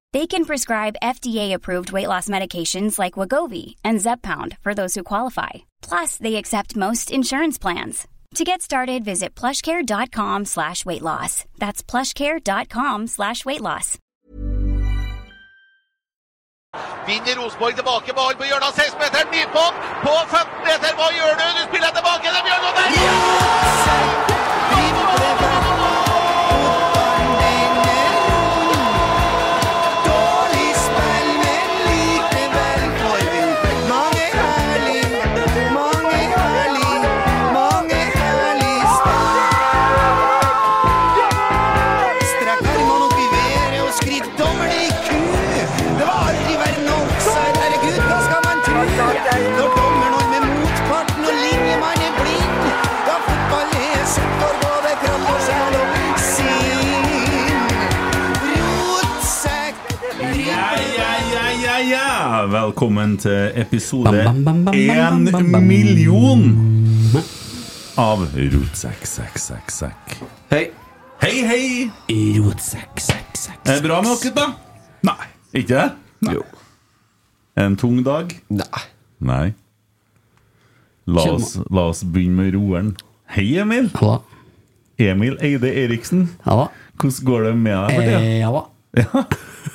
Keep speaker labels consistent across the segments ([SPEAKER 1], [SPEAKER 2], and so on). [SPEAKER 1] They can prescribe FDA-approved weight loss medications like Wagovi and Zepbound for those who qualify. Plus, they accept most insurance plans. To get started, visit plushcare.com slash weight loss. That's plushcare.com slash weight loss.
[SPEAKER 2] Vinner Rosenborg tilbake ball på hjørnet av 16-meteren. Nypont på 15-meter. Hva gjør du? Du spiller tilbake til Bjørgo der! Ja!
[SPEAKER 3] Strekk armene opp i været og skrik 'dommer deg i ku'. Det var aldri verden offside, herregud, hva skal man tro? Når dommeren holder med motparten og linjemannen er blind, ja, fotball er sektor, både kropp og sjel og sinn. Rotsekk,
[SPEAKER 4] Ja, ja, ja, ja, ja. Velkommen til episode
[SPEAKER 5] Bam, bam, bam, bam, bam, bam, bam,
[SPEAKER 4] én
[SPEAKER 5] bam.
[SPEAKER 4] million av Rotsekk-sekk-sekk-sekk.
[SPEAKER 5] Hei.
[SPEAKER 4] Hei, hei!
[SPEAKER 5] Rotsekk, sekk, sekk.
[SPEAKER 4] Er det bra med dere, da? Nei. Ikke det? Nei.
[SPEAKER 5] Jo.
[SPEAKER 4] En tung dag?
[SPEAKER 5] Nei.
[SPEAKER 4] Nei. La
[SPEAKER 5] Kjem-
[SPEAKER 4] oss, la oss begynne med roeren. Hei, Emil.
[SPEAKER 5] Ja da.
[SPEAKER 4] Emil Eide Eriksen.
[SPEAKER 5] Ja da.
[SPEAKER 4] Hvordan går det med deg for
[SPEAKER 5] Eh,
[SPEAKER 4] tida?
[SPEAKER 5] ja da.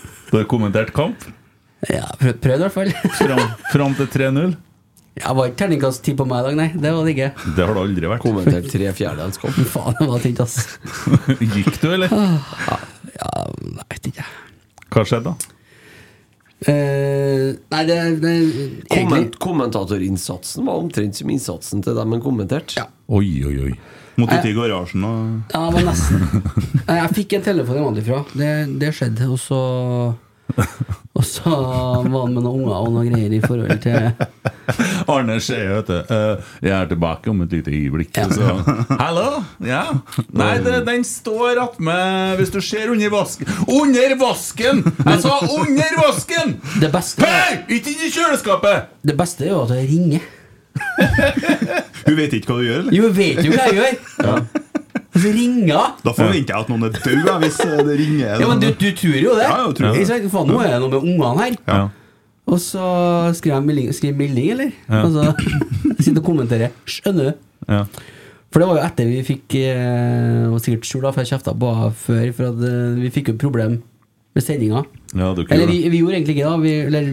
[SPEAKER 4] Du har kommentert kamp
[SPEAKER 5] Ja, prøv, prøvd i hvert fall.
[SPEAKER 4] fram, fram til 3-0.
[SPEAKER 5] Jeg var ikke terningkast ti på meg i dag, nei. Det var det ikke.
[SPEAKER 4] Det har det aldri vært.
[SPEAKER 6] Kommentert tre fjerdedelskamp.
[SPEAKER 5] Faen, det var tynt, ass.
[SPEAKER 4] Gikk du, eller?
[SPEAKER 5] Jeg Ah, vet ikke.
[SPEAKER 4] Hva skjedde, da?
[SPEAKER 5] Eh, nei, det, det egentlig,
[SPEAKER 6] Komment, kommentatorinnsatsen var omtrent som innsatsen til dem han kommenterte.
[SPEAKER 5] Ja. Eh.
[SPEAKER 4] Oi, oi, oi. Måtte ut i garasjen og
[SPEAKER 5] Ja, men nesten. Nei, jeg fikk en telefon hjemmefra. Det, det skjedde. Og så Og så var han med noen unger og noen greier i forhold til
[SPEAKER 4] Arne Skjeie, vet du. eh, jeg er tilbake om et lite øyeblikk. Så. Hallo? Ja? Nei, det, den står attmed Hvis du ser under vasken Under vasken! Jeg sa under vasken!
[SPEAKER 5] Det beste,
[SPEAKER 4] Hei! Ikke inn i kjøleskapet!
[SPEAKER 5] det beste er jo at jeg ringer.
[SPEAKER 7] Hun vet ikke hva du gjør, eller?
[SPEAKER 5] Jo, jeg vet jo hva jeg gjør! Og så Altså, ringer hun!
[SPEAKER 7] Da forventer jeg at noen er død jeg, hvis eh, det ringer.
[SPEAKER 5] Ja, men du,
[SPEAKER 7] noen.
[SPEAKER 5] du tror jo det?
[SPEAKER 7] Ja, jeg tror det.
[SPEAKER 5] Ikke sant? Faen, nå er det noe med ungene her. Og så skriver jeg melding, skriver melding eller? Altså, sitter og kommenterer. Skjønner du?
[SPEAKER 4] Ja.
[SPEAKER 5] For det var jo etter vi fikk eh, Og sikkert skjul, da, for jeg kjefta på henne før. For at eh, vi fikk jo problem med sendinga.
[SPEAKER 4] Ja, du
[SPEAKER 5] Eller
[SPEAKER 4] gjorde
[SPEAKER 5] vi,
[SPEAKER 4] det.
[SPEAKER 5] vi gjorde egentlig ikke det. da, Vi, eller,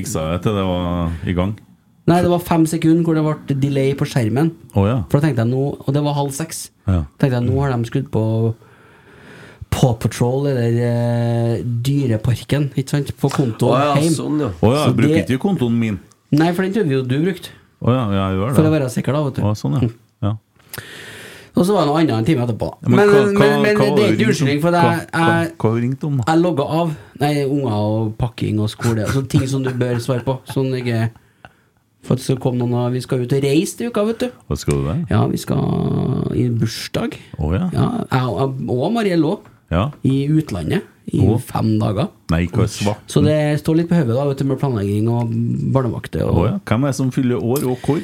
[SPEAKER 4] Fiksa jeg til det var i gang?
[SPEAKER 5] nei, det var fem sekunder hvor det ble delay på skjermen.
[SPEAKER 4] Å ja.
[SPEAKER 5] For da tenkte jeg nå Og det var halv seks.
[SPEAKER 4] Ja.
[SPEAKER 5] Tenkte jeg nå har de skrudd på Paw Patrol, eller eh, Dyreparken, ikke sant? På kontoen
[SPEAKER 6] Å ja,
[SPEAKER 5] hjem.
[SPEAKER 6] sånn, ja.
[SPEAKER 4] Å ja,
[SPEAKER 5] Så
[SPEAKER 4] jeg bruker
[SPEAKER 5] det-
[SPEAKER 4] ikke kontoen min.
[SPEAKER 5] Nei, for den trodde vi jo du brukte.
[SPEAKER 4] Å ja, jeg gjør det.
[SPEAKER 5] For å være sikker, da. vet
[SPEAKER 4] Å,
[SPEAKER 5] du Mm.
[SPEAKER 4] sånn, ja. ja.
[SPEAKER 5] Og så var det noe annet en time etterpå. da.
[SPEAKER 4] Men
[SPEAKER 5] Men,
[SPEAKER 4] hva-
[SPEAKER 5] men,
[SPEAKER 4] hva-
[SPEAKER 5] men,
[SPEAKER 4] hva var
[SPEAKER 5] det er ikke
[SPEAKER 4] det du
[SPEAKER 5] unnskyldning,
[SPEAKER 4] ringte om?
[SPEAKER 5] for jeg,
[SPEAKER 4] Hva- hva-
[SPEAKER 5] jeg,
[SPEAKER 4] Hva har du ringt om? da?
[SPEAKER 5] jeg logga av. Nei, unger og pakking og skole. Altså ting som du bør svare på. Sånn ikke For at det skal komme noen av Vi skal ut og reise til uka, vet du.
[SPEAKER 4] Hva skal du der?
[SPEAKER 5] Ja, vi skal i bursdag.
[SPEAKER 4] Å ja.
[SPEAKER 5] Ja, jeg og- og Mariell òg.
[SPEAKER 4] ja.
[SPEAKER 5] I utlandet. I
[SPEAKER 4] Å.
[SPEAKER 5] fem dager.
[SPEAKER 4] Nei, hva er svart?
[SPEAKER 5] Så det står litt på hodet da, vet du, med planlegging og barnevakter.
[SPEAKER 4] Å
[SPEAKER 5] Og
[SPEAKER 4] ja. Hvem er det som fyller år, og hvor?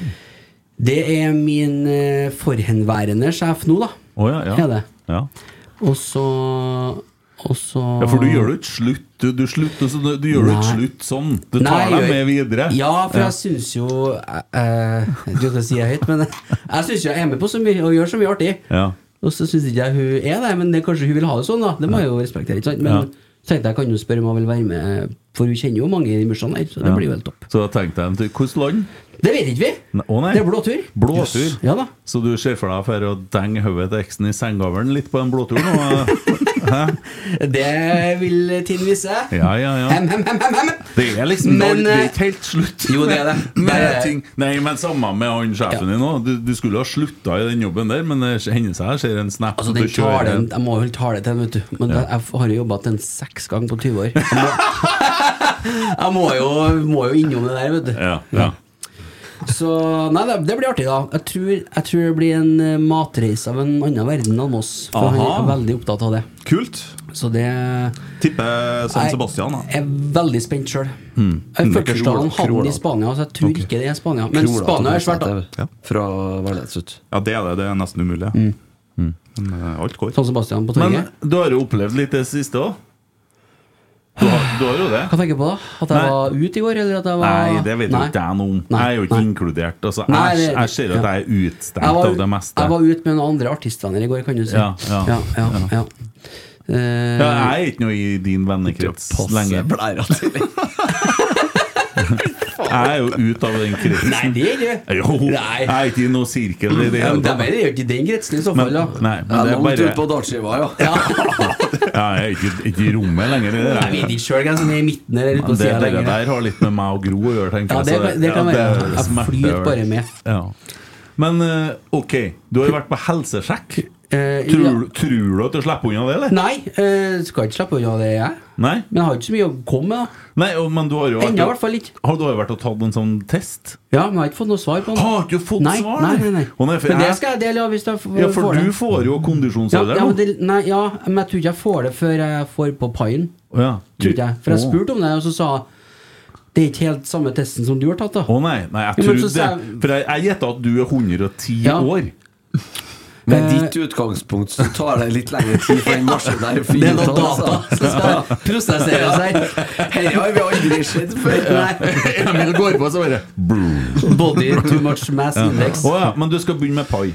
[SPEAKER 5] Det er min eh, forhenværende sjef nå, da.
[SPEAKER 4] Å ja, ja.
[SPEAKER 5] Er det.
[SPEAKER 4] Ja.
[SPEAKER 5] Og så Og så
[SPEAKER 4] ja, for du gjør det ikke slutt. Du, du, slutter, så du, du gjør det
[SPEAKER 5] Nei.
[SPEAKER 4] ikke slutt sånn. Du tar
[SPEAKER 5] Nei,
[SPEAKER 4] deg
[SPEAKER 5] jeg-
[SPEAKER 4] med videre.
[SPEAKER 5] Ja, for
[SPEAKER 4] Ja.
[SPEAKER 5] jeg syns jo eh, Jeg vet ikke hva jeg sier høyt, men jeg syns jeg er med på så mye og gjør så mye artig.
[SPEAKER 4] Ja.
[SPEAKER 5] Og så syns ikke jeg hun er det, men det, kanskje hun vil ha det sånn, da. Det må jeg jo respektere. ikke sant? Men
[SPEAKER 4] Ja.
[SPEAKER 5] tenkte jeg kan jo spørre om hun vil være med, for hun kjenner jo mange i de bursdagene her. Så det
[SPEAKER 4] Ja.
[SPEAKER 5] blir jo helt topp.
[SPEAKER 4] Så da tenkte jeg til hvilket land?
[SPEAKER 5] Det vet ikke vi!
[SPEAKER 4] Ne- Å nei.
[SPEAKER 5] Det er blåtur.
[SPEAKER 4] Blåtur.
[SPEAKER 5] Jøss. Ja da.
[SPEAKER 4] Så du ser for deg for å denge hodet til eksen i sengegavlen litt på en blåtur nå?
[SPEAKER 5] Det vil tiden vise.
[SPEAKER 4] Ja, ja, ja.
[SPEAKER 5] Hem, hem, hem, hem, hem.
[SPEAKER 4] Det er liksom
[SPEAKER 5] Men,
[SPEAKER 4] det er
[SPEAKER 5] eh,
[SPEAKER 4] ikke helt slutt.
[SPEAKER 5] jo, det er det.
[SPEAKER 4] Med
[SPEAKER 5] Det er-
[SPEAKER 4] ting. Nei, men samme med han sjefen din òg. Du, du skulle ha slutta i den jobben der, men det hender seg jeg ser en snap
[SPEAKER 5] Altså,
[SPEAKER 4] at
[SPEAKER 5] den
[SPEAKER 4] du kjører
[SPEAKER 5] tar den,
[SPEAKER 4] en-
[SPEAKER 5] jeg må jo ta det til den, vet du. Men
[SPEAKER 4] Ja.
[SPEAKER 5] jeg har jo jobba til den seks ganger på 20 år. Jeg må, jeg må, jo, må jo innom det der, vet du.
[SPEAKER 4] Ja, ja.
[SPEAKER 5] Så nei, det, det blir artig, da. Jeg tror, jeg tror det blir en eh, matreise av en annen verden enn oss. For han er
[SPEAKER 7] Aha.
[SPEAKER 5] veldig opptatt av det.
[SPEAKER 7] Kult.
[SPEAKER 5] Så det
[SPEAKER 7] Tipper San
[SPEAKER 5] Jeg-
[SPEAKER 7] Sebastian, da.
[SPEAKER 5] Jeg er veldig spent sjøl.
[SPEAKER 4] Hmm.
[SPEAKER 5] Fødselsdagen
[SPEAKER 6] Krola-
[SPEAKER 5] havner
[SPEAKER 6] Krola.
[SPEAKER 5] i Spania, så jeg tror
[SPEAKER 7] Ok.
[SPEAKER 5] ikke det er Spania. Men Spania er svært, da.
[SPEAKER 7] Ja.
[SPEAKER 6] Fra Værnesut.
[SPEAKER 7] Ja, det er det. Det er nesten umulig. Men eh, alt går.
[SPEAKER 5] Mm. San Sebastian på
[SPEAKER 4] Men
[SPEAKER 5] torget.
[SPEAKER 4] du har jo opplevd litt det siste òg. Du, har- du har jo det.
[SPEAKER 5] Hva tenker du på, da? At jeg
[SPEAKER 4] Nei.
[SPEAKER 5] var ute i går, eller at jeg var
[SPEAKER 4] Nei, det vet jo
[SPEAKER 5] Nei.
[SPEAKER 4] ikke jeg noe om.
[SPEAKER 5] Nei,
[SPEAKER 4] Jeg er jo ikke
[SPEAKER 5] nei.
[SPEAKER 4] inkludert. Altså,
[SPEAKER 5] Nei,
[SPEAKER 4] jeg,
[SPEAKER 5] det-
[SPEAKER 4] jeg ser at
[SPEAKER 5] ja.
[SPEAKER 4] jeg er utstengt
[SPEAKER 5] Jeg var-
[SPEAKER 4] av det meste.
[SPEAKER 5] Jeg var ute med noen andre artistvenner i går, kan du si.
[SPEAKER 4] Ja, ja,
[SPEAKER 5] ja, ja, ja. Eh,
[SPEAKER 4] ja, jeg er ikke noe i din vennekrets lenge.
[SPEAKER 6] blæra til.
[SPEAKER 4] Jeg er jo ute av den kretsen.
[SPEAKER 5] Nei, det gjør ikke
[SPEAKER 4] Jo,
[SPEAKER 5] Nei.
[SPEAKER 4] jeg er ikke i noe sirkel i det
[SPEAKER 5] Ja,
[SPEAKER 4] hele
[SPEAKER 5] Eh, men det er
[SPEAKER 4] tatt.
[SPEAKER 5] bare gjort i den kretsen i så fall,
[SPEAKER 4] Men,
[SPEAKER 5] da.
[SPEAKER 4] nei,
[SPEAKER 6] Ja,
[SPEAKER 4] men det er
[SPEAKER 6] langt ut på
[SPEAKER 4] bare
[SPEAKER 6] dartskiva, ja.
[SPEAKER 4] Jeg er ikke, ikke i rommet lenger. Det
[SPEAKER 5] Jeg
[SPEAKER 4] der.
[SPEAKER 5] vet ikke sjøl hvem som er sånn i midten eller ute på
[SPEAKER 4] Men det,
[SPEAKER 5] sida
[SPEAKER 4] det
[SPEAKER 5] lenger.
[SPEAKER 4] der har litt med meg og Gro å gjøre, tenker
[SPEAKER 5] Ja,
[SPEAKER 4] jeg,
[SPEAKER 5] det,
[SPEAKER 4] så
[SPEAKER 5] det kan
[SPEAKER 4] ja,
[SPEAKER 5] være.
[SPEAKER 4] det
[SPEAKER 5] Jeg
[SPEAKER 4] smerter
[SPEAKER 5] flyter
[SPEAKER 4] vel.
[SPEAKER 5] bare med.
[SPEAKER 4] Ja. Men eh, ok, du har jo vært på helsesjekk.
[SPEAKER 5] Eh,
[SPEAKER 4] Tror,
[SPEAKER 5] ja.
[SPEAKER 4] tror du at du slipper unna det, eller?
[SPEAKER 5] Nei, eh, skal ikke slappe unna det, jeg.
[SPEAKER 4] Nei?
[SPEAKER 5] Men jeg har ikke så mye å komme med. da.
[SPEAKER 4] Nei, og- men du har jo vært,
[SPEAKER 5] Ennå, i hvert fall ikke.
[SPEAKER 4] Har du har jo vært og tatt en sånn test?
[SPEAKER 5] Ja, men jeg har ikke fått noe svar på det.
[SPEAKER 4] Har du fått
[SPEAKER 5] nei,
[SPEAKER 4] svar?
[SPEAKER 5] Nei, nei, nei.
[SPEAKER 4] Å, nei, for
[SPEAKER 5] men det
[SPEAKER 4] jeg-
[SPEAKER 5] skal jeg dele av hvis jeg f-
[SPEAKER 4] Ja, for
[SPEAKER 5] får
[SPEAKER 4] du
[SPEAKER 5] det.
[SPEAKER 4] får jo
[SPEAKER 5] Ja,
[SPEAKER 4] kondisjonsalder
[SPEAKER 5] ja, men
[SPEAKER 4] nå.
[SPEAKER 5] det, nei, ja, men jeg tror ikke jeg får det før jeg får på paien.
[SPEAKER 4] Å ja.
[SPEAKER 5] Tror ikke jeg. For jeg
[SPEAKER 4] Å.
[SPEAKER 5] spurte om det, og så sa hun, Det er ikke helt samme testen som du har tatt, da.
[SPEAKER 4] Å nei, nei, jeg
[SPEAKER 5] Jo, men så
[SPEAKER 4] trodde
[SPEAKER 5] sa
[SPEAKER 4] det.
[SPEAKER 5] jeg-
[SPEAKER 4] For jeg- jeg gjetta at du er 110
[SPEAKER 5] Ja.
[SPEAKER 4] år.
[SPEAKER 6] Med ditt utgangspunkt så tar det litt lengre tid for den maskinen der å finne ut av det, altså.
[SPEAKER 5] som skal prosesseres her.
[SPEAKER 6] Dette har vi aldri sett før.
[SPEAKER 4] Emil går på, så bare boom.
[SPEAKER 5] Body too much mass index.
[SPEAKER 4] Å ja, men du skal begynne med pai.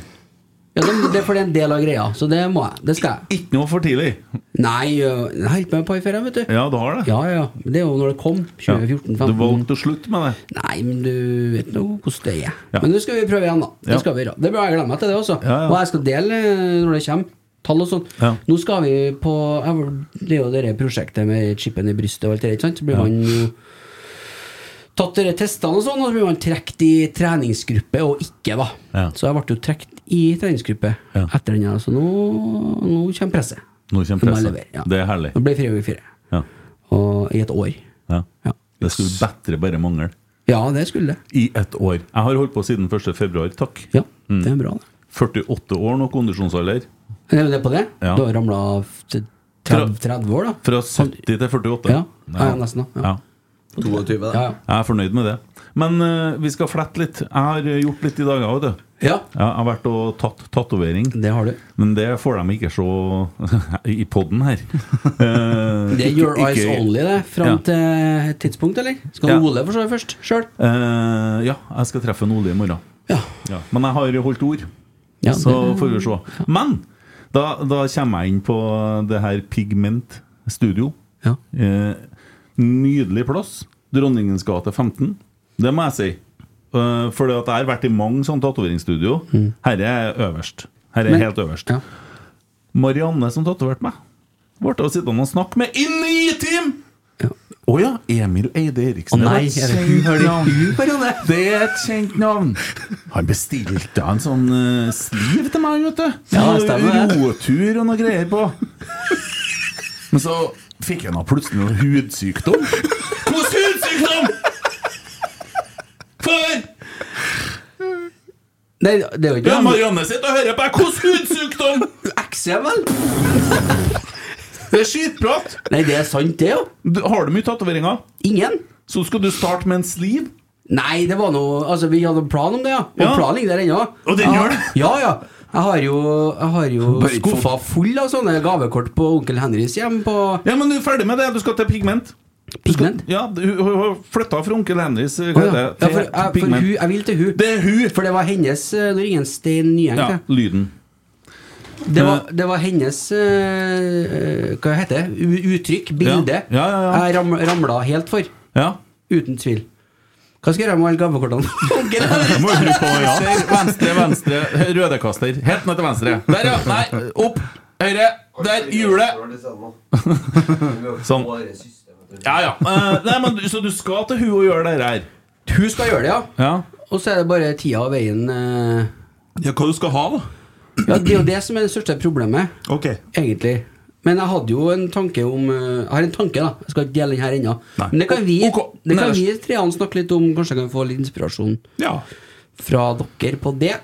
[SPEAKER 5] Ja, det, det er for det er en del av greia, så det må jeg. Det skal jeg.
[SPEAKER 4] Ikke noe for tidlig.
[SPEAKER 5] Nei, øh, jeg har holdt med på i ferie, vet du.
[SPEAKER 4] Ja, du har det?
[SPEAKER 5] Ja, ja. Men Det er jo når det kom.
[SPEAKER 4] Ja.
[SPEAKER 5] 2014
[SPEAKER 4] Du
[SPEAKER 5] 15
[SPEAKER 4] valgte å slutte med det?
[SPEAKER 5] Nei, men du vet nå hvordan det er.
[SPEAKER 4] Ja.
[SPEAKER 5] Men nå skal vi prøve igjen, da. Det
[SPEAKER 4] Ja.
[SPEAKER 5] skal vi gjøre. Det bør jeg glemme meg til, det også.
[SPEAKER 4] Ja, ja.
[SPEAKER 5] Og jeg skal dele eh, når det kommer. Tall og sånt.
[SPEAKER 4] Ja.
[SPEAKER 5] Nå skal vi på jeg, var- Det er jo det der prosjektet med chipen i brystet og alt det der, ikke sant? Så blir man jo tatt dere testene og sånn, og så blir man trukket i treningsgruppe og ikke, da.
[SPEAKER 4] Ja.
[SPEAKER 5] Så jeg ble jo trukket i treningsgruppe
[SPEAKER 4] Ja.
[SPEAKER 5] etter den, her, så nå, nå kommer presset. Nå
[SPEAKER 4] Nå kommer
[SPEAKER 5] må jeg
[SPEAKER 4] presset.
[SPEAKER 5] levere, ja.
[SPEAKER 4] Det er herlig.
[SPEAKER 5] Nå blir det fire over fire.
[SPEAKER 4] Ja.
[SPEAKER 5] Og i et år.
[SPEAKER 4] ja.
[SPEAKER 5] Ja.
[SPEAKER 4] Det skulle bedre bare mangle.
[SPEAKER 5] ja, det skulle det.
[SPEAKER 4] I ett år. Jeg har holdt på siden 1. februar, takk.
[SPEAKER 5] Ja, det er bra, det.
[SPEAKER 4] 48 år nå, kondisjonsalder.
[SPEAKER 5] Er det på det?
[SPEAKER 4] Ja.
[SPEAKER 5] Du har ramla til 30, 30 år, da?
[SPEAKER 4] Fra 70 til 48.
[SPEAKER 5] Ja, ja, nesten. da. Ja.
[SPEAKER 4] Ja.
[SPEAKER 6] 22, da.
[SPEAKER 5] Ja, ja.
[SPEAKER 4] Jeg er fornøyd med det. Men eh, vi skal flette litt. Jeg har eh, gjort litt i dag, jeg vet du.
[SPEAKER 5] ja,
[SPEAKER 4] Ja, Jeg har vært og tatt tatovering.
[SPEAKER 5] det har du.
[SPEAKER 4] Men det får de ikke se i poden her. Eh,
[SPEAKER 5] Det er
[SPEAKER 4] ikke-
[SPEAKER 5] Your Eyes
[SPEAKER 4] ikke-
[SPEAKER 5] Only, det. Fram
[SPEAKER 4] Ja.
[SPEAKER 5] til et tidspunkt, eller? Skal
[SPEAKER 4] Ja.
[SPEAKER 5] Ole få se først? Sjøl?
[SPEAKER 4] Eh, ja, jeg skal treffe en Ole i morgen.
[SPEAKER 5] Ja.
[SPEAKER 4] Ja. Men jeg har holdt ord.
[SPEAKER 5] ja.
[SPEAKER 4] Så
[SPEAKER 5] det-
[SPEAKER 4] får vi se. Men da, da kommer jeg inn på det her Pigment Studio.
[SPEAKER 5] ja.
[SPEAKER 4] Eh, nydelig plass. Dronningens gate 15. Det må jeg si. Eh, for at jeg har vært i mange sånne tatoveringsstudio. Herre er øverst. Herre
[SPEAKER 5] Mm.
[SPEAKER 4] er
[SPEAKER 5] Men-
[SPEAKER 4] helt øverst.
[SPEAKER 5] ja.
[SPEAKER 4] Marianne som tatoverte meg, ble å sitte og snakke med i ni timer!
[SPEAKER 5] Ja.
[SPEAKER 4] Å ja, Emil Eide
[SPEAKER 5] Å
[SPEAKER 4] Eriksen.
[SPEAKER 5] nei,
[SPEAKER 4] det
[SPEAKER 5] er
[SPEAKER 4] var
[SPEAKER 5] det
[SPEAKER 4] et
[SPEAKER 5] hun?
[SPEAKER 4] kjent
[SPEAKER 5] Er det
[SPEAKER 4] navn.
[SPEAKER 5] hun, Marianne?
[SPEAKER 4] Det er et kjent navn. Han bestilte en sånn eh, sliv til meg, vet du.
[SPEAKER 5] Ja, det stemmer det.
[SPEAKER 4] Rotur og noe greier på. Men så fikk han da plutselig noe hudsykdom. Hvordan hudsykdom?! For
[SPEAKER 5] Nei, det er jo
[SPEAKER 4] ja,
[SPEAKER 5] ikke det.
[SPEAKER 4] Marianne sitter og hører på deg. Hvordan hudsykdom?!
[SPEAKER 5] Eksem, vel?
[SPEAKER 4] Det er skitprat!
[SPEAKER 5] Nei, det er sant, det, jo.
[SPEAKER 4] Du- Har du mye tatoveringer,
[SPEAKER 5] Ingen.
[SPEAKER 4] så skal du starte med en sliv.
[SPEAKER 5] Nei, det var noe Altså, vi hadde en plan om det, ja. Og
[SPEAKER 4] Ja.
[SPEAKER 5] planen ligger der ennå.
[SPEAKER 4] Og den
[SPEAKER 5] Ja,
[SPEAKER 4] gjør det.
[SPEAKER 5] Ja, ja. Jeg har jo, jeg har jo
[SPEAKER 6] Bare ikke
[SPEAKER 5] skuffa full av sånne gavekort på onkel Henrys hjem på
[SPEAKER 4] Ja, men du er ferdig med det. Du skal til Pigment. Du skal-
[SPEAKER 5] Pigment?
[SPEAKER 4] Ja, du- hun hun har flytta fra onkel Henrys
[SPEAKER 5] Å,
[SPEAKER 4] hva heter
[SPEAKER 5] ja.
[SPEAKER 4] det?
[SPEAKER 5] ja,
[SPEAKER 4] til
[SPEAKER 5] for, jeg, for
[SPEAKER 4] Pigment.
[SPEAKER 5] hun, jeg vil til hun
[SPEAKER 4] Det er hun!
[SPEAKER 5] For det var hennes eh, Nå ringer en Stein Nyeng.
[SPEAKER 4] Ja,
[SPEAKER 5] det.
[SPEAKER 4] lyden.
[SPEAKER 5] Det, var, det var hennes eh, eh, Hva heter det? U uttrykk? Bilde?
[SPEAKER 4] Ja, ja, ja, ja.
[SPEAKER 5] Jeg ram, ramla helt for.
[SPEAKER 4] Ja.
[SPEAKER 5] Uten tvil. Hva skal jeg gjøre med alle gavekortene? Onkel Henry?
[SPEAKER 4] Jeg må jo tro på ja. Venstre, venstre, røde kaster. Helt ned til venstre. Der, ja! Nei, opp! Høyre! Der! Hjulet! Sånn. Ja, ja. Eh, Nei, men, du- så du skal til hun og gjøre det her?
[SPEAKER 5] Hun skal gjøre det, ja.
[SPEAKER 4] Ja.
[SPEAKER 5] Og så er det bare tida og veien eh,
[SPEAKER 4] ja hva du skal ha, da?
[SPEAKER 5] Ja, Det er jo det som er det største problemet,
[SPEAKER 4] Ok.
[SPEAKER 5] egentlig. Men jeg hadde jo en tanke om eh, Jeg har en tanke, da. Jeg skal ikke dele den her ennå.
[SPEAKER 4] Nei.
[SPEAKER 5] Men det kan vi,
[SPEAKER 4] Ok,
[SPEAKER 5] det kan
[SPEAKER 4] nederst.
[SPEAKER 5] vi treene snakke litt om. Kanskje jeg kan få litt inspirasjon
[SPEAKER 4] Ja.
[SPEAKER 5] fra dere på det.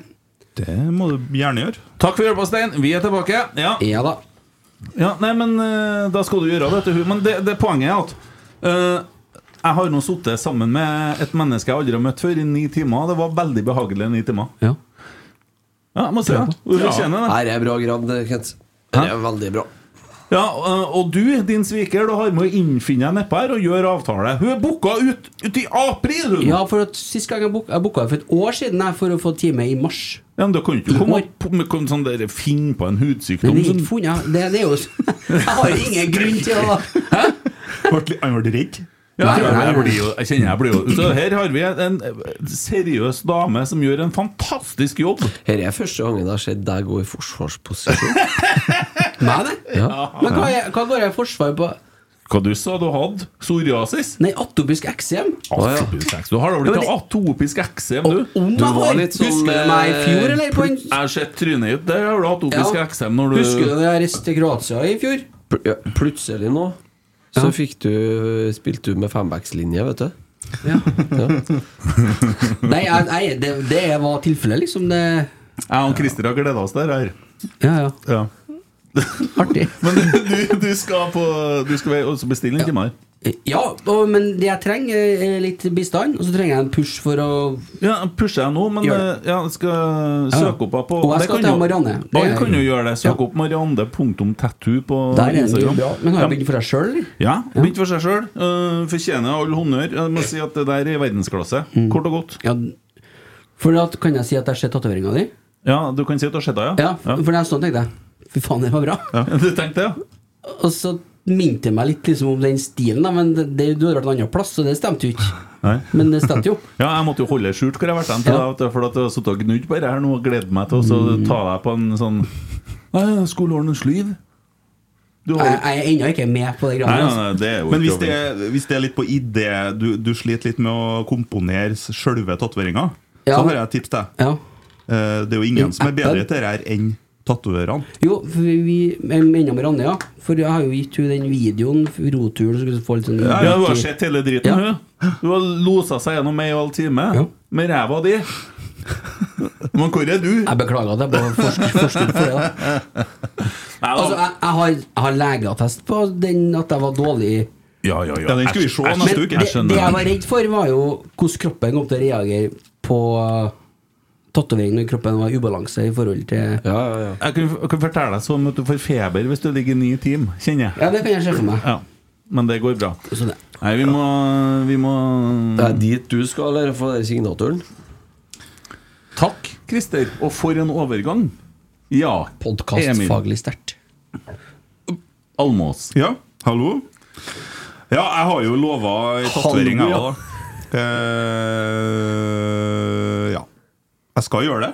[SPEAKER 4] Det må du gjerne gjøre. Takk for hjelpa, Stein. Vi er tilbake. Ja.
[SPEAKER 5] Ja da.
[SPEAKER 4] Ja, nei, men eh, da skal du gjøre det til hun. Men det, det poenget er at eh, jeg har nå sittet sammen med et menneske jeg aldri har møtt før, i ni timer. Det var veldig behagelige ni timer.
[SPEAKER 5] Ja.
[SPEAKER 4] Ja, jeg må si det. Du fortjener det.
[SPEAKER 6] Her er bra grann, Kent. Her er veldig bra.
[SPEAKER 4] Ja, eh, og du, din sviker, du har med å innfinne deg nedpå her og gjøre avtale. Hun er booka ut, ut i april! Hun.
[SPEAKER 5] Ja, for at Sist gang jeg booka jeg booka for et år siden jeg, for å få time i mars.
[SPEAKER 4] Ja, men da kan du ikke komme opp med kom sånn der, finne på en
[SPEAKER 5] Men
[SPEAKER 4] hudsykdom sånn.
[SPEAKER 5] det er
[SPEAKER 4] som
[SPEAKER 5] ikke funnet. Det, det er jo Jeg har ingen grunn til å Hæ?
[SPEAKER 4] Han ble redd? Ja, jeg, jeg, blir jo, jeg kjenner jeg blir jo Så her har vi en, en seriøs dame som gjør en fantastisk jobb.
[SPEAKER 6] Her er første gangen jeg har sett deg gå i forsvarsposisjon.
[SPEAKER 5] Nei, nei. Men hva, er, hva går jeg i forsvar på?
[SPEAKER 4] Hva du sa du hadde? Psoriasis?
[SPEAKER 5] Nei, atopisk eksem?
[SPEAKER 4] Atopisk eksem. Du har da blitt
[SPEAKER 5] Ja, men det-
[SPEAKER 4] noe atopisk eksem, du?
[SPEAKER 5] Om
[SPEAKER 6] Du
[SPEAKER 5] jeg
[SPEAKER 6] var
[SPEAKER 5] har!
[SPEAKER 6] litt sånn,
[SPEAKER 5] Husker du meg i
[SPEAKER 6] eh,
[SPEAKER 5] fjor, eller? På en...
[SPEAKER 4] Jeg har sett trynet ditt. Der har du atopisk
[SPEAKER 5] Ja.
[SPEAKER 4] eksem når du
[SPEAKER 5] Husker du da jeg reiste til Kroatia i fjor?
[SPEAKER 6] Pl- ja, Plutselig nå så fikk du spilte du med fembackslinje, vet du.
[SPEAKER 5] Ja. Nei, jeg, jeg, det, det var tilfellet, liksom. Det
[SPEAKER 4] Jeg og Christer har gleda oss der. Her.
[SPEAKER 5] Ja, ja.
[SPEAKER 4] Ja.
[SPEAKER 5] Artig.
[SPEAKER 4] Men du, du, du skal på Du skal også bestille en time her.
[SPEAKER 5] Eh, Ja, og, men det jeg trenger, er litt bistand, og så trenger jeg en push for å
[SPEAKER 4] Ja, pusher jeg nå, men
[SPEAKER 5] Gjør
[SPEAKER 4] eh,
[SPEAKER 5] det.
[SPEAKER 4] ja, jeg skal søke opp henne på
[SPEAKER 5] Og jeg
[SPEAKER 4] det
[SPEAKER 5] skal
[SPEAKER 4] kan
[SPEAKER 5] til
[SPEAKER 4] jo-
[SPEAKER 5] Marianne. Det
[SPEAKER 4] Alle
[SPEAKER 5] er-
[SPEAKER 4] kan jo gjøre det. Søk
[SPEAKER 5] Ja.
[SPEAKER 4] opp marianne.tattoo på
[SPEAKER 5] Der er det jo
[SPEAKER 4] Instagram.
[SPEAKER 5] bra. Men har
[SPEAKER 4] Ja,
[SPEAKER 5] jeg begynt for deg sjøl, eller?
[SPEAKER 4] Ja, begynt for seg sjøl. fortjener all honnør. Jeg
[SPEAKER 5] Eh.
[SPEAKER 4] må si at det der er verdensklasse.
[SPEAKER 5] Mm.
[SPEAKER 4] Kort og godt.
[SPEAKER 5] Ja. For at, kan jeg si at jeg ser tatoveringa di?
[SPEAKER 4] Ja, du kan si at du har sett henne,
[SPEAKER 5] Ja,
[SPEAKER 4] ja?
[SPEAKER 5] for det er sånn tenkte jeg. Fy faen, det var bra.
[SPEAKER 4] Ja. Du tenkte det, ja?
[SPEAKER 5] Og så minte det meg litt liksom, om den stilen, da, men det, det, du hadde vært en annen plass, så det stemte jo ikke.
[SPEAKER 4] Nei.
[SPEAKER 5] Men det stemte jo.
[SPEAKER 4] Ja, jeg måtte jo holde det skjult hvor jeg har vært hen, til
[SPEAKER 5] Ja.
[SPEAKER 4] deg, vet du, for at jeg har sittet og gnudd på det her nå og gleder meg til å
[SPEAKER 5] Mm.
[SPEAKER 4] så ta deg på en sånn Nei, jeg skulle ordne en sliv. Du har
[SPEAKER 5] Jeg,
[SPEAKER 4] jo
[SPEAKER 5] jeg er ennå ikke med på det greiene.
[SPEAKER 4] Nei, nei,
[SPEAKER 5] Altså.
[SPEAKER 4] nei, det er jo
[SPEAKER 8] Men hvis
[SPEAKER 4] ikke
[SPEAKER 8] det,
[SPEAKER 4] over.
[SPEAKER 8] er- hvis det er litt på idé du, du sliter litt med å komponere s- sjølve tatoveringa,
[SPEAKER 5] Ja.
[SPEAKER 8] så har jeg et tips til deg.
[SPEAKER 5] Ja.
[SPEAKER 8] Eh, Det er jo ingen som er bedre
[SPEAKER 5] appen.
[SPEAKER 8] til det her enn tatovørene.
[SPEAKER 5] Jo, for vi, vi jeg mener med Randi, ja. For jeg har jo gitt hun den videoen, roturen, så skulle hun få litt sånn
[SPEAKER 4] Ja, du har sett hele driten,
[SPEAKER 5] Ja.
[SPEAKER 4] hun. Du har losa seg gjennom ei og en halv time
[SPEAKER 5] Ja.
[SPEAKER 4] med ræva di. Men hvor er du?
[SPEAKER 5] Jeg beklager at jeg bare forsk- forskudd for det. da
[SPEAKER 4] Nei,
[SPEAKER 5] Altså, jeg, jeg har, jeg har legeattest på den at jeg var dårlig.
[SPEAKER 4] Ja, ja, ja.
[SPEAKER 8] Ja, den skal vi se
[SPEAKER 4] Jeg- jeg-
[SPEAKER 8] neste
[SPEAKER 5] Men
[SPEAKER 8] uke.
[SPEAKER 5] det,
[SPEAKER 4] skjønner
[SPEAKER 5] det jeg
[SPEAKER 4] det.
[SPEAKER 5] var redd for, var jo hvordan kroppen kom til å reagere på uh, tatovering når kroppen var i ubalanse i forhold til
[SPEAKER 6] Ja, ja, ja.
[SPEAKER 4] Jeg kan, jeg kan fortelle deg sånn at du får feber hvis du ligger ni timer, kjenner jeg.
[SPEAKER 5] Ja, det kan jeg se for meg.
[SPEAKER 4] Ja. Men det går bra.
[SPEAKER 5] Så det.
[SPEAKER 4] Nei, vi må, vi må
[SPEAKER 6] Det er dit du skal, eller? Få den signaturen?
[SPEAKER 4] Takk, Christer. Og for en overgang. Ja. Emil
[SPEAKER 5] Podkastfaglig sterkt.
[SPEAKER 4] Almås.
[SPEAKER 8] Ja, hallo? Ja, jeg har jo lova ei tatovering, jeg
[SPEAKER 4] Hallo,
[SPEAKER 8] òg. Eh, ja. Jeg skal gjøre det.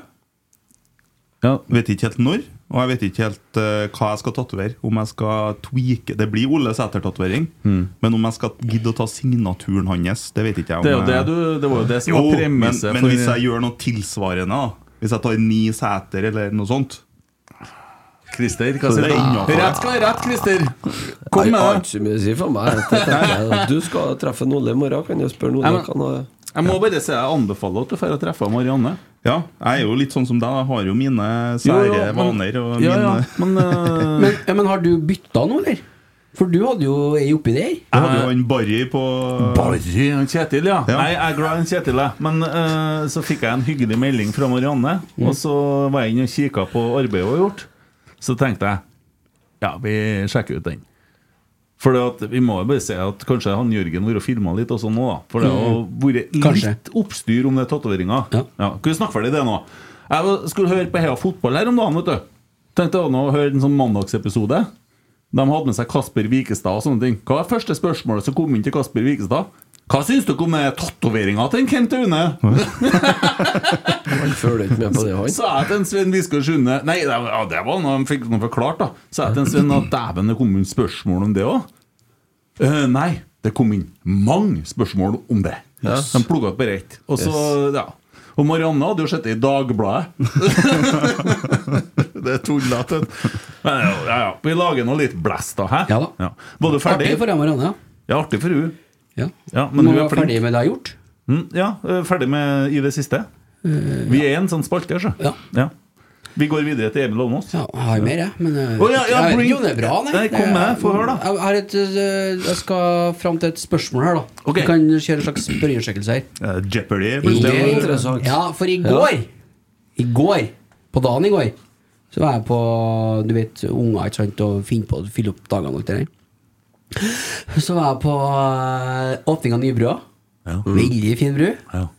[SPEAKER 4] Ja.
[SPEAKER 8] Vet ikke helt når, og jeg vet ikke helt eh, hva jeg skal tatovere. Om jeg skal tweake Det blir Ole Sæter-tatovering,
[SPEAKER 4] Hmm.
[SPEAKER 8] men om jeg skal gidde å ta signaturen hans, det vet ikke jeg. Om
[SPEAKER 4] Det, er jo det,
[SPEAKER 8] jeg-
[SPEAKER 4] du, det var jo det som
[SPEAKER 8] Jo,
[SPEAKER 4] var
[SPEAKER 8] men, men
[SPEAKER 4] premisset for
[SPEAKER 8] hvis jeg gjør noe tilsvarende, da hvis jeg tar ni sæter eller noe sånt
[SPEAKER 4] Christer. Hva
[SPEAKER 8] Så
[SPEAKER 4] sier
[SPEAKER 8] det er
[SPEAKER 4] du?
[SPEAKER 8] innenfor.
[SPEAKER 4] Rett skal være rett, Christer. Kom
[SPEAKER 6] Jeg
[SPEAKER 4] med
[SPEAKER 6] har
[SPEAKER 4] det.
[SPEAKER 6] ikke så mye å si for meg. Det tenker jeg. Du skal treffe en Olle i morgen. Kan jeg spørre
[SPEAKER 4] Ja,
[SPEAKER 6] Olle?
[SPEAKER 4] men-
[SPEAKER 6] Kan jeg-
[SPEAKER 4] Jeg må bare si jeg anbefaler at du drar og treffer Marianne.
[SPEAKER 8] Ja, jeg er jo litt sånn som deg. Jeg har jo mine
[SPEAKER 4] Jo,
[SPEAKER 8] sære
[SPEAKER 4] jo, men-
[SPEAKER 8] vaner og
[SPEAKER 4] ja,
[SPEAKER 8] mine
[SPEAKER 4] ja, men, eh,
[SPEAKER 5] Men, ja, men har du bytta nå, eller? For du hadde jo ei oppi der.
[SPEAKER 8] Jeg hadde jo han Barry på
[SPEAKER 4] Barry han Kjetil, ja. Nei, jeg er glad i han Kjetil, jeg. Men eh, så fikk jeg en hyggelig melding fra Marianne,
[SPEAKER 8] Mm.
[SPEAKER 4] og så var jeg inne og kikka på arbeidet hun har gjort. Så tenkte jeg ja, vi sjekker ut den. For at, vi må jo bare se at kanskje han Jørgen har filma litt også nå, da. For det har
[SPEAKER 8] Mm.
[SPEAKER 4] vært
[SPEAKER 8] Kanskje.
[SPEAKER 4] litt oppstyr om det tatoveringa. Ja. Skal vi snakke ferdig det nå? Jeg var- skulle høre på Heia Fotball her om dagen, vet du. Tenkte jeg nå å høre en sånn mandagsepisode. De hadde med seg Kasper Vikestad og sånne ting. Hva var første spørsmålet som kom inn til Kasper Vikestad? Hva syns dere om eh, tatoveringa til en Kent Aune?
[SPEAKER 6] Han følger ikke med på det, han.
[SPEAKER 4] Sa jeg til en Sven Viskår Sunde Nei, det var, ja, det var noe de fikk noe forklart, da. Sa jeg til en Sven at dæven, det kom inn spørsmål om det òg. nei, det kom inn mange spørsmål om det.
[SPEAKER 8] Yes.
[SPEAKER 4] De plukka opp bare ett. Og så,
[SPEAKER 8] Yes.
[SPEAKER 4] ja. Og Marianne hadde jo sett det i Dagbladet. det er tullete. Men Ja, ja, ja. Vi lager nå litt blest, da. Hæ? Ja. Var du ferdig?
[SPEAKER 5] Artig for deg, Marianne.
[SPEAKER 4] Ja, artig for hun.
[SPEAKER 5] Ja.
[SPEAKER 4] men
[SPEAKER 5] Må
[SPEAKER 4] hun er
[SPEAKER 5] være
[SPEAKER 4] flink.
[SPEAKER 5] ferdig med det jeg har gjort.
[SPEAKER 4] Mm, ja, eh, ferdig med i det siste.
[SPEAKER 5] Eh,
[SPEAKER 4] Vi er en sånn spalte, altså. Ja. Vi går videre til Emil Almås. Ja,
[SPEAKER 5] Jeg har mer, jeg. Men eh,
[SPEAKER 4] Å, ja, ja,
[SPEAKER 5] jeg vet
[SPEAKER 4] bring-
[SPEAKER 5] ikke om det er bra, nei.
[SPEAKER 4] Nei, kom med, få høre, da.
[SPEAKER 5] Jeg, har et, eh, jeg skal fram til et spørsmål her, da.
[SPEAKER 4] Ok.
[SPEAKER 5] Vi kan kjøre en slags spørreundersøkelse her.
[SPEAKER 8] Jeopardy.
[SPEAKER 5] Ja, for i går I går, på dagen i går Så var jeg på, du vet, unger ikke sant Og finne på å fylle opp dagene og alt det der Så var jeg på eh, åpning av Nybrua Veldig fin bru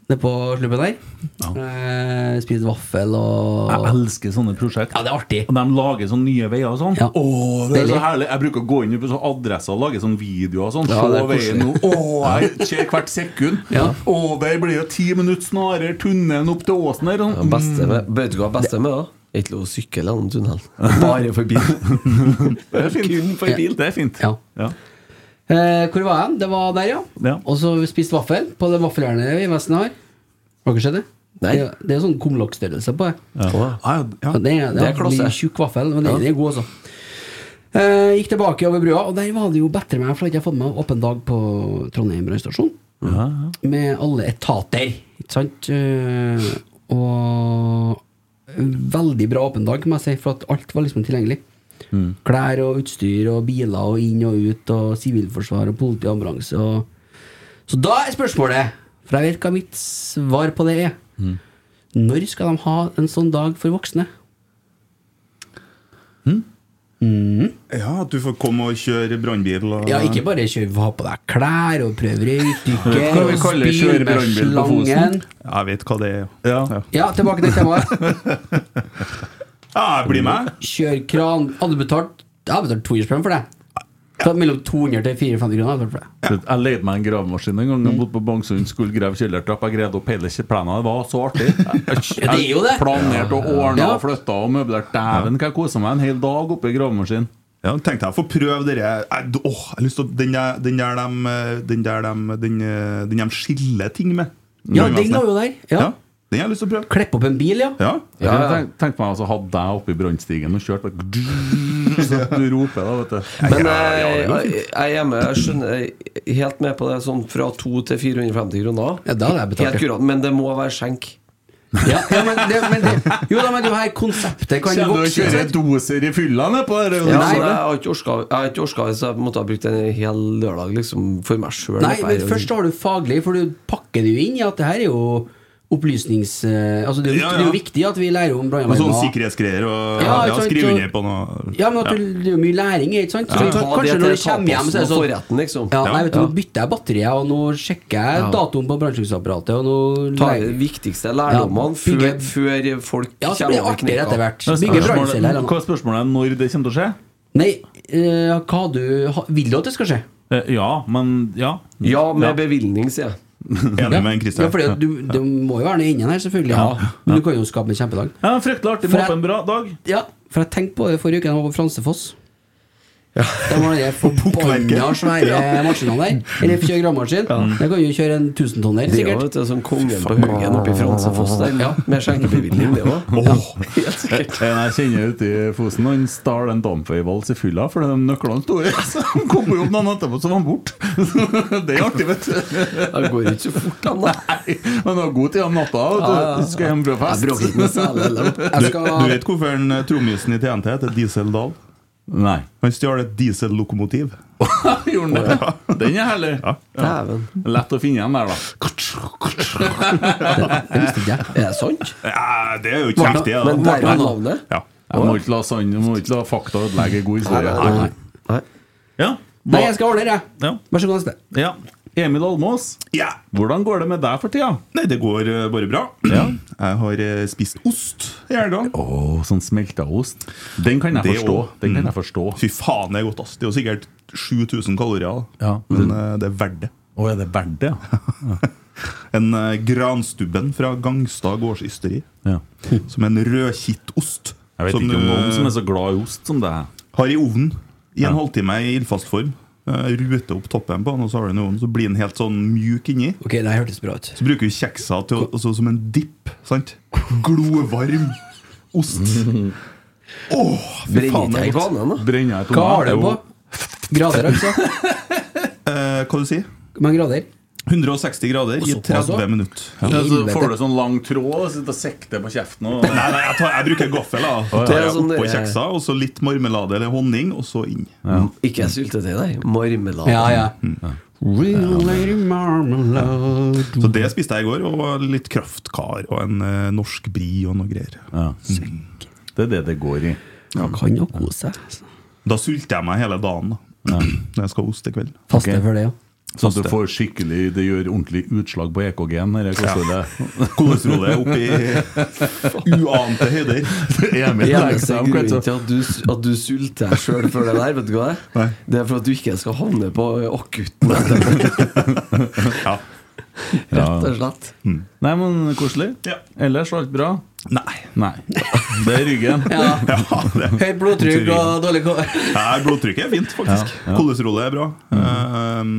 [SPEAKER 5] Nede på slubben der eh, Spist vaffel og
[SPEAKER 4] Jeg elsker sånne prosjekt.
[SPEAKER 5] Ja, det er artig
[SPEAKER 4] Og de lager sånne nye veier og sånn. Åh, det er så
[SPEAKER 5] Deilig.
[SPEAKER 4] herlig. Jeg bruker å gå inn på sånne adresser og lage sånne videoer og sånn.
[SPEAKER 5] Ja, det
[SPEAKER 4] Se
[SPEAKER 5] er
[SPEAKER 4] veien nå.
[SPEAKER 5] koselig.
[SPEAKER 4] Åh, jeg ser hvert sekund.
[SPEAKER 5] Ja.
[SPEAKER 4] Åh, der blir jo ti minutter snarere tunnelen opp til åsen her. sånn. Mm.
[SPEAKER 6] Ja, beste med, vet du hva beste med da? Det er ikke lov å sykle gjennom tunnelen. Bare for bil.
[SPEAKER 4] Det er fint.
[SPEAKER 6] Kun for bil.
[SPEAKER 4] Det er fint.
[SPEAKER 5] Ja. eh, Hvor var jeg? Det var der, ja, Og så spist vaffel På det vaffeljernet i Vesten har Har dere sett det?
[SPEAKER 6] Nei.
[SPEAKER 5] Det, det er sånn kumlokkstørrelse på det
[SPEAKER 4] Ja, ja.
[SPEAKER 5] Så Det, er- det,
[SPEAKER 6] Det er
[SPEAKER 5] er
[SPEAKER 6] klasse.
[SPEAKER 5] mye tjukk vaffel, men den
[SPEAKER 6] Ja.
[SPEAKER 5] den er god, altså. Eh, gikk tilbake over brua, og der var det jo bedre meg, for jeg hadde ikke fått meg åpen dag på Trondheim brannstasjon. Med alle etater, ikke sant? Eh, og veldig bra åpen dag, må jeg si, for at alt var liksom tilgjengelig. Klær og utstyr og biler og inn og ut og sivilforsvar og politi og ambulanse og Så da er spørsmålet, for jeg vet hva mitt svar på det er. Når skal de ha en sånn dag for voksne?
[SPEAKER 8] Ja, at du får komme og kjøre brannbil og
[SPEAKER 5] Mm. Ja, ikke bare kjør, ha på deg klær og prøv
[SPEAKER 8] Hva
[SPEAKER 5] røykdykke
[SPEAKER 8] kan
[SPEAKER 5] og
[SPEAKER 8] vi kalle
[SPEAKER 5] spyl
[SPEAKER 8] kjøre
[SPEAKER 5] med
[SPEAKER 8] brannbil på
[SPEAKER 5] slangen.
[SPEAKER 8] Fosen? Jeg vet hva det er.
[SPEAKER 4] Ja.
[SPEAKER 5] Ja, tilbake til temaet.
[SPEAKER 8] Ja, jeg blir med.
[SPEAKER 5] Kjør kran. Hadde du betalt Jeg har betalt 200 spenn for det. Så mellom 200 til 450 kroner. hadde jeg betalt for det.
[SPEAKER 4] Jeg leide meg en gravemaskin en gang jeg bodde på Bangsund. Skulle grave kjellertrapp. Jeg greide opp hele plenen. Det var så artig. Jeg, jeg,
[SPEAKER 5] Ja, det er jo det.
[SPEAKER 4] planerte og ordna
[SPEAKER 5] Ja.
[SPEAKER 4] og flytta og møblerte. Dæven, hva jeg kosa meg en hel dag oppe i gravemaskin.
[SPEAKER 8] Ja, tenkte jeg å få prøve dere Jeg- d- Åh, jeg har lyst til å Den der, den der, dem, eh, den der dem, den, eh, den dem skiller ting med.
[SPEAKER 5] Ja, den var jo der. Ja.
[SPEAKER 8] Den har jeg lyst til å prøve.
[SPEAKER 5] Klipp opp en bil, ja.
[SPEAKER 8] Ja.
[SPEAKER 4] Jeg kunne tenk- tenkt meg altså, hadde deg oppe i brannstigen og kjørt bare Så du roper, da, vet du.
[SPEAKER 6] Men eh,
[SPEAKER 4] Ja, ja, det går
[SPEAKER 6] jeg, jeg er hjemme, jeg skjønner jeg er helt med på det sånn fra 2 til 450 kroner.
[SPEAKER 5] Ja, da hadde jeg betalt,
[SPEAKER 6] Helt
[SPEAKER 5] ja.
[SPEAKER 6] kurant, men det må være skjenk.
[SPEAKER 5] ja, ja men det, men det, jo da, men det her konseptet kan
[SPEAKER 4] Kjenner du å
[SPEAKER 5] vokse.
[SPEAKER 4] kjøre
[SPEAKER 5] sant?
[SPEAKER 4] doser i fylla ned på det?
[SPEAKER 6] Ja, så jeg
[SPEAKER 4] Nei,
[SPEAKER 6] har ikke orska- jeg har ikke orka hvis jeg måtte ha brukt en hel lørdag liksom, for meg sjøl.
[SPEAKER 5] Nei, men først har du faglig, for du pakker det jo inn i at det her er jo opplysnings... eh, Altså, det er jo, viktig-
[SPEAKER 8] Ja,
[SPEAKER 5] det er jo
[SPEAKER 8] ja.
[SPEAKER 5] viktig at vi lærer om
[SPEAKER 8] Og sånn
[SPEAKER 5] brannalarmer.
[SPEAKER 8] sikkerhetsgreier og
[SPEAKER 5] Ja, ikke
[SPEAKER 8] ja,
[SPEAKER 5] sant,
[SPEAKER 8] skrive
[SPEAKER 5] og-
[SPEAKER 8] under på noe.
[SPEAKER 5] Ja, men at du, det er jo mye læring i, ikke sant? Så
[SPEAKER 6] Ja.
[SPEAKER 5] kan-
[SPEAKER 6] Ta det
[SPEAKER 5] Kanskje når
[SPEAKER 6] til
[SPEAKER 5] du
[SPEAKER 6] tapasene
[SPEAKER 5] kommer hjem, så er det
[SPEAKER 6] og
[SPEAKER 5] sånn
[SPEAKER 6] forretten, liksom.
[SPEAKER 5] ja, nei,
[SPEAKER 6] Ja.
[SPEAKER 5] vet du,
[SPEAKER 6] Ja.
[SPEAKER 5] Nå bytter jeg batteriet, og nå sjekker jeg
[SPEAKER 6] Ja.
[SPEAKER 5] datoen på brannslukningsapparatet. Og nå
[SPEAKER 6] Ta
[SPEAKER 5] lærer-
[SPEAKER 6] de viktigste lærdommene
[SPEAKER 5] Ja,
[SPEAKER 6] før,
[SPEAKER 5] bygge-
[SPEAKER 6] før folk
[SPEAKER 5] Ja, så blir det
[SPEAKER 6] over
[SPEAKER 5] artigere
[SPEAKER 6] kneika.
[SPEAKER 5] etter hvert.
[SPEAKER 4] men
[SPEAKER 5] Bygge
[SPEAKER 4] spørsmålet-
[SPEAKER 5] brannceller.
[SPEAKER 4] Hva er spørsmålet? er Når det kommer til å skje?
[SPEAKER 5] Nei, eh, hva du ha- Vil du at det skal skje?
[SPEAKER 4] Eh, Ja, men ja.
[SPEAKER 6] Ja, med bevilgning, sier jeg.
[SPEAKER 8] Enig med Kristian.
[SPEAKER 5] Ja, for det, du, det må jo være noe inni her, selvfølgelig. Ja. Men du kan jo skape en kjempedag.
[SPEAKER 4] ja Fryktelig artig.
[SPEAKER 5] For
[SPEAKER 4] Må
[SPEAKER 5] jeg-
[SPEAKER 4] på en bra dag.
[SPEAKER 5] Ja, for jeg tenkte på det forrige uke da jeg var på Fransefoss. De har de forbanna svære maskinene der. Eller kjøregravemaskin. Jeg kan jo kjøre en tusentonner,
[SPEAKER 6] Det er jo
[SPEAKER 5] sikkert.
[SPEAKER 6] vet du, sånn kongen på haugen oppe i Fransefoss der.
[SPEAKER 5] Ja.
[SPEAKER 6] Med skjenkebevilgning, det òg. Helt sikkert.
[SPEAKER 4] En jeg kjenner ute i Fosen, han stjal en Damføy-vals i fylla fordi de nøklene sto i. Så han kom jo opp noen etterpå, så var han borte. Det er artig, vet du.
[SPEAKER 6] Det går ikke så fort, han da.
[SPEAKER 4] Nei, men det var god tid om natta. vet
[SPEAKER 6] Ja, ja,
[SPEAKER 4] Du skal hjem fra
[SPEAKER 6] Jeg bråker ikke
[SPEAKER 4] fest.
[SPEAKER 6] med selen heller.
[SPEAKER 5] Jeg
[SPEAKER 8] Du,
[SPEAKER 5] skal
[SPEAKER 8] du vet hvorfor en, eh, trommisen i TNT heter Diesel Dahl?
[SPEAKER 4] Nei.
[SPEAKER 8] Han stjal et diesellokomotiv.
[SPEAKER 4] Gjorde den det? Den er herlig.
[SPEAKER 6] Dæven.
[SPEAKER 4] Lett å finne igjen der, da.
[SPEAKER 5] Det visste ikke jeg. Er det sant?
[SPEAKER 8] Ja, det er jo
[SPEAKER 6] Men-
[SPEAKER 8] kjeft, det. da.
[SPEAKER 6] Men der er
[SPEAKER 4] Morten.
[SPEAKER 6] navnet?
[SPEAKER 8] Ja.
[SPEAKER 4] Jeg må ikke la, sånn, jeg må ikke la fakta ødelegge god historie.
[SPEAKER 6] Nei, nei, nei.
[SPEAKER 4] Ja.
[SPEAKER 5] Nei, jeg skal ordne det, jeg.
[SPEAKER 4] Ja.
[SPEAKER 5] Vær så god, neste.
[SPEAKER 4] ja. Emil Almås,
[SPEAKER 8] Ja.
[SPEAKER 4] hvordan går det med deg for tida?
[SPEAKER 8] Nei, det går eh, bare bra. Jeg har eh, spist ost i helga.
[SPEAKER 4] Å, sånn smelta ost. Den kan jeg
[SPEAKER 8] Det
[SPEAKER 4] forstå.
[SPEAKER 8] også. Mm.
[SPEAKER 4] Den kan jeg forstå.
[SPEAKER 8] Fy faen, det er godt. ass Det er jo sikkert 7000 kalorier, da.
[SPEAKER 4] Ja.
[SPEAKER 8] men eh, det er verdt det.
[SPEAKER 4] Å, er det verdt det?
[SPEAKER 8] En eh, Granstubben fra Gangstad gårdsysteri.
[SPEAKER 4] Ja.
[SPEAKER 8] Som en rødkittost.
[SPEAKER 4] Jeg vet
[SPEAKER 8] som
[SPEAKER 4] ikke om
[SPEAKER 8] du
[SPEAKER 4] noen som er så glad i ost som deg.
[SPEAKER 8] har i ovnen i
[SPEAKER 4] Ja.
[SPEAKER 8] en halvtime i ildfast form. Eh, Rute opp toppen på den, og så har du den i ovnen, så blir den helt sånn mjuk inni.
[SPEAKER 5] Ok, det her hørtes bra ut.
[SPEAKER 8] Så bruker du kjeksa til, å- altså, som en dipp. sant? Glovarm ost. Åh, fy faen.
[SPEAKER 6] Brenner
[SPEAKER 8] det
[SPEAKER 6] ikke
[SPEAKER 8] er godt.
[SPEAKER 6] vanen, da?
[SPEAKER 4] Brenner jeg i
[SPEAKER 5] Hva har
[SPEAKER 4] tomat?
[SPEAKER 5] du på? Grader, altså?
[SPEAKER 8] Eh, hva du sier du?
[SPEAKER 5] Hvor mange grader?
[SPEAKER 8] 160 grader i
[SPEAKER 5] Såpass,
[SPEAKER 8] 30
[SPEAKER 5] da?
[SPEAKER 8] minutter. Ja.
[SPEAKER 4] Ja, så
[SPEAKER 5] Helvete.
[SPEAKER 4] får du sånn lang tråd og sitter og sikter på kjeften og
[SPEAKER 8] Nei, nei, jeg, tar, jeg bruker gaffel. da Så
[SPEAKER 6] Det
[SPEAKER 8] tar
[SPEAKER 6] er
[SPEAKER 8] jeg
[SPEAKER 6] sånn
[SPEAKER 8] oppå
[SPEAKER 6] det-
[SPEAKER 8] kjeksa, og så litt marmelade eller honning, og så inn.
[SPEAKER 6] Mm. Ikke syltetøy, nei. Marmelade.
[SPEAKER 5] Ja, ja.
[SPEAKER 8] Mm,
[SPEAKER 5] Real lady marmalade
[SPEAKER 8] Så det spiste jeg i går, og litt kraftkar og en eh, norsk bri og noe greier. Mm.
[SPEAKER 4] Det er det det går i.
[SPEAKER 5] Man kan jo kose seg.
[SPEAKER 8] Da sulter jeg meg hele dagen da når jeg skal ha ost i kveld.
[SPEAKER 5] Faste for det, ja.
[SPEAKER 4] Så Sånn at du får skikkelig Det gjør ordentlig utslag på E EKG-en. eller hvordan det
[SPEAKER 8] Kolesterolet er oppe i uante høyder.
[SPEAKER 4] Emil legger
[SPEAKER 6] Eneste
[SPEAKER 4] seg om
[SPEAKER 6] grunnen
[SPEAKER 4] kanskje.
[SPEAKER 6] til at du, at du sulter deg sjøl før det der, vet du hva det
[SPEAKER 8] Nei.
[SPEAKER 6] er? Det er for at du ikke skal havne på akutten. Rett og slett.
[SPEAKER 8] Mm.
[SPEAKER 4] Nei, men koselig.
[SPEAKER 8] Ja.
[SPEAKER 4] Ellers alt bra?
[SPEAKER 8] Nei.
[SPEAKER 4] Nei. Det er ryggen.
[SPEAKER 8] Ja, det.
[SPEAKER 5] Høyt blodtrykk og dårlig kår.
[SPEAKER 8] Nei, blodtrykket er fint, faktisk. Kolesterolet er bra. Eh,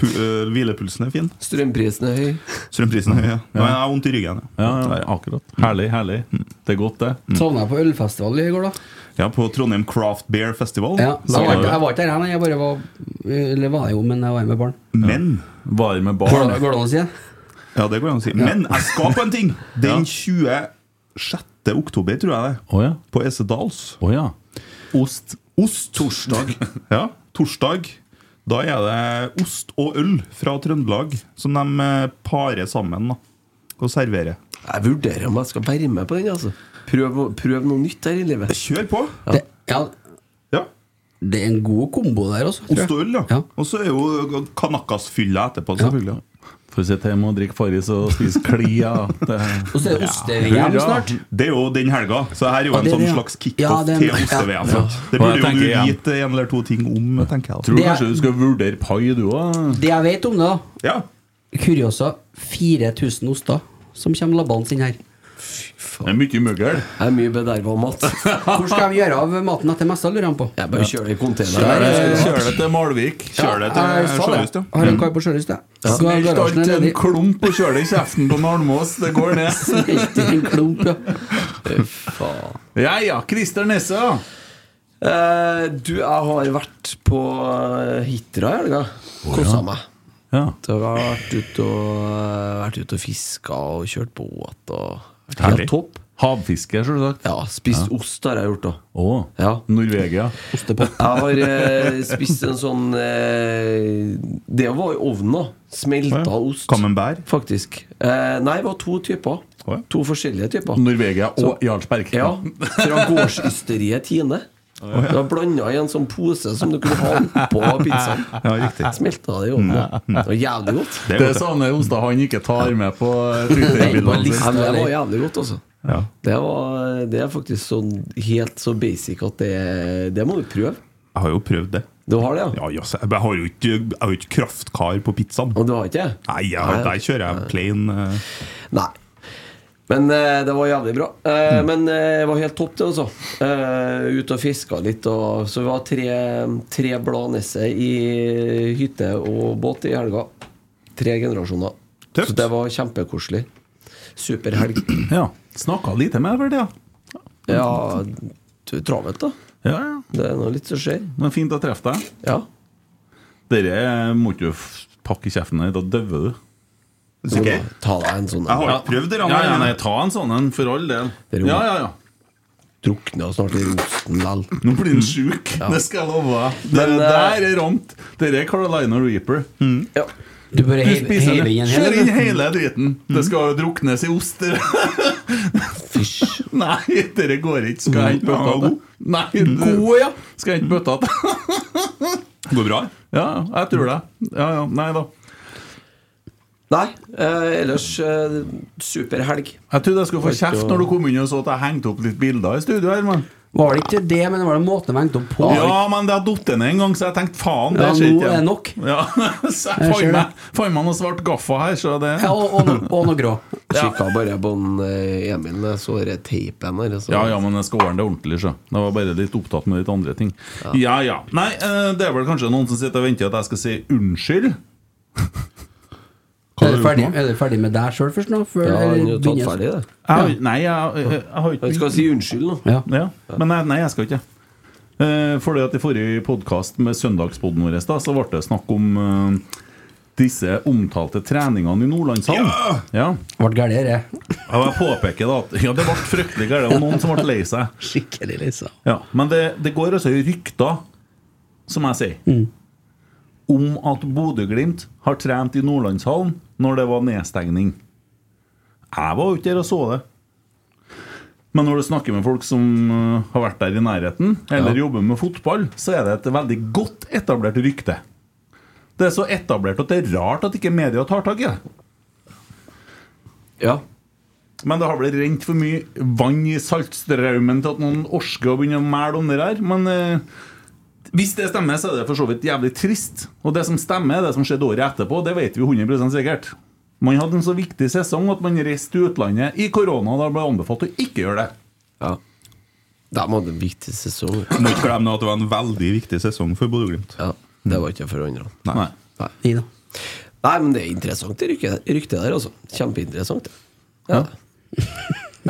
[SPEAKER 8] pu eh, hvilepulsen er fin.
[SPEAKER 6] Strømprisen er høy.
[SPEAKER 8] Strømprisen er høy. Ja. Men jeg har vondt i ryggen.
[SPEAKER 4] Ja, ja, akkurat. Herlig, herlig. Det er godt, det.
[SPEAKER 5] Savna jeg på ølfestival i går, da.
[SPEAKER 8] Mm. Ja, På Trondheim Craft Beer Festival.
[SPEAKER 5] Ja, jeg,
[SPEAKER 8] så
[SPEAKER 5] var,
[SPEAKER 8] er
[SPEAKER 5] ikke-
[SPEAKER 8] det-
[SPEAKER 5] jeg var ikke der, nei. Jeg bare var Eller var jeg jo, men jeg var med barn.
[SPEAKER 8] Men
[SPEAKER 4] Bare med
[SPEAKER 5] Går
[SPEAKER 4] barn.
[SPEAKER 5] det- går det an å si det?
[SPEAKER 8] Ja, det går an å si. Men jeg skal på en ting! Den 26. oktober, tror jeg det.
[SPEAKER 4] Å ja.
[SPEAKER 8] På Esedals.
[SPEAKER 4] Å ja. Ost.
[SPEAKER 8] Ost. Torsdag. ja, torsdag. Da er det ost og øl fra Trøndelag som de eh, parer sammen da, og serverer.
[SPEAKER 6] Jeg vurderer om jeg skal være med på den. altså Prøv, å- prøv noe nytt her i livet.
[SPEAKER 8] Kjør på!
[SPEAKER 5] Det, ja,
[SPEAKER 8] Ja.
[SPEAKER 5] det er en god kombo der, altså. tror jeg.
[SPEAKER 8] Ost og øl, ja.
[SPEAKER 5] Ja.
[SPEAKER 8] Og så er jo Kanakas-fylla etterpå, selvfølgelig.
[SPEAKER 4] Får sitte hjemme og drikke Farris og spise klia. Det
[SPEAKER 5] Og så er det oste-VM
[SPEAKER 4] Hurra.
[SPEAKER 5] snart.
[SPEAKER 8] Det er jo den helga, så her er jo
[SPEAKER 5] Ja,
[SPEAKER 8] en
[SPEAKER 5] det er
[SPEAKER 8] sånn
[SPEAKER 5] det, ja.
[SPEAKER 8] slags kickoff
[SPEAKER 5] Ja, det er-
[SPEAKER 8] til oste-VM.
[SPEAKER 5] ja.
[SPEAKER 8] Det
[SPEAKER 4] Og jeg
[SPEAKER 8] burde jo du
[SPEAKER 4] tenker igjen.
[SPEAKER 8] vite en eller to ting om, tenker jeg.
[SPEAKER 4] Tror
[SPEAKER 5] Det er-
[SPEAKER 4] kanskje du skal vurdere pai, du òg?
[SPEAKER 5] Det jeg vet om det, da
[SPEAKER 8] da. Ja.
[SPEAKER 5] Kuriosa 4000 oster som kommer labbene sine her.
[SPEAKER 4] Det er mye møgl.
[SPEAKER 6] Jeg er mye bederva mat.
[SPEAKER 5] Hvor skal de gjøre av maten etter messa, lurer han på.
[SPEAKER 6] Jeg bare kjører det i
[SPEAKER 4] Kjør
[SPEAKER 6] containeren.
[SPEAKER 4] det- kjør det til Malvik.
[SPEAKER 8] Kjør det til
[SPEAKER 5] Jeg sa
[SPEAKER 8] Sjølyst,
[SPEAKER 5] det.
[SPEAKER 8] ja.
[SPEAKER 6] Mm.
[SPEAKER 5] Har en kar på Sjølyst, ja. Skal ha
[SPEAKER 4] Helt alt
[SPEAKER 5] garasjen
[SPEAKER 4] til
[SPEAKER 5] er
[SPEAKER 4] en
[SPEAKER 5] ledig.
[SPEAKER 4] klump og kjør det i kjeften på Almås. Det går ned.
[SPEAKER 5] Helt i en klump, ja.
[SPEAKER 4] Ja ja, Christer Nesse, ja.
[SPEAKER 6] Eh, du, jeg har vært på eh, Hitra i helga. Kosa meg.
[SPEAKER 4] ja.
[SPEAKER 6] Så jeg har vært ute og, eh, vært ute og fiska og kjørt båt og vært
[SPEAKER 4] Herlig.
[SPEAKER 6] Helt topp.
[SPEAKER 4] Havfiske, selvsagt.
[SPEAKER 6] Ja, spist ost har jeg gjort òg.
[SPEAKER 4] Å.
[SPEAKER 6] Ja.
[SPEAKER 4] Norvegia.
[SPEAKER 6] Jeg har eh, spist en sånn eh, Det var i ovnen, da. Smelta
[SPEAKER 8] Ja.
[SPEAKER 6] ost.
[SPEAKER 8] Camembert.
[SPEAKER 6] Faktisk. Eh, nei, det var to typer.
[SPEAKER 8] Å, ja.
[SPEAKER 6] To forskjellige typer.
[SPEAKER 4] Norvegia og Jarlsberg.
[SPEAKER 6] Ja, Fra gårdsysteriet Tine. Det var blanda i en sånn pose som du kunne ha på pizzaen.
[SPEAKER 8] Ja, riktig. Mm.
[SPEAKER 6] Smelta det i ovnen. Det var jævlig godt.
[SPEAKER 8] Det
[SPEAKER 4] Det
[SPEAKER 8] er
[SPEAKER 4] er
[SPEAKER 8] godt,
[SPEAKER 4] sånne oster han ikke tar med på
[SPEAKER 6] Det var,
[SPEAKER 4] Twitter-bildene.
[SPEAKER 6] ja,
[SPEAKER 4] sine.
[SPEAKER 6] men det var jævlig godt, altså.
[SPEAKER 8] Ja.
[SPEAKER 6] Det, var, det er faktisk sånn helt så basic at det, det må du prøve.
[SPEAKER 8] Jeg har jo prøvd det.
[SPEAKER 6] Du har det, ja?
[SPEAKER 8] Ja, jaså, jeg har jo ikke, jeg har jo ikke kraftkar på pizzaen.
[SPEAKER 6] Og du har ikke det?
[SPEAKER 8] Nei, jeg, har- der kjører jeg plain eh,
[SPEAKER 6] Nei. Men eh, det var jævlig bra. Eh,
[SPEAKER 4] Mm.
[SPEAKER 6] Men eh, det var helt topp, det, altså. Eh, Ute og fiska litt. Og, så vi var tre, tre bladnisser i hytte og båt i helga. Tre generasjoner.
[SPEAKER 8] Tøft.
[SPEAKER 6] Så det var kjempekoselig. Superhelg.
[SPEAKER 4] Ja. Snakka lite med deg for det, ja.
[SPEAKER 6] Ja, du er travelt, da.
[SPEAKER 4] Ja, ja.
[SPEAKER 6] Det er nå litt som skjer.
[SPEAKER 4] Men fint å treffe deg.
[SPEAKER 6] Ja.
[SPEAKER 4] Dere må ikke f- pakke i kjeften, da dauer du.
[SPEAKER 8] sikker.
[SPEAKER 6] Ta deg en sånn
[SPEAKER 8] Jeg har jo prøvd det.
[SPEAKER 4] Ja,
[SPEAKER 8] Anna.
[SPEAKER 4] ja, nei, ta en sånn en, for all del.
[SPEAKER 6] Det er jo-
[SPEAKER 4] Ja, ja, ja.
[SPEAKER 6] drukner jeg snart i rosten lell.
[SPEAKER 4] Nå blir han sjuk, det skal jeg love deg. Det
[SPEAKER 6] Men, eh,
[SPEAKER 4] der er ramt. Det er Carolina Reaper. Mm.
[SPEAKER 6] Ja.
[SPEAKER 5] Du bør
[SPEAKER 4] Du
[SPEAKER 5] heve
[SPEAKER 4] spiser
[SPEAKER 5] heve
[SPEAKER 4] det.
[SPEAKER 5] inn en
[SPEAKER 4] Kjør inn
[SPEAKER 5] hel.
[SPEAKER 4] hele driten. Det skal druknes i oster.
[SPEAKER 6] Fysj.
[SPEAKER 4] Nei, dere går ikke. Skal jeg ikke bøtta
[SPEAKER 8] Ja,
[SPEAKER 4] til? Nei, det-
[SPEAKER 5] God, ja.
[SPEAKER 4] Skal jeg ikke bøtta til?
[SPEAKER 8] Går bra?
[SPEAKER 4] Ja, jeg tror det. Ja, ja, nei da.
[SPEAKER 6] Nei, eh, ellers eh, super helg.
[SPEAKER 4] Jeg trodde jeg skulle få kjeft når du kom inn og så at jeg hengte opp litt bilder i studio her, men
[SPEAKER 5] Var det ikke det, men det var det måten de hengte opp på?
[SPEAKER 4] Ja, men det har datt ned en gang, så jeg tenkte faen, det
[SPEAKER 5] Ja,
[SPEAKER 4] skjer
[SPEAKER 5] nå
[SPEAKER 4] ikke.
[SPEAKER 5] er det nok.
[SPEAKER 4] Ja, så jeg
[SPEAKER 5] Jeg
[SPEAKER 4] fant
[SPEAKER 5] ser
[SPEAKER 4] meg, fant meg noe svart gaffa her, så det
[SPEAKER 5] Ja, og, og, no- og noe grå.
[SPEAKER 6] Kikka bare på en, eh, Emil, jeg så den teipen her. altså. Så.
[SPEAKER 4] Ja, ja, men jeg skal ordne det ordentlig, så. Det var bare litt opptatt med litt andre ting. Ja, ja. Nei, eh, det er vel kanskje noen som sitter og venter at jeg skal si unnskyld.
[SPEAKER 5] Er du ferdig, er du ferdig med deg sjøl først nå? Før
[SPEAKER 6] Ja, han er jo tatt
[SPEAKER 5] begynner-
[SPEAKER 6] ferdig, det.
[SPEAKER 4] Jeg, nei, jeg, jeg, jeg har
[SPEAKER 6] Han
[SPEAKER 4] ikke
[SPEAKER 6] skal si unnskyld nå.
[SPEAKER 5] Ja.
[SPEAKER 4] Ja, men nei, nei, jeg skal ikke. Eh, fordi at I forrige podkast med søndagspodden vår da, så ble det snakk om eh, disse omtalte treningene i Nordlandshallen. Ja!
[SPEAKER 5] Ble eh? gæren, dette.
[SPEAKER 4] Og jeg påpeker da at ja, det ble fryktelig galt, og noen som ble lei seg.
[SPEAKER 5] Skikkelig lisa.
[SPEAKER 4] Ja, Men det, det går altså i rykter, som jeg sier, om at Bodø-Glimt har trent i Nordlandshallen når det var nedstengning. Jeg var jo ikke der og så det. Men når du snakker med folk som eh, har vært der i nærheten, eller jobber med fotball, så er det et veldig godt etablert rykte. Det er så etablert at det er rart at ikke media tar tak i det.
[SPEAKER 6] Ja.
[SPEAKER 4] Men det har vel rent for mye vann i saltstraumen til at noen orsker å begynne å mæle om det der. Men eh, hvis det stemmer, så er det for så vidt jævlig trist. Og det som stemmer, er det som skjedde året etterpå. Det vet vi 100 sikkert. Man hadde en så viktig sesong at man reiste til utlandet i korona. Da ble det anbefalt å ikke gjøre det.
[SPEAKER 6] ja. De hadde en viktig sesong.
[SPEAKER 8] Må ikke glemme at det var en veldig viktig sesong for Bodø-Glimt.
[SPEAKER 6] Ja. Det var ikke for andre.
[SPEAKER 8] Nei.
[SPEAKER 5] Gi nå.
[SPEAKER 6] Nei, men det er interessant, det ryktet ryktet der, altså. Kjempeinteressant. det. Ja.
[SPEAKER 5] Jeg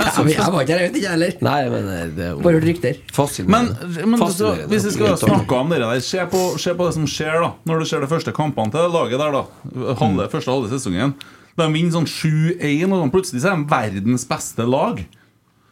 [SPEAKER 5] Altså, jeg var ikke der, jeg vet ikke jeg heller.
[SPEAKER 6] Nei, men det det er jo
[SPEAKER 5] Bare hørt rykter.
[SPEAKER 4] Men,
[SPEAKER 6] Fascinerende.
[SPEAKER 4] men så,
[SPEAKER 6] Fascinerende.
[SPEAKER 4] hvis vi skal snakke om det der, se på, se på det som skjer da når du ser de første kampene til det laget der, da. Halve,
[SPEAKER 6] Mm.
[SPEAKER 4] Første halve sesongen. De vinner sånn 7-1, og sånn, plutselig så er de verdens beste lag.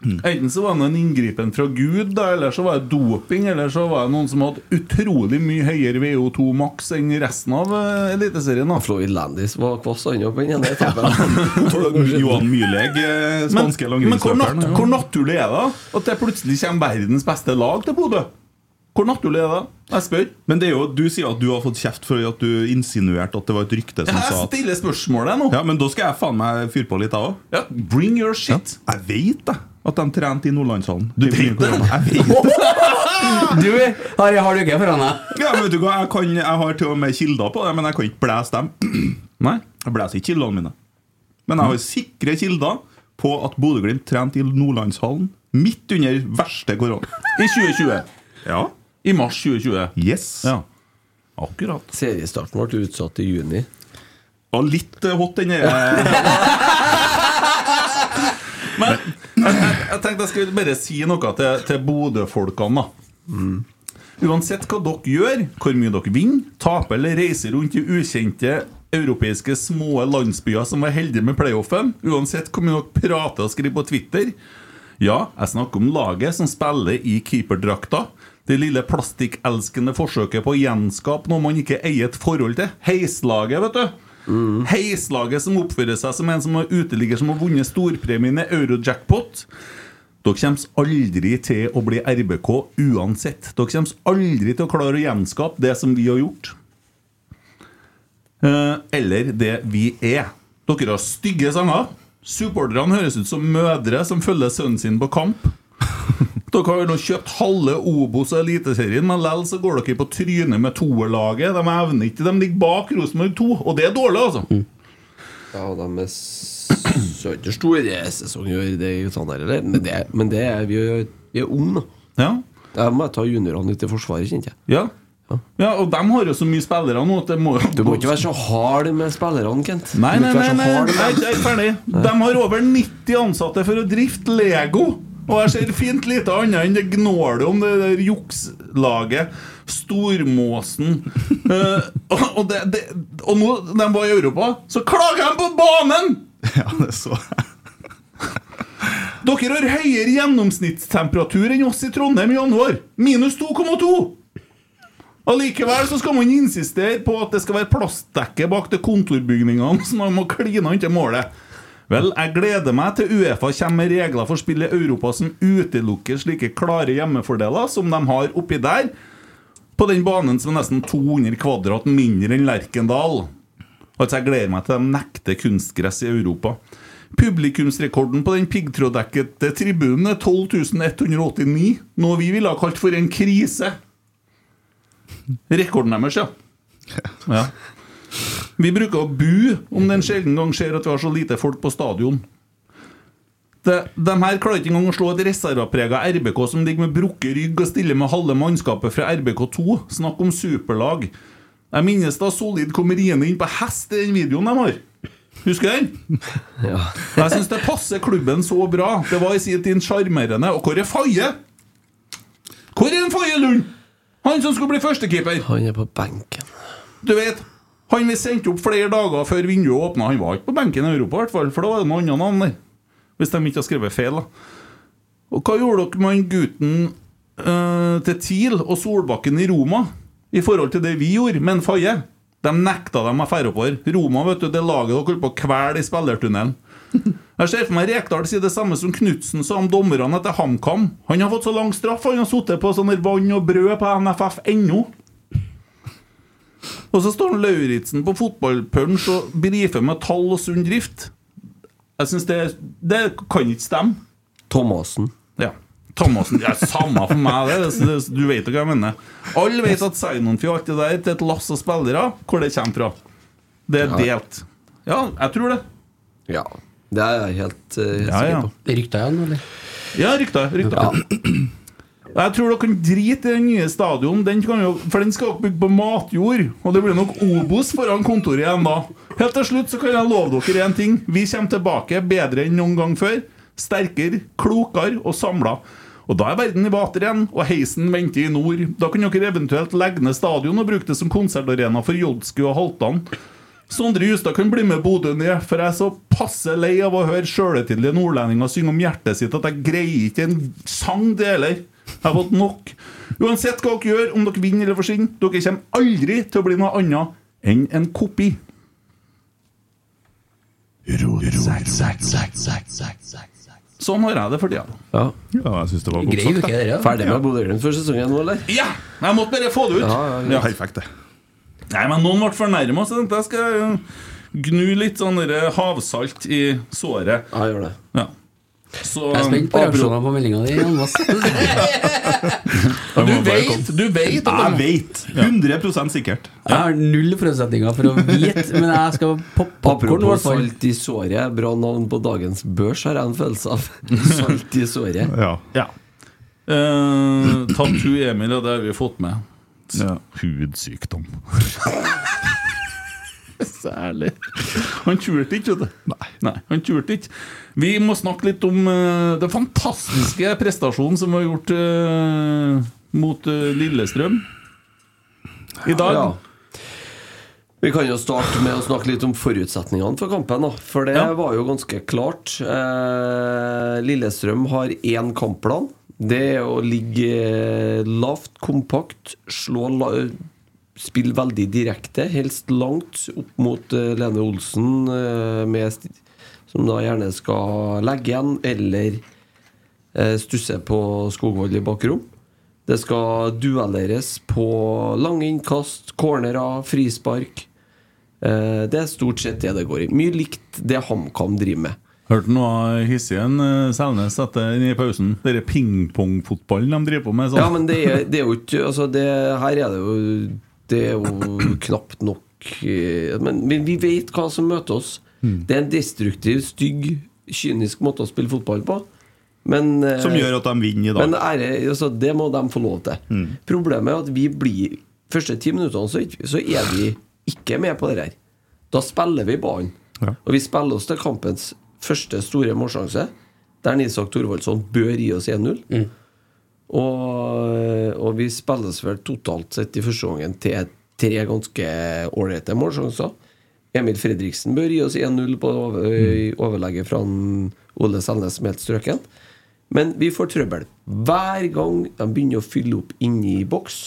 [SPEAKER 6] Mm.
[SPEAKER 4] Enten så var det en inngripen fra Gud, da, eller så var det doping, eller så var det noen som hadde utrolig mye høyere VO2 maks enn resten av eh, Eliteserien. da
[SPEAKER 6] Floyd Landis var kvass han opp igjen. det er toppen. For noen år siden.
[SPEAKER 8] Johan Myrleg, eh,
[SPEAKER 4] Men,
[SPEAKER 8] spanske
[SPEAKER 4] men hvor, nat
[SPEAKER 8] langrennsløperen.
[SPEAKER 4] hvor naturlig er det at det plutselig kommer verdens beste lag til Bodø? Hvor naturlig er det? Jeg spør.
[SPEAKER 8] Men det er jo, du sier at du har fått kjeft for at du insinuerte at det var et rykte som
[SPEAKER 4] Jeg
[SPEAKER 8] sa at
[SPEAKER 4] stiller spørsmålet nå.
[SPEAKER 8] Ja, men da skal jeg faen meg fyre på litt, jeg òg.
[SPEAKER 4] Ja, bring your shit.
[SPEAKER 8] Jeg vet da at de trente i Nordlandshallen. Du
[SPEAKER 4] vet det?
[SPEAKER 8] Jeg vet det.
[SPEAKER 5] Du har ei hard uke foran deg.
[SPEAKER 8] Ja, men vet du hva, jeg, kan, jeg har til og med kilder på det, men jeg kan ikke blæse dem.
[SPEAKER 4] Nei.
[SPEAKER 8] Jeg blæser ikke kildene mine. Men jeg har sikre kilder på at Bodø-Glimt trente i Nordlandshallen midt under verste korona.
[SPEAKER 4] I 2020.
[SPEAKER 8] Ja.
[SPEAKER 4] I mars 2020.
[SPEAKER 8] Yes.
[SPEAKER 4] Ja. Akkurat.
[SPEAKER 6] Seriestarten ble utsatt til juni.
[SPEAKER 8] Og litt eh, hot den der. eh.
[SPEAKER 4] Men jeg, jeg, jeg tenkte jeg skulle bare si noe til, til Bodø-folkene, da.
[SPEAKER 8] Mm.
[SPEAKER 4] Uansett hva dere gjør, hvor mye dere vinner, taper eller reiser rundt i ukjente europeiske små landsbyer som var heldige med playoffen, uansett hvor mye dere prater og skriver på Twitter Ja, jeg snakker om laget som spiller i keeperdrakta. Det lille plastikkelskende forsøket på å gjenskape noe man ikke eier et forhold til. Heislaget, vet du. Heislaget som oppfører seg som en som er uteligger som har vunnet storpremien i Eurojackpot. Dere kommer aldri til å bli RBK uansett. Dere kommer aldri til å klare å gjenskape det som vi har gjort. Eh, Eller det vi er. Dere har stygge sanger. Supporterne høres ut som mødre som følger sønnen sin på kamp. Dere har nå kjøpt halve Obos og Eliteserien, men likevel så går dere på trynet med toerlaget. De evner ikke, de ligger bak Rosenborg 2, og det er dårlig, altså.
[SPEAKER 6] Ja, og de er så ikke store sesong i år, det er jo sånn her, eller? Men det, men det er vi jo Vi er unge, da.
[SPEAKER 4] Ja,
[SPEAKER 6] Jeg må jeg ta juniorene litt i forsvaret, kjente jeg.
[SPEAKER 4] ja. ja Og de har jo så mye spillere nå at det må
[SPEAKER 6] Du må ikke være så hard med spillerne, Kent.
[SPEAKER 4] Nei,
[SPEAKER 6] Du må
[SPEAKER 4] nei,
[SPEAKER 6] ikke være så
[SPEAKER 4] nei, nei,
[SPEAKER 6] hard med
[SPEAKER 4] nei, nei,
[SPEAKER 6] dem.
[SPEAKER 4] jeg er ikke ferdig. De har over 90 ansatte for å drifte Lego. Og jeg ser fint lite annet enn det gnålet om det der jukslaget. Stormåsen. Eh, og, og, det, det, og nå de var i Europa, så klager de på banen!
[SPEAKER 8] Ja, det så jeg.
[SPEAKER 4] Dere har høyere gjennomsnittstemperatur enn oss i Trondheim i januar. Minus 2,2! Allikevel så skal man insistere på at det skal være plastdekke bak til kontorbygningene, så man må kline inntil målet. Vel, jeg gleder meg til Uefa kommer med regler for spill i Europa som utelukker slike klare hjemmefordeler som de har oppi der, på den banen som er nesten 200 kvadrat mindre enn Lerkendal. Altså, jeg gleder meg til de nekter kunstgress i Europa. Publikumsrekorden på den piggtråddekkede tribunen er 12.189, noe vi ville ha kalt for en krise. Rekorden deres, ja. ja. Vi bruker å bu om det en sjelden gang skjer at vi har så lite folk på stadion. De, de her klarer ikke engang å slå et reserveprega RBK som ligger med brukket rygg og stiller med halve mannskapet fra RBK2. Snakk om superlag. Jeg minnes da Solid kom riende inn på hest i den videoen de har. Husker den? Jeg syns det passer klubben så bra. Det var i sin tid sjarmerende. Og hvor er Faye? Hvor er en Faye Lund? Han som skulle bli førstekeeper.
[SPEAKER 6] Han er på benken.
[SPEAKER 4] Du vet, han vi sendte opp flere dager før vinduet åpna Han var ikke på benken i Europa, i hvert fall, for da var det noe annet navn der. Hvis de ikke har skrevet feil, da. Og hva gjorde dere med han gutten eh, til TIL og Solbakken i Roma i forhold til det vi gjorde med en Faye? De nekta dem å fære oppover. Roma vet du, det laget dere holdt på å kvele i spillertunnelen. Jeg ser for meg Rekdal sier det samme som Knutsen sa om dommerne etter HamKam. Han har fått så lang straff, han har sittet på sånn der vann og brød på NFF ennå. Og så står han Lauritzen på fotballpunch og brifer med tall og sunn drift. Jeg synes det, det kan ikke stemme.
[SPEAKER 6] Thomassen.
[SPEAKER 4] Ja. Thomassen Det er samme for meg, det. det, det du vet jo hva jeg mener. Alle vet at sign-on-fee og alt det der til et lass av spillere, hvor det kommer fra. Det er delt. Ja, jeg tror det.
[SPEAKER 6] Ja. Det er jeg helt eh, helt
[SPEAKER 4] Ja, ja.
[SPEAKER 6] sikker på.
[SPEAKER 5] Det rykta igjen, eller?
[SPEAKER 4] Ja, rykter. rykter. Jeg tror dere kan drite i den nye stadion, den kan jo, for den skal dere bygge på matjord. Og det blir nok Obos foran kontoret igjen da. Helt til slutt så kan jeg love dere én ting. Vi kommer tilbake bedre enn noen gang før. Sterkere, klokere og samla. Og da er verden i vater igjen, og heisen venter i nord. Da kan dere eventuelt legge ned stadion og bruke det som konsertarena for Jodsku og Halvdan. Sondre Justad kan bli med Bodø ned, for jeg er så passe lei av å høre sjølhøytidelige nordlendinger synge om hjertet sitt at jeg greier ikke en sang, det heller. Jeg har fått nok. Uansett hva dere gjør, om dere vinner eller forsvinner, dere kommer aldri til å bli noe annet enn en kopi. Sånn har jeg det for tida.
[SPEAKER 6] Ja.
[SPEAKER 3] Ja, jeg synes det var godt
[SPEAKER 5] Greier jo
[SPEAKER 3] sagt.
[SPEAKER 5] ikke
[SPEAKER 3] det.
[SPEAKER 5] det, ja.
[SPEAKER 6] Ferdig med Bodø-Glimt for sesongen nå, eller?
[SPEAKER 4] Ja! Jeg måtte bare få det ut.
[SPEAKER 6] Ja, ja,
[SPEAKER 3] Perfekt, det.
[SPEAKER 4] Nei, men noen ble fornærma, så tenkte jeg skal jeg gnu litt sånn der havsalt i såret.
[SPEAKER 6] Ja, gjør det.
[SPEAKER 4] Ja. Så eh,
[SPEAKER 5] Jeg er spent på reaksjonene på meldinga di. Jan Mass.
[SPEAKER 4] Du vet, du vet at
[SPEAKER 3] Jeg
[SPEAKER 4] de
[SPEAKER 3] vet! 100 sikkert.
[SPEAKER 5] Jeg har null forutsetninger for å vite, men jeg skal poppe popkorn, i
[SPEAKER 6] Apropos
[SPEAKER 5] hvert fall.
[SPEAKER 6] salt i såret. Bra navn på dagens børs, har jeg en følelse av. Salt i såret.
[SPEAKER 3] Ja.
[SPEAKER 4] Eh, Tattoo Emil, ja, det har vi fått med.
[SPEAKER 3] Ja.
[SPEAKER 4] Hudsykdom. Særlig. Han turte ikke, vet du. Nei. han turte ikke. Vi må snakke litt om eh, den fantastiske prestasjonen som var gjort eh, mot eh, Lillestrøm i dag.
[SPEAKER 6] Ja. Vi kan jo starte med å snakke litt om forutsetningene for kampen. Da. For det
[SPEAKER 4] Ja.
[SPEAKER 6] var jo ganske klart. Eh, Lillestrøm har én kampplan. Det er å ligge eh, lavt, kompakt, slå la Spille veldig direkte, helst langt opp mot eh, Lene Olsen, eh, med, sti- som da gjerne skal legge igjen, eller eh, stusse på Skogvold i bakrom. Det skal duelleres på lange innkast, cornerer, frispark. Eh, Det er stort sett det det går i. Mye likt det HamKam driver med.
[SPEAKER 4] Hørte noe av hissigen eh, Selnes etter i pausen. Dere pingpongfotballen de driver på med. Sånn.
[SPEAKER 6] Ja, men det er, det er jo ikke altså det, Her er det jo Det er jo knapt nok eh, Men, men vi vet hva som møter oss.
[SPEAKER 3] Hmm.
[SPEAKER 6] Det er en destruktiv, stygg, kynisk måte å spille fotball på. Men, eh,
[SPEAKER 3] Som gjør at de vinner i dag. Hmm.
[SPEAKER 6] Men ære, altså, det må de få lov til. Problemet er at vi blir første ti minuttene så, ikke- så er vi ikke med på det her. Da spiller vi ballen.
[SPEAKER 3] Ja.
[SPEAKER 6] Og vi spiller oss til kampens første store målsjanse, der Isak Thorvaldsson bør gi oss 1-0. Og, og vi spilles vel totalt sett i første gangen til tre ganske ålreite målsjanser. Emil Fredriksen bør gi oss 1-0 på over- i overlegget fra han Ole Selnes som er helt strøken. Men vi får trøbbel hver gang de begynner å fylle opp inni boks.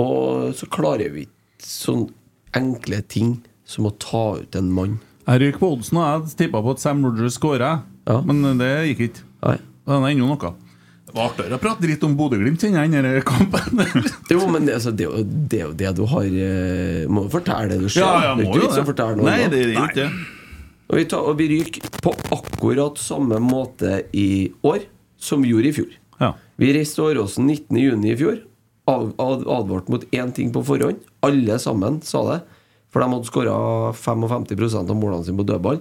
[SPEAKER 6] Og så klarer vi ikke sånne enkle ting som å ta ut en mann.
[SPEAKER 4] Jeg ryker på oddsen, og jeg tippa på at Sam Rogers skåra,
[SPEAKER 6] Ja.
[SPEAKER 4] men eh, det gikk ikke.
[SPEAKER 6] Nei.
[SPEAKER 4] Den er ennå noe. Det var artigere å prate dritt om Bodø-Glimt enn den her kampen.
[SPEAKER 6] Jo, men det, altså, det, er jo- det er jo det du har eh, Må jo fortelle det du ser.
[SPEAKER 4] Ja, ja,
[SPEAKER 6] det er
[SPEAKER 4] må
[SPEAKER 6] ikke
[SPEAKER 4] jo
[SPEAKER 6] vits å fortelle noe
[SPEAKER 4] Nei,
[SPEAKER 6] annet.
[SPEAKER 4] det er jo ikke det.
[SPEAKER 6] Og vi, tar, og vi ryker på akkurat samme måte i år som vi gjorde i fjor.
[SPEAKER 4] Ja.
[SPEAKER 6] Vi reiste til Åråsen 19.6 i fjor. Av, ad, advart mot én ting på forhånd. Alle sammen sa det. For de hadde skåra 55 av målene sine på dødball.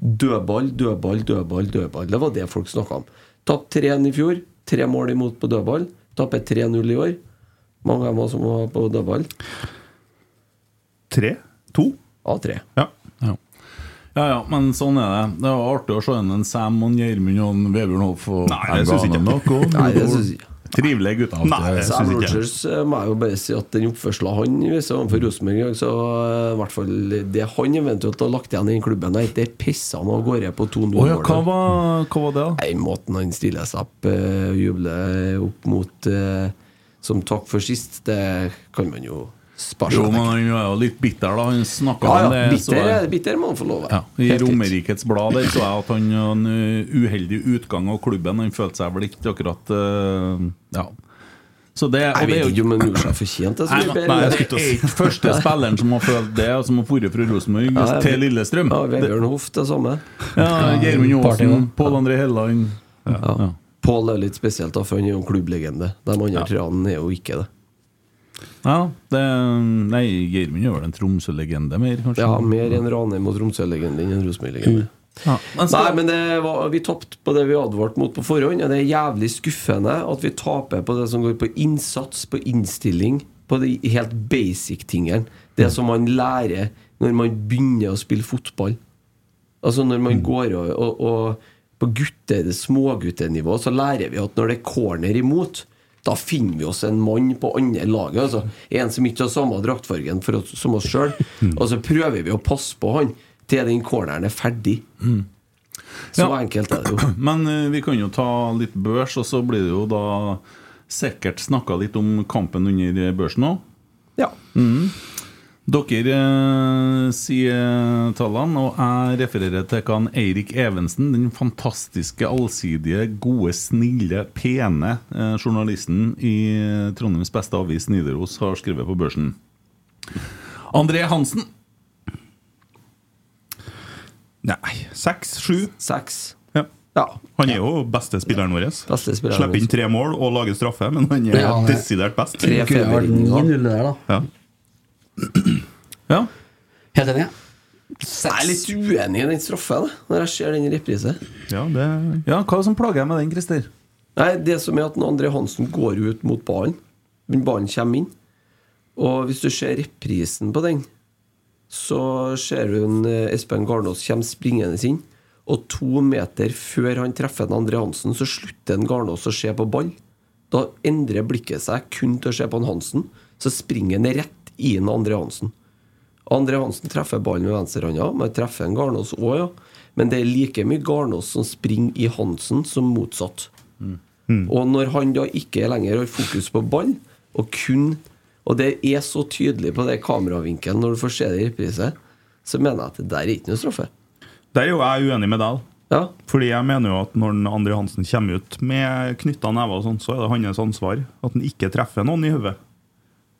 [SPEAKER 6] Dødball, dødball, dødball, dødball. Det var det folk snakka om. Tapt 3-1 i fjor. Tre mål imot på dødball. Tapper 3-0 i år. Mange av dem også må på dødball.
[SPEAKER 8] Tre? To?
[SPEAKER 6] A3.
[SPEAKER 8] Ja.
[SPEAKER 4] Ja. ja ja, men sånn er det. Det var artig å se en Sam og en Gjermund og en Vebjørn Hoff og
[SPEAKER 8] Nei, jeg synes ikke.
[SPEAKER 6] Nei, det synes jeg ikke.
[SPEAKER 4] Trivelige gutter.
[SPEAKER 8] Nei, jeg
[SPEAKER 4] alltid.
[SPEAKER 8] synes-
[SPEAKER 6] Sam
[SPEAKER 8] ikke jeg.
[SPEAKER 6] Rogers eh, må jeg jo bare si at den oppførselen han viser overfor Rosenborg i dag, så eh, i hvert fall det han eventuelt har lagt igjen i den klubben der, det pisser han av gårde på 2-0.
[SPEAKER 4] Å ja, hva var, hva var det, da?
[SPEAKER 6] Nei, måten han stiller seg opp eh, og jubler opp mot eh, som takk for sist, det kan man jo spare
[SPEAKER 4] Jo,
[SPEAKER 6] seg.
[SPEAKER 4] men han var jo litt bitter, da. Han snakka
[SPEAKER 6] ja,
[SPEAKER 4] om
[SPEAKER 6] ja,
[SPEAKER 4] det. så
[SPEAKER 6] bitter,
[SPEAKER 4] jeg-
[SPEAKER 6] bitter må han få lov
[SPEAKER 4] Ja, I Romerikets Blad der så jeg at han har en uh, uheldig utgang av klubben. Han følte seg vel ikke akkurat uh, Ja. Så det, og
[SPEAKER 6] Jeg
[SPEAKER 4] det er
[SPEAKER 6] vet
[SPEAKER 4] jo
[SPEAKER 6] ikke om han gjorde seg fortjent det så
[SPEAKER 4] Nei,
[SPEAKER 6] mye
[SPEAKER 4] nei,
[SPEAKER 6] bedre.
[SPEAKER 4] det er ikke første spilleren som har følt det, og som har vært fra Rosenborg
[SPEAKER 6] jeg
[SPEAKER 4] til
[SPEAKER 6] vet.
[SPEAKER 4] Lillestrøm.
[SPEAKER 6] Ja,
[SPEAKER 4] Det-
[SPEAKER 6] Vebjørn Hoff, det samme.
[SPEAKER 4] Ja, Gjermund
[SPEAKER 5] Party,
[SPEAKER 4] Aasen,
[SPEAKER 5] da.
[SPEAKER 4] Pål André Helleland ja, ja.
[SPEAKER 6] Pål er litt spesielt, da, for han er jo en klubblegende. De andre treene er jo ikke det.
[SPEAKER 4] ja, det Nei, Gjermund er vel en Tromsø-legende mer, kanskje?
[SPEAKER 6] Ja, mer en Ranheim og Tromsø-legende enn en Rosenborg-legende.
[SPEAKER 4] Ja, men så-
[SPEAKER 6] Nei, men det var, vi tapte på det vi advarte mot på forhånd. Og det er jævlig skuffende at vi taper på det som går på innsats, på innstilling, på de helt basic tingene. Det som man lærer når man begynner å spille fotball. Altså når
[SPEAKER 4] Mm.
[SPEAKER 6] man går og, og, og På gutter, det småguttenivå så lærer vi at når det er corner imot, da finner vi oss en mann på andre laget. Altså, en som ikke har samme draktfargen for oss, som oss sjøl.
[SPEAKER 4] Mm.
[SPEAKER 6] Og så prøver vi å passe på han til den corneren er ferdig. Så
[SPEAKER 4] Mm. Ja.
[SPEAKER 6] enkelt er det jo.
[SPEAKER 4] Men eh, vi kan jo ta litt børs, og så blir det jo da sikkert snakka litt om kampen under børsen òg.
[SPEAKER 6] Ja.
[SPEAKER 4] Dere eh, sier tallene, og jeg refererer til hva han Eirik Evensen, den fantastiske, allsidige, gode, snille, pene eh, journalisten i eh, Trondheims beste avis, Nidaros, har skrevet på børsen. André Hansen.
[SPEAKER 8] Nei. Seks? Sju?
[SPEAKER 6] Seks.
[SPEAKER 8] Ja.
[SPEAKER 6] Ja.
[SPEAKER 8] Han er jo beste spilleren vår.
[SPEAKER 6] Beste spilleren
[SPEAKER 8] Slipper inn
[SPEAKER 6] vår.
[SPEAKER 8] tre mål og lager straffe, men han er
[SPEAKER 5] Ja, han er-
[SPEAKER 8] desidert best.
[SPEAKER 6] Tre
[SPEAKER 5] Kunne det vært
[SPEAKER 6] feberringer.
[SPEAKER 5] 9-0 der, da.
[SPEAKER 8] Ja.
[SPEAKER 4] Ja.
[SPEAKER 5] Helt enig.
[SPEAKER 6] Jeg er litt uenig i den straffa da, når jeg ser den i reprise.
[SPEAKER 8] ja, det
[SPEAKER 4] ja hva som plager jeg med den, Christer?
[SPEAKER 6] Nei, det som er at når André Hansen går ut mot ballen, men ballen kommer inn. Og hvis du ser reprisen på den, så ser du en eh, Espen Garnås kommer springende inn. Og to meter før han treffer en André Hansen, så slutter en Garnås å se på ball. Da endrer blikket seg kun til å se på en Hansen. Så springer han rett i en André Hansen. André Hansen treffer ballen med venstrehånda, men treffer en Garnås òg, ja. Men det er like mye Garnås som springer i Hansen, som motsatt.
[SPEAKER 4] Mm.
[SPEAKER 6] Og når han da ikke lenger har fokus på ball, og kun Og det er så tydelig på det kameravinkelen når du får se det i reprise, så mener jeg at det der er ikke noe straffe.
[SPEAKER 8] Der er jo jeg uenig med deg. da.
[SPEAKER 6] Ja.
[SPEAKER 8] Fordi jeg mener jo at når den André Hansen kommer ut med knytta never, og sånt, så er det hans ansvar at han ikke treffer noen i hodet.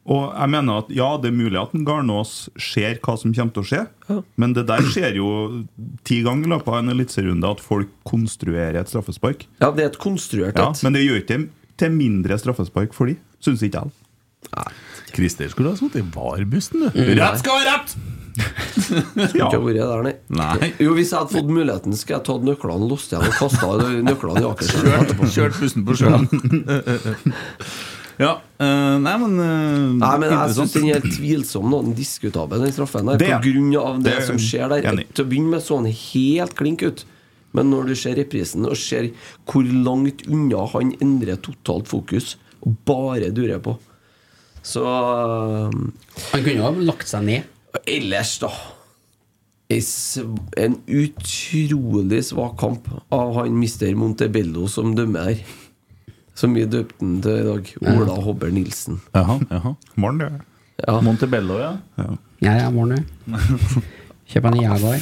[SPEAKER 8] Og jeg mener at ja, det er mulig at en Garnås ser hva som kommer til å skje, men det der skjer jo ti ganger i løpet av en eliteserierunde at folk konstruerer et straffespark.
[SPEAKER 6] ja, det er et konstruert
[SPEAKER 8] Ja,
[SPEAKER 6] et.
[SPEAKER 8] men det gjør ikke det til mindre straffespark for de, syns ikke jeg.
[SPEAKER 4] Christer skulle ha sittet i VAR-bussen,
[SPEAKER 6] Mm,
[SPEAKER 4] du.
[SPEAKER 8] Rett skal være rett!
[SPEAKER 6] Skulle
[SPEAKER 8] Ja.
[SPEAKER 6] ikke ha vært der, nei.
[SPEAKER 4] Nei.
[SPEAKER 6] Jo, hvis jeg hadde fått muligheten, skulle jeg tatt nøklene, låst igjen og kasta nøklene i Akerselva
[SPEAKER 4] Kjørt,
[SPEAKER 6] etterpå.
[SPEAKER 4] kjørt bussen på sjøen. ja. eh, nei, men, eh,
[SPEAKER 6] Nei, men jeg syns
[SPEAKER 4] interessant.
[SPEAKER 6] den er helt tvilsom, nå, den diskutabel, den straffen der.
[SPEAKER 8] Det er-
[SPEAKER 6] På grunn av det,
[SPEAKER 8] det er
[SPEAKER 6] som skjer der.
[SPEAKER 8] enig.
[SPEAKER 6] Til å begynne med så han helt klink ut. Men når du ser reprisen, og ser hvor langt unna han endrer totalt fokus, og bare durer på Så øh, Um,
[SPEAKER 5] Han kunne jo ha lagt seg ned.
[SPEAKER 6] Ellers, da En s- En utrolig svak kamp av han mister Montebello som dømmer her. Som vi døpte han til i dag. Ola Hobber Nilsen.
[SPEAKER 4] Jaha, jaha.
[SPEAKER 8] Morn, det.
[SPEAKER 6] Ja.
[SPEAKER 4] Montebello, ja.
[SPEAKER 5] Ja, ja, morgen, du. Kjøp en Jaguar.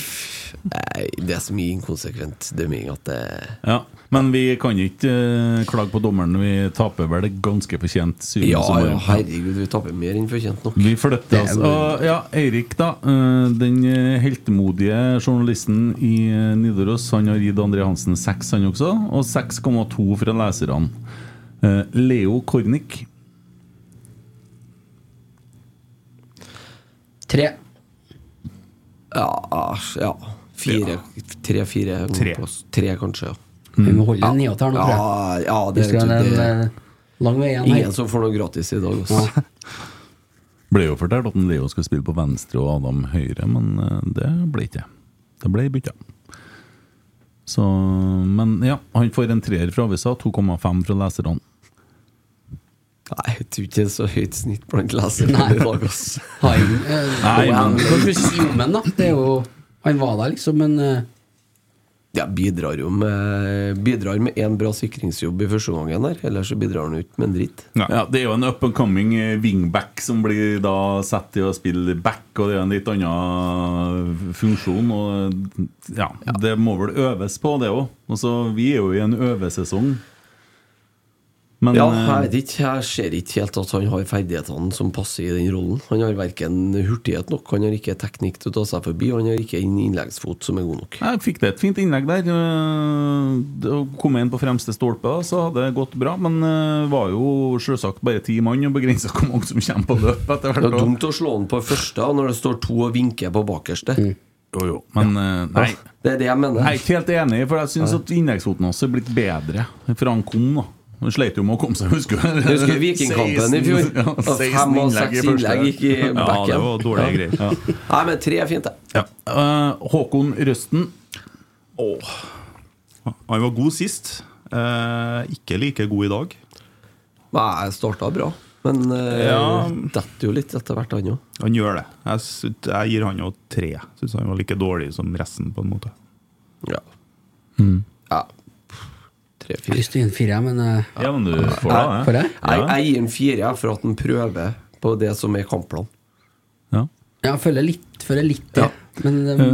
[SPEAKER 6] Nei, det er så mye inkonsekvent dømming at det
[SPEAKER 4] ja. Men vi kan ikke eh, klage på dommeren. Vi taper vel ganske fortjent. syvende
[SPEAKER 6] Ja,
[SPEAKER 4] som
[SPEAKER 6] ja,
[SPEAKER 4] var.
[SPEAKER 6] herregud, vi tapper mer enn fortjent nok.
[SPEAKER 4] Vi flytter oss. Og ja, Eirik, da. eh, Den eh, heltemodige journalisten i eh, Nidaros Han har gitt André Hansen seks, han også. Og 6,2 fra leserne. Eh, Leo Kornic.
[SPEAKER 5] Tre.
[SPEAKER 6] Ja, ja. Fire, tre, fire
[SPEAKER 8] Tre.
[SPEAKER 6] tre kanskje, ja.
[SPEAKER 5] Vi må holde den nedåt her nå, tror jeg.
[SPEAKER 6] Ja, ja
[SPEAKER 5] Vi
[SPEAKER 6] det, det,
[SPEAKER 5] skal ha en
[SPEAKER 6] det
[SPEAKER 5] eh, lang vei igjen
[SPEAKER 6] Ingen
[SPEAKER 5] her.
[SPEAKER 6] som får noe gratis i dag, altså.
[SPEAKER 4] Ble jo fortalt at Leo skal spille på venstre og Adam høyre, men eh, det ble ikke det. Det ble bytta. Så Men ja, han får en treer fra avisa, 2,5 fra leserne.
[SPEAKER 6] Nei, jeg tror ikke det er så høyt snitt blant leserne i dag, altså.
[SPEAKER 5] Haien, eh,
[SPEAKER 4] Nei,
[SPEAKER 5] Hva
[SPEAKER 4] men-
[SPEAKER 5] skal vi si om han, da? Det er jo Han var der, liksom, men eh,
[SPEAKER 6] Jeg bidrar jo med Bidrar med én bra sikringsjobb i første omgangen her, ellers så bidrar han jo ikke med en dritt.
[SPEAKER 4] Ja, Det er jo en up and coming eh, wingback som blir da satt til å spille back, og det er en litt annen funksjon. Og eh, ja, Det må vel øves på, det òg. Vi er jo i en øvesesong. Men
[SPEAKER 6] Ja,
[SPEAKER 4] eh,
[SPEAKER 6] jeg vet ikke. Jeg ser ikke helt at han har ferdighetene som passer i den rollen. Han har verken hurtighet nok, han har ikke teknikk til å ta seg forbi, og han har ikke en innleggsfot som er god nok.
[SPEAKER 4] jeg fikk det et fint innlegg der. eh, det å Komme inn på fremste stolpe, da, så hadde det gått bra. Men eh, var jo selvsagt bare ti mann, og begrensa hvor mange som kommer på løp etter
[SPEAKER 6] Det
[SPEAKER 4] hvert.
[SPEAKER 6] er
[SPEAKER 4] da.
[SPEAKER 6] dumt å slå han på første når det står to og vinker på bakerste.
[SPEAKER 5] Mm.
[SPEAKER 4] Jo, jo. Men eh, nei.
[SPEAKER 6] Det er det jeg mener.
[SPEAKER 4] Jeg er ikke helt enig, for jeg syns at innleggsfoten hans er blitt bedre fra han kom. da Han sleit jo med å komme seg, husker du?
[SPEAKER 6] Jeg husker Vikingkampen i fjor.
[SPEAKER 4] 16 ja,
[SPEAKER 6] Da
[SPEAKER 4] 16
[SPEAKER 6] Fem og seks
[SPEAKER 4] første.
[SPEAKER 6] innlegg gikk i
[SPEAKER 8] Ja, det
[SPEAKER 6] backen.
[SPEAKER 8] var dårlige greier.
[SPEAKER 6] Nei, men tre er fint, det.
[SPEAKER 4] Ja. Eh, Håkon Røsten.
[SPEAKER 8] Han var god sist. Eh, ikke like god i dag.
[SPEAKER 6] Nei, jeg starta bra, men eh,
[SPEAKER 8] Ja.
[SPEAKER 6] detter jo litt etter hvert, han òg.
[SPEAKER 8] Han gjør det. Jeg, sy- jeg gir han jo tre. Syns han var like dårlig som resten, på en måte.
[SPEAKER 6] Ja.
[SPEAKER 4] Mm.
[SPEAKER 6] ja.
[SPEAKER 5] Jeg har
[SPEAKER 6] Tre-fire.
[SPEAKER 5] lyst til å gi en fire, men eh,
[SPEAKER 4] Ja, men du får da
[SPEAKER 5] Får
[SPEAKER 4] det.
[SPEAKER 5] jeg?
[SPEAKER 6] Jeg, jeg gir en fire jeg, for at han prøver på det som er kampplanen.
[SPEAKER 4] Ja.
[SPEAKER 5] Ja, jeg føler litt, føler litt det. Men um,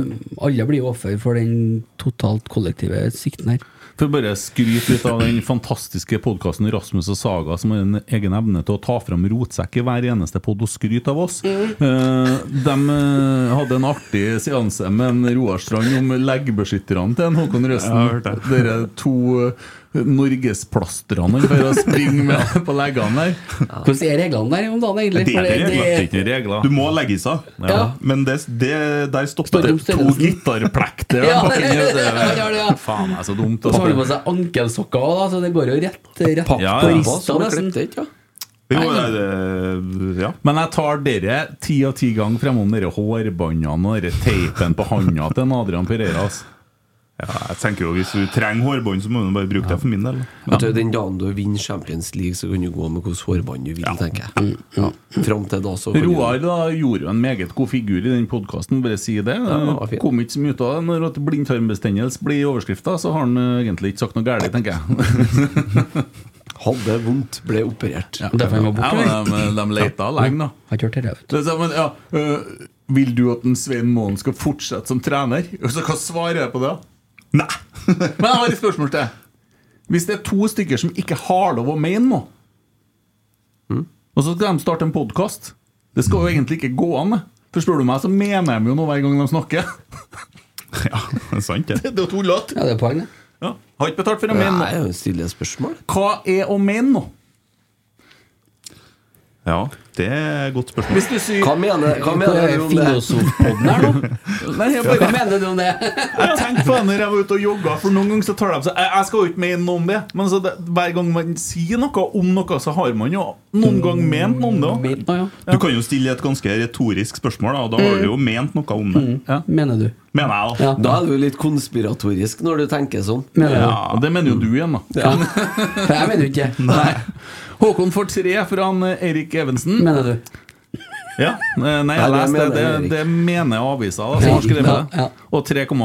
[SPEAKER 5] alle blir jo offer for den totalt kollektive sikten her.
[SPEAKER 4] For bare skryte litt av den fantastiske podkasten Rasmus og Saga, som har en egen evne til å ta fram rotsekk i hver eneste pod og skryte av oss. Eh, de eh, hadde en artig seanse med en Roar Strand om leggbeskytterne til en Håkon Røsten.
[SPEAKER 8] Ja, jeg har hørt det.
[SPEAKER 4] Dere to eh, norgesplastrene han får å springe med på leggene der.
[SPEAKER 5] Hvordan er reglene der om dagen, egentlig?
[SPEAKER 8] Det er
[SPEAKER 5] For
[SPEAKER 8] ikke regler.
[SPEAKER 4] Det er ikke regler.
[SPEAKER 8] Du må legge seg.
[SPEAKER 5] Ja.
[SPEAKER 8] Men det, det, der
[SPEAKER 5] Står
[SPEAKER 8] stopper
[SPEAKER 5] det om
[SPEAKER 8] det.
[SPEAKER 4] To
[SPEAKER 5] størrelsen?
[SPEAKER 4] gitarplekter
[SPEAKER 5] Ja,
[SPEAKER 4] bak inni
[SPEAKER 5] det-
[SPEAKER 4] der.
[SPEAKER 5] han gjør det, ja.
[SPEAKER 4] Faen, det er så dumt.
[SPEAKER 5] Og så har du på
[SPEAKER 4] Altså.
[SPEAKER 5] seg ankelsokker òg, så det går jo rett, rett
[SPEAKER 6] Pakk
[SPEAKER 4] Ja,
[SPEAKER 5] på
[SPEAKER 6] Hva
[SPEAKER 4] ja.
[SPEAKER 5] rista,
[SPEAKER 6] som er
[SPEAKER 5] nesten.
[SPEAKER 6] klippet, ikke? Ja.
[SPEAKER 8] Jo, det, ja.
[SPEAKER 4] Men jeg tar dere ti av ti ganger fremom dere hårbåndene og dere teipen på handa til en Adrian Pereira. Altså.
[SPEAKER 8] ja. Jeg tenker jo Hvis du trenger hårbånd, så må du bare bruke det for min del.
[SPEAKER 6] Vet du, Den dagen du vinner Champions League, så kan du gå med hvilket hårbånd du vil, tenker
[SPEAKER 5] Mm,
[SPEAKER 6] jeg. Ja. Fram til da, så kan
[SPEAKER 4] Roar
[SPEAKER 6] du,
[SPEAKER 4] da gjorde jo en meget god figur i den podkasten, bare si det.
[SPEAKER 6] han var fin.
[SPEAKER 4] Kom ikke så mye ut av det. Når at blindtarmbestemmelse blir overskrifta, så har han eh, egentlig ikke sagt noe galt, tenker jeg.
[SPEAKER 6] Hadde vondt, ble operert.
[SPEAKER 5] Derfor han var
[SPEAKER 4] Ja,
[SPEAKER 5] borte. eller?
[SPEAKER 4] men de, de leita lenge, da.
[SPEAKER 5] Har ikke hørt det, vet du.
[SPEAKER 4] Det er sånn, men, ja, øh, vil du at en Svein Moen skal fortsette som trener? Og så Hva svarer jeg på det? Nei! men jeg har et spørsmål til. Hvis det er to stykker som ikke har lov å mene noe,
[SPEAKER 5] Mm.
[SPEAKER 4] og så skal de starte en podkast Det skal jo egentlig ikke gå an. det. Forstår du meg, så mener de jo noe hver gang de snakker.
[SPEAKER 8] Ja, det er sant, det.
[SPEAKER 4] Det er jo tullete.
[SPEAKER 5] Ja, det er poeng, det.
[SPEAKER 4] Ja. Har ikke betalt for å mene
[SPEAKER 6] Nei,
[SPEAKER 4] noe.
[SPEAKER 6] jeg stiller spørsmål.
[SPEAKER 4] Hva er å mene noe?
[SPEAKER 8] Ja, det er et godt spørsmål.
[SPEAKER 4] Hvis du sier
[SPEAKER 6] Hva mener,
[SPEAKER 5] Hva
[SPEAKER 6] hva mener
[SPEAKER 5] er
[SPEAKER 6] du om det?
[SPEAKER 5] filosofpodden her nå?
[SPEAKER 4] Nei, jeg
[SPEAKER 5] Hva
[SPEAKER 4] bare
[SPEAKER 5] mener du om det?
[SPEAKER 4] Jeg tenkte faen når jeg var ute og jogga, for noen ganger så tar de seg Jeg, jeg skal jo ikke mene noe om det, men så det, hver gang man sier noe om noe, så har man jo noen gang ment noe om det òg.
[SPEAKER 5] Ment noe, ja.
[SPEAKER 8] Du kan jo stille et ganske retorisk spørsmål, da, og da har du jo ment noe om det.
[SPEAKER 4] Mm.
[SPEAKER 5] Mener du?
[SPEAKER 8] Mener jeg, da.
[SPEAKER 5] Ja.
[SPEAKER 6] Da er du litt konspiratorisk når du tenker sånn.
[SPEAKER 5] Mener du?
[SPEAKER 4] Ja, det mener jo du igjen, da.
[SPEAKER 5] Ja. For jeg mener jo ikke det.
[SPEAKER 4] Håkon får tre fra han eh, Erik Evensen.
[SPEAKER 5] Mener du?
[SPEAKER 4] Ja, eh, nei, jeg
[SPEAKER 6] Nei, det
[SPEAKER 4] leste det,
[SPEAKER 6] mener
[SPEAKER 4] det,
[SPEAKER 6] jeg ikke.
[SPEAKER 4] det mener avisa da, som har skrevet
[SPEAKER 5] Ja, ja.
[SPEAKER 4] det. Og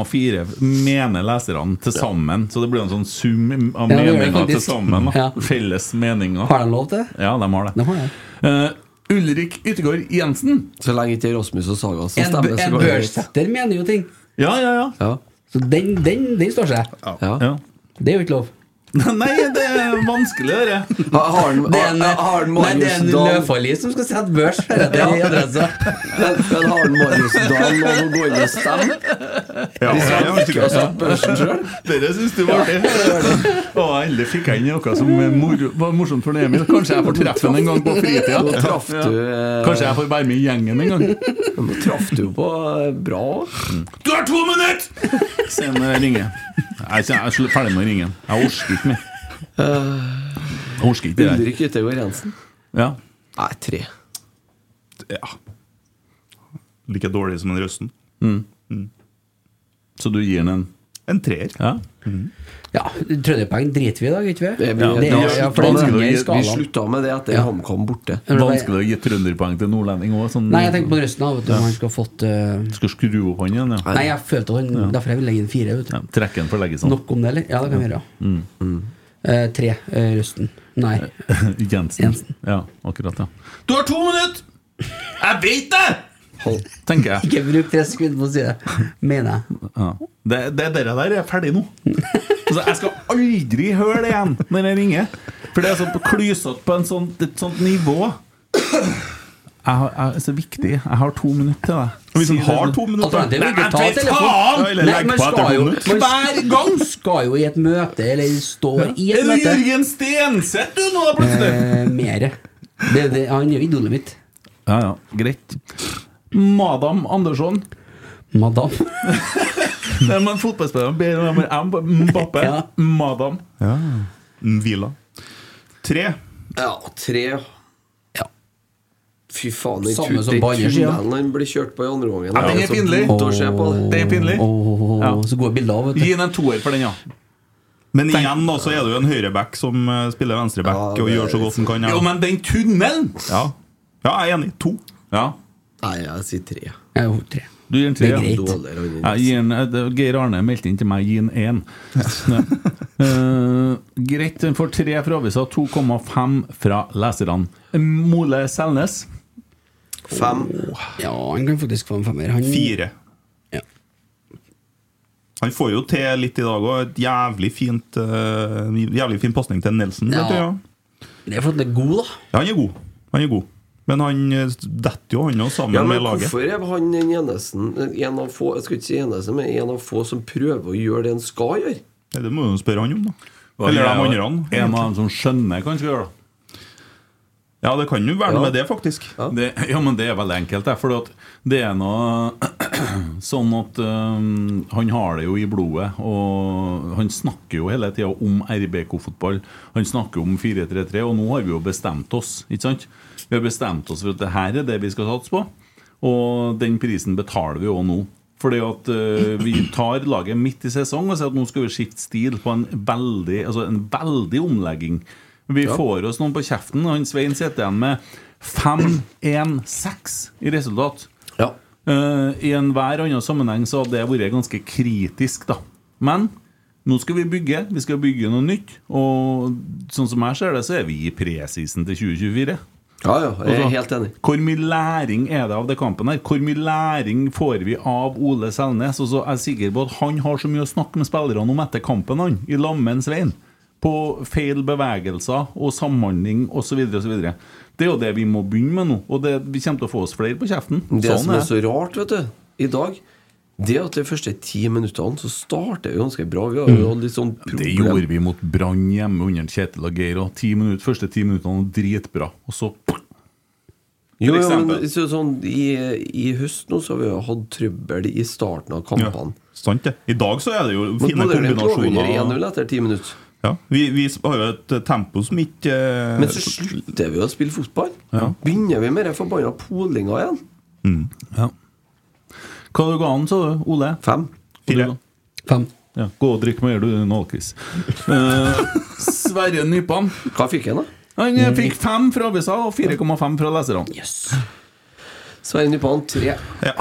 [SPEAKER 4] 3,4 mener leserne til sammen. Så det blir en sånn sum
[SPEAKER 5] Ja,
[SPEAKER 4] av
[SPEAKER 5] det gjør det
[SPEAKER 4] meninger til
[SPEAKER 5] faktisk.
[SPEAKER 4] sammen. Da.
[SPEAKER 5] Ja.
[SPEAKER 4] Felles meninger.
[SPEAKER 5] Har de lov til det?
[SPEAKER 4] Ja, de har
[SPEAKER 5] De
[SPEAKER 4] det.
[SPEAKER 5] har det.
[SPEAKER 4] Eh, Ulrik Yttergård Jensen.
[SPEAKER 6] Så lenge ikke det er Rasmus og Saga
[SPEAKER 4] Altså,
[SPEAKER 6] som
[SPEAKER 5] En,
[SPEAKER 6] stemmer,
[SPEAKER 5] bø-
[SPEAKER 6] så
[SPEAKER 5] en
[SPEAKER 6] går det greit.
[SPEAKER 5] børssetter mener jo ting.
[SPEAKER 4] Ja, ja, ja.
[SPEAKER 6] Ja.
[SPEAKER 5] Så den, den, den står seg.
[SPEAKER 6] Ja.
[SPEAKER 4] ja.
[SPEAKER 5] Det er jo ikke lov.
[SPEAKER 4] Nei, det er vanskelig, det.
[SPEAKER 6] Ha- Har han
[SPEAKER 5] Det er en,
[SPEAKER 6] har- har han
[SPEAKER 5] nei, det er
[SPEAKER 6] Marius
[SPEAKER 5] en
[SPEAKER 6] Dahl
[SPEAKER 5] Løfali som skal sette børs. her etter i adressa.
[SPEAKER 6] Men, men har han Marius Dahl lov å gå inn og stemme?
[SPEAKER 8] Ja,
[SPEAKER 6] Hvis han
[SPEAKER 8] ja, ja,
[SPEAKER 6] ikke har
[SPEAKER 8] sikkert.
[SPEAKER 6] satt børsen sjøl?
[SPEAKER 4] Dere syns det var artig. Og endelig fikk jeg inn noe som mor- var morsomt for Emil. Kanskje jeg får treffe ham en gang på fritida.
[SPEAKER 6] Nå traff du, eh,
[SPEAKER 4] Kanskje jeg får være med i gjengen en gang. Mm.
[SPEAKER 6] Nå traff du på eh, bra.
[SPEAKER 4] Du har to minutter! Se når jeg ringer. eh, Jeg er jeg er ferdig med å ringe. Jeg orker ikke mer. Jeg orker ikke det der.
[SPEAKER 6] Ulrik Yttergård Jensen.
[SPEAKER 4] Ja.
[SPEAKER 6] Nei, tre.
[SPEAKER 8] Ja. Like dårlig som en Røsten. Mm.
[SPEAKER 4] Så du gir den en
[SPEAKER 8] En treer.
[SPEAKER 4] ja.
[SPEAKER 5] Ja, Trønderpoeng driter vi i i dag, ikke vi?
[SPEAKER 6] Det blir-
[SPEAKER 5] det
[SPEAKER 6] da
[SPEAKER 5] er, ja, for
[SPEAKER 6] slutter
[SPEAKER 5] den
[SPEAKER 6] vi-
[SPEAKER 5] ligger i
[SPEAKER 6] Vi
[SPEAKER 5] skalaen.
[SPEAKER 6] slutta med det etter
[SPEAKER 5] Ja.
[SPEAKER 6] HamKam borte.
[SPEAKER 5] Eller hva-
[SPEAKER 4] Vanskelig å gi trønderpoeng til nordlending òg. Sånn,
[SPEAKER 5] Nei, jeg tenker på resten av vet du, om han skulle ha fått eh,
[SPEAKER 4] Skal skru opp han igjen, ja.
[SPEAKER 5] Nei, jeg følte han Derfor jeg vil legge inn fire. Vet du.
[SPEAKER 4] ja Trekke den for Mm. å legge sånn.
[SPEAKER 5] Nok om det, eller? Ja, det kan vi gjøre. ja. Eh, tre. eh, Røsten. Nei.
[SPEAKER 4] Jensen.
[SPEAKER 5] Jensen.
[SPEAKER 4] Ja, akkurat, ja. Du har to minutter! Jeg veit det! Tenker jeg.
[SPEAKER 5] Ikke bruk tre sekunder på å si det, mener jeg.
[SPEAKER 4] Ja. Det, det dere der er ferdig nå. Altså, jeg skal aldri høre det igjen når jeg ringer. For det er sånn klysete på en sånn, et sånt nivå. Jeg har, jeg, det er så viktig. Jeg har to minutter til deg.
[SPEAKER 8] Hvis han
[SPEAKER 4] Si det.
[SPEAKER 8] har to minutter
[SPEAKER 5] Alternativet Altså, er ikke å ta
[SPEAKER 4] Nei, men fy
[SPEAKER 5] telefonen.
[SPEAKER 4] faen!
[SPEAKER 8] Ja, eller
[SPEAKER 5] Nei,
[SPEAKER 8] legg
[SPEAKER 5] man
[SPEAKER 8] på etter
[SPEAKER 5] skal jo-
[SPEAKER 8] hodet.
[SPEAKER 5] man-
[SPEAKER 4] Hver gang!
[SPEAKER 5] Man skal jo i et møte, eller stå i et
[SPEAKER 4] Er du
[SPEAKER 5] møte.
[SPEAKER 4] Jørgen Stenseth, du, nå, da, plutselig?
[SPEAKER 5] Eh, mere. Det, det, han er jo idolet mitt.
[SPEAKER 4] Ja, ja. Greit. Madam Andersson.
[SPEAKER 5] Madam.
[SPEAKER 4] Det er en fotballspiller. Ber om M. Mbappe.
[SPEAKER 5] Ja.
[SPEAKER 4] Madam.
[SPEAKER 8] Hvila. Tre.
[SPEAKER 6] Ja, tre.
[SPEAKER 5] Ja.
[SPEAKER 6] Fy faen, den
[SPEAKER 5] Samme som
[SPEAKER 6] tut-
[SPEAKER 5] på andre
[SPEAKER 6] den
[SPEAKER 5] sida.
[SPEAKER 6] tunnelen han blir kjørt på i andre gangen.
[SPEAKER 4] Ja, den er
[SPEAKER 6] så
[SPEAKER 4] pinlig.
[SPEAKER 6] vondt å se på det.
[SPEAKER 4] Det er pinlig.
[SPEAKER 5] sånn- Åh,
[SPEAKER 4] Ja.
[SPEAKER 5] Så gode bilder av, vet du.
[SPEAKER 4] Gi den en toer for den, ja.
[SPEAKER 8] Men igjen da, så er det jo en høyreback som eh, spiller venstreback og gjør så godt han kan. ja.
[SPEAKER 4] Jo, men den tunnelen!
[SPEAKER 8] Ja. ja, jeg er enig. To.
[SPEAKER 4] Ja.
[SPEAKER 6] Nei, jeg sier tre.
[SPEAKER 5] Jeg er jo tre.
[SPEAKER 4] Du gir en
[SPEAKER 5] Det
[SPEAKER 4] tre,
[SPEAKER 5] er
[SPEAKER 4] ja.
[SPEAKER 5] greit.
[SPEAKER 6] Dårligere enn
[SPEAKER 4] Ja, gi en, eh, det- Geir Arne meldte inn til meg gi en én. Ja. Eh, greit, den får tre fra avisa, 2,5 fra leserne. Mole Selnes.
[SPEAKER 6] Fem.
[SPEAKER 5] Ja, han kan faktisk få en femmer. Han,
[SPEAKER 8] Fire.
[SPEAKER 5] Ja.
[SPEAKER 8] Han får jo til litt i dag òg. Et jævlig fint eh, Jævlig fin pasning til Nelson.
[SPEAKER 5] Ja.
[SPEAKER 8] Vet du, ja.
[SPEAKER 5] Det er for at han er god, da.
[SPEAKER 8] ja, han er god. Han er god. Men han eh, detter jo, han òg, sammen
[SPEAKER 6] Ja, men
[SPEAKER 8] med laget.
[SPEAKER 6] hvorfor er han den eneste En av få, jeg skal ikke si eneste, men en av få som prøver å gjøre det han skal gjøre?
[SPEAKER 8] Nei, Det må du spørre han om, da. Eller de andre.
[SPEAKER 4] En
[SPEAKER 8] egentlig.
[SPEAKER 4] av dem som skjønner hva han skal gjøre. da.
[SPEAKER 8] Ja, det kan jo være noe
[SPEAKER 6] Ja.
[SPEAKER 8] med det, faktisk.
[SPEAKER 4] Det, ja, men det er veldig enkelt. det, Fordi at det er noe sånn at øhm, han har det jo i blodet. Og han snakker jo hele tida om RBK-fotball. Han snakker om 4-3-3, og nå har vi jo bestemt oss. ikke sant? Vi har bestemt oss for at det her er det vi skal satse på, og den prisen betaler vi jo nå. Fordi at øh, vi tar laget midt i sesong og sier at nå skal vi skifte stil på en veldig, altså en veldig omlegging. Vi får oss noen på kjeften, og han Svein sitter igjen med 5-1-6 i resultat.
[SPEAKER 6] Ja.
[SPEAKER 4] Eh, I enhver annen sammenheng så hadde det vært ganske kritisk, da. Men nå skal vi bygge. Vi skal bygge noe nytt. Og sånn som jeg ser det, så er vi i presisen til 2024.
[SPEAKER 6] Ja, ja, jeg
[SPEAKER 4] Altså,
[SPEAKER 6] er helt enig.
[SPEAKER 4] Hvor mye læring er det av det kampen her? Hvor mye læring får vi av Ole Selnes? Og så er jeg sikker på at han har så mye å snakke med spillerne om etter kampen, han. I lag med en Svein. På feil bevegelser og samhandling osv. osv. Det er jo det vi må begynne med nå. Og det, vi kommer til å få oss flere på kjeften. Sånn
[SPEAKER 6] Det som
[SPEAKER 4] er
[SPEAKER 6] er så rart, vet du, i dag det er at de første ti minuttene så starter vi ganske bra. Vi har jo hatt litt sånn problem.
[SPEAKER 4] Mm. Det gjorde vi mot Brann hjemme under Kjetil og Geir. Og ti minutter, første ti minuttene var dritbra. Og så
[SPEAKER 6] Jo,
[SPEAKER 4] For
[SPEAKER 6] jo, men
[SPEAKER 4] eksempel.
[SPEAKER 6] så, sånn, i, I høst nå så har vi jo hatt trøbbel i starten av
[SPEAKER 8] Ja.
[SPEAKER 6] kampene.
[SPEAKER 8] Sant, det. I dag så er det jo
[SPEAKER 6] Men
[SPEAKER 8] fine
[SPEAKER 6] Bodø-Glimt lå under
[SPEAKER 8] kombinasjoner.
[SPEAKER 6] 1-0 etter ti minutter.
[SPEAKER 8] Ja. Vi, vi har jo et eh, tempo som ikke eh,
[SPEAKER 6] Men så slutter vi å spille fotball. Begynner vi med den forbanna polinga igjen?
[SPEAKER 4] mm. Hva du ga han, sa du, Ole?
[SPEAKER 6] Fem.
[SPEAKER 8] Fire.
[SPEAKER 5] Fem.
[SPEAKER 4] Ja, gå og drikk mer, du, Nålkis. Eh, Sverre Nypan.
[SPEAKER 6] Hva fikk han, da?
[SPEAKER 4] Han eh, fikk fem fra avisa og 4,5 fra leserne.
[SPEAKER 5] Yes.
[SPEAKER 6] Sverre Nypan, tre.
[SPEAKER 5] Ja,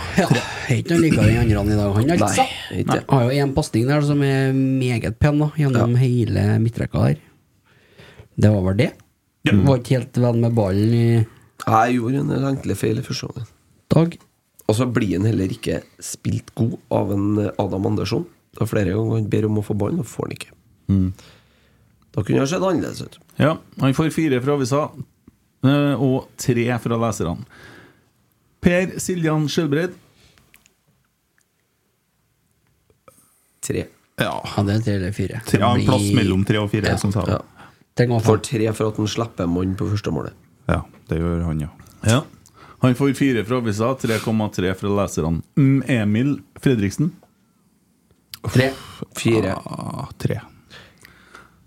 [SPEAKER 5] er ikke noe likere enn andre i dag, han altså.
[SPEAKER 6] Nei, ikke.
[SPEAKER 5] Nei, Har jo en pasning der som er meget pen, da, gjennom hele midtrekka her. Det var vel det. Var ikke helt venn med ballen i
[SPEAKER 6] Jeg gjorde en del enkle feil i første omgang.
[SPEAKER 5] dag.
[SPEAKER 6] Og så blir han heller ikke spilt god av en eh, Adam Andersson. Det er flere ganger han ber om å få ballen, og får han ikke.
[SPEAKER 4] Mm.
[SPEAKER 6] Da kunne det ha sett annerledes ut.
[SPEAKER 4] Ja, han får fire fra avisa eh, og tre fra leserne. Per Siljan Skjelbreid.
[SPEAKER 6] Tre.
[SPEAKER 5] Ja, det er tre eller fire. Det
[SPEAKER 8] Ja, en
[SPEAKER 5] blir-
[SPEAKER 8] plass mellom tre og fire,
[SPEAKER 5] Ja.
[SPEAKER 8] som sa
[SPEAKER 6] Ja.
[SPEAKER 8] det.
[SPEAKER 5] Tenk om han
[SPEAKER 6] Får
[SPEAKER 5] får
[SPEAKER 6] tre for at han slipper mannen på første målet.
[SPEAKER 8] Ja, det gjør han, ja.
[SPEAKER 4] Ja. Han får fire fra avisa, 3,3 fra leserne. Mm, Emil Fredriksen.
[SPEAKER 5] tre.
[SPEAKER 6] Fire.
[SPEAKER 8] Ah, tre.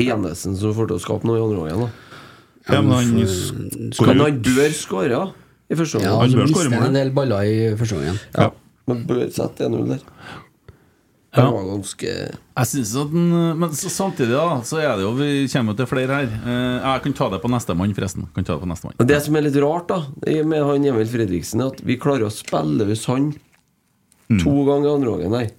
[SPEAKER 6] Enesen som får til å skape noe i andre omgang. da.
[SPEAKER 8] Ja, men han
[SPEAKER 6] Men
[SPEAKER 8] skårer
[SPEAKER 6] han bør skåre i første
[SPEAKER 5] Ja,
[SPEAKER 6] omgang.
[SPEAKER 8] Han
[SPEAKER 5] så
[SPEAKER 8] bør
[SPEAKER 5] mister
[SPEAKER 8] skåre
[SPEAKER 5] han
[SPEAKER 8] mål.
[SPEAKER 5] en del baller i første gangen.
[SPEAKER 6] Ja. Man bør sette 1-0 der. Det var ganske
[SPEAKER 4] Jeg synes at den, eh, Men så samtidig, da, så er det jo Vi kommer jo til flere her. Eh, Jeg kan ta det på nestemann, forresten. Kan ta det på nestemann.
[SPEAKER 6] Men Det som er litt rart da i- med han Emil Fredriksen, er at vi klarer å spille hos han
[SPEAKER 8] Mm.
[SPEAKER 6] to ganger i andre gangen her.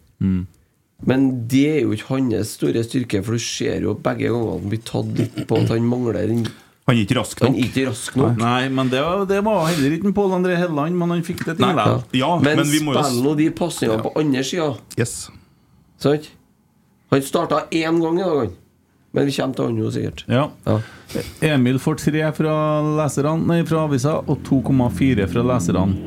[SPEAKER 6] Men det er jo ikke hans store styrke, for du ser jo begge gangene han blir tatt litt på at han mangler den.
[SPEAKER 8] Han er ikke rask
[SPEAKER 6] Han er
[SPEAKER 8] nok.
[SPEAKER 6] ikke rask nok.
[SPEAKER 4] Nei, men det var, det var heller ikke Pål André Helleland, men han fikk det til.
[SPEAKER 8] Nei.
[SPEAKER 4] likevel.
[SPEAKER 8] Ja,
[SPEAKER 6] men,
[SPEAKER 8] men vi må jo s-
[SPEAKER 6] spill nå de passningene på andre sida.
[SPEAKER 8] Yes.
[SPEAKER 6] Sant? Han starta én gang i dag, han. Men vi kommer til han jo sikkert.
[SPEAKER 4] Ja.
[SPEAKER 6] Ja.
[SPEAKER 4] Emil får tre fra leserne Nei, fra avisa og 2,4 fra leserne.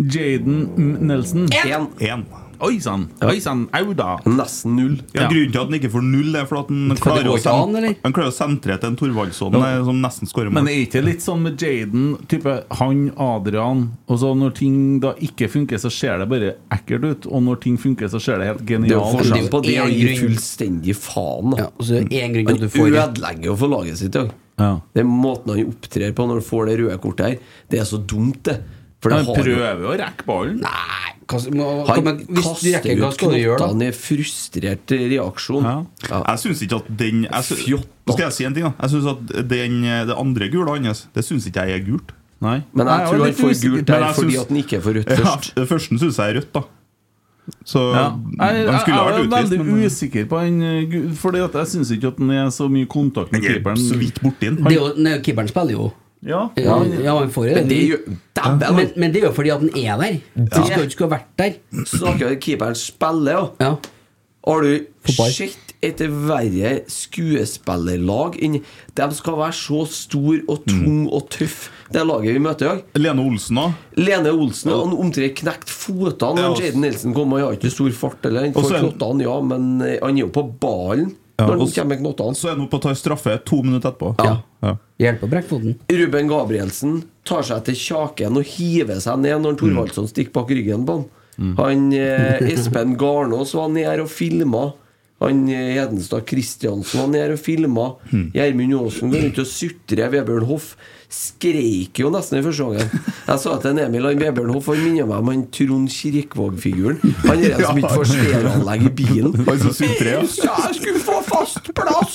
[SPEAKER 4] Jaden M. Nelson.
[SPEAKER 6] Én.
[SPEAKER 8] Én.
[SPEAKER 4] Oi sann! Oi sann! Au da!
[SPEAKER 6] Nesten null.
[SPEAKER 8] Ja,
[SPEAKER 4] Ja.
[SPEAKER 8] grunnen til at han ikke får null, er for at han klarer
[SPEAKER 5] går
[SPEAKER 8] å,
[SPEAKER 5] ikke an, eller?
[SPEAKER 8] sen han klarer å sentre til en Thorvaldsson eh, som nesten skårer
[SPEAKER 4] Men
[SPEAKER 8] mål.
[SPEAKER 4] er ikke det litt sånn med Jaden, type han, Adrian Og så når ting da ikke funker, så ser det bare ekkelt ut. Og når ting funker, så ser det helt
[SPEAKER 6] Det er jo
[SPEAKER 4] genialt
[SPEAKER 6] forskjell
[SPEAKER 4] ut.
[SPEAKER 6] på det. Han
[SPEAKER 5] én
[SPEAKER 6] gir
[SPEAKER 5] grunn.
[SPEAKER 6] fullstendig faen.
[SPEAKER 5] Ja,
[SPEAKER 6] Da.
[SPEAKER 5] og så er det én grunn til at
[SPEAKER 6] Han
[SPEAKER 5] du får
[SPEAKER 6] ødelegger jo for laget sitt. Ja.
[SPEAKER 4] Ja.
[SPEAKER 6] Det er måten han opptrer på når han får det røde kortet her. Det er så dumt, det. For det
[SPEAKER 4] Han
[SPEAKER 6] har jo
[SPEAKER 4] prøver å rekke ballen.
[SPEAKER 5] Nei, hva, må, hva,
[SPEAKER 6] han
[SPEAKER 5] men, hvis du
[SPEAKER 6] kaster
[SPEAKER 5] rekker, hva
[SPEAKER 6] ut
[SPEAKER 5] skal du gjøre da?
[SPEAKER 6] knottene i frustrert reaksjon.
[SPEAKER 4] Ja.
[SPEAKER 6] Ja.
[SPEAKER 8] Jeg syns ikke at den jeg sy
[SPEAKER 6] Fjott, da.
[SPEAKER 8] Nå skal jeg si en ting, da. Jeg syns at den, det andre gule hans, det syns ikke jeg er gult.
[SPEAKER 4] Nei.
[SPEAKER 6] Men jeg,
[SPEAKER 4] Nei,
[SPEAKER 6] tror han
[SPEAKER 4] var litt
[SPEAKER 6] får
[SPEAKER 4] usikker.
[SPEAKER 6] gult der
[SPEAKER 8] Men jeg
[SPEAKER 6] fordi
[SPEAKER 8] syns-
[SPEAKER 6] at han ikke får rødt
[SPEAKER 8] Ja,
[SPEAKER 6] først.
[SPEAKER 8] det første syns jeg er rødt, da. Så
[SPEAKER 4] Ja. Jeg,
[SPEAKER 8] de
[SPEAKER 4] jeg,
[SPEAKER 8] skulle ha
[SPEAKER 4] jeg er
[SPEAKER 8] vært utvist,
[SPEAKER 4] veldig
[SPEAKER 8] men
[SPEAKER 4] usikker på han eh, gu- Fordi at jeg syns ikke at han er så mye kontakt med
[SPEAKER 8] den er
[SPEAKER 4] keeperen.
[SPEAKER 8] så vidt borti den.
[SPEAKER 5] Det er jo, nei, keeperen spiller jo.
[SPEAKER 4] Ja.
[SPEAKER 5] Ja, han får det.
[SPEAKER 6] Men det gjør Dæven!
[SPEAKER 5] men, men det er jo fordi at den er der. Du skal jo ikke skulle ha vært der.
[SPEAKER 6] Snakker om keeperen spiller, ja.
[SPEAKER 5] Ja.
[SPEAKER 6] Har du
[SPEAKER 5] Fotball.
[SPEAKER 6] sett et verre skuespillerlag enn De skal være så stor og tung og tøff, det laget vi møter i dag.
[SPEAKER 8] Mm. Lene Olsen òg.
[SPEAKER 6] Lene Olsen han omtrent knekt føttene
[SPEAKER 8] Ja,
[SPEAKER 6] når
[SPEAKER 8] og-
[SPEAKER 6] Jaden Nelson kom. Han har ikke stor fart, eller han
[SPEAKER 8] Og så
[SPEAKER 6] får
[SPEAKER 8] er-
[SPEAKER 6] knottene, ja, men eh, han er jo på ballen
[SPEAKER 8] Ja,
[SPEAKER 6] når
[SPEAKER 8] og
[SPEAKER 6] han
[SPEAKER 8] så-
[SPEAKER 6] kommer med knottene.
[SPEAKER 8] Så er han oppe og tar straffe to minutter etterpå.
[SPEAKER 5] Ja.
[SPEAKER 8] Ja.
[SPEAKER 5] Hjelp å brekke foten.
[SPEAKER 6] Ruben Gabrielsen tar seg til kjaken og hiver seg ned når Thorvaldsson stikker bak ryggen på han.
[SPEAKER 8] Mm.
[SPEAKER 6] Han eh, Espen Garnås var nede og filma. Han eh, Hedenstad Kristiansen var nede og filma.
[SPEAKER 8] Mm.
[SPEAKER 6] Gjermund Aasen går rundt og sutrer. Vebjørn Hoff skreik jo nesten i første gangen. Jeg sa til en Emil han Vebjørn Hoff Han minner meg om han Trond Kirkvaag-figuren. Han er den som ikke får stereoanlegg i bilen.
[SPEAKER 8] Han som sutrer, ja.
[SPEAKER 6] Jeg sa jeg skulle få fast plass!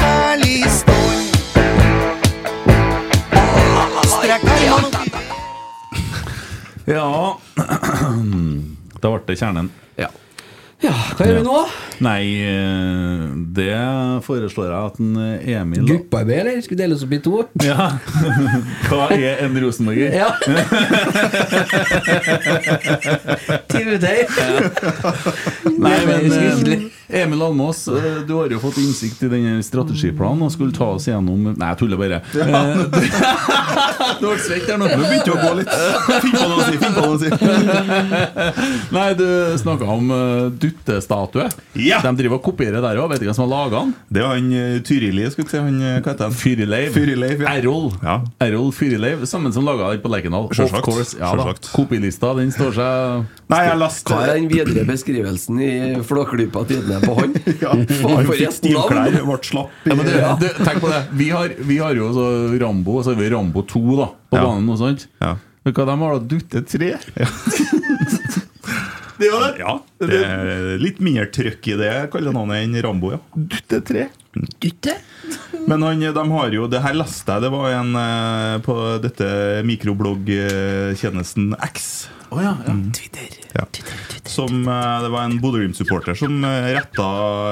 [SPEAKER 3] herlig stål. Strekk armene opp i været.
[SPEAKER 4] Ja Da ble det kjernen.
[SPEAKER 6] Ja.
[SPEAKER 5] Ja, hva gjør vi nå?
[SPEAKER 4] Nei, eh, det foreslår jeg at en eh, Emil
[SPEAKER 5] Gruppearbeid, eller? Skal vi dele oss opp i to?
[SPEAKER 4] Ja. Hva er en rosenborger?
[SPEAKER 5] Ja.
[SPEAKER 4] Nei, men eh, Emil Almås, eh, du har jo fått innsikt i denne strategiplanen og skulle ta oss gjennom Nei, jeg tuller bare. Eh, Du ble svett der nå.
[SPEAKER 8] Nå begynte det å gå litt. Finn på noe å si, finn på noe å si.
[SPEAKER 4] Nei, du snakka om eh, duttestatue. De driver og kopierer der òg. Vet ikke hvem som har laga den.
[SPEAKER 8] Det var han eh, Tyrili, skulle jeg si. Han, eh, hva heter han?
[SPEAKER 4] Fyrileiv.
[SPEAKER 8] Fyrileiv, ja.
[SPEAKER 4] Errol.
[SPEAKER 8] ja.
[SPEAKER 4] Errol Fyrileiv, sammen som laga den på Lerkendal. Of
[SPEAKER 8] Selvsagt.
[SPEAKER 4] course. Ja, da.
[SPEAKER 8] Selvsagt.
[SPEAKER 4] Kopilista, den står seg
[SPEAKER 8] Nei, jeg leste
[SPEAKER 6] Hva er den videre beskrivelsen i Flåklypa tidene på han?
[SPEAKER 8] ja, Han
[SPEAKER 6] for
[SPEAKER 8] fikk
[SPEAKER 6] et navn.
[SPEAKER 8] stivklær, ble slapp i
[SPEAKER 4] Ja, men det, det, tenk på det. Vi har, vi har jo så Rambo, og så har vi Rambo 2 da, på
[SPEAKER 8] Ja.
[SPEAKER 4] banen. og sånt
[SPEAKER 8] Ja.
[SPEAKER 4] Men Hva de har da? Dutte 3? det er jo det.
[SPEAKER 8] Ja, det er litt mindre trøkk i det kallenavnet enn Rambo, ja. Mm.
[SPEAKER 4] Dutte 3.
[SPEAKER 5] Dytte?
[SPEAKER 8] Men han, de har jo Det her leste jeg, det var en eh, på dette mikrobloggtjenesten X. Mm.
[SPEAKER 4] Å ja, ja.
[SPEAKER 8] Ja. Som, eh, det var en Bodø-Glimt-supporter som eh, retta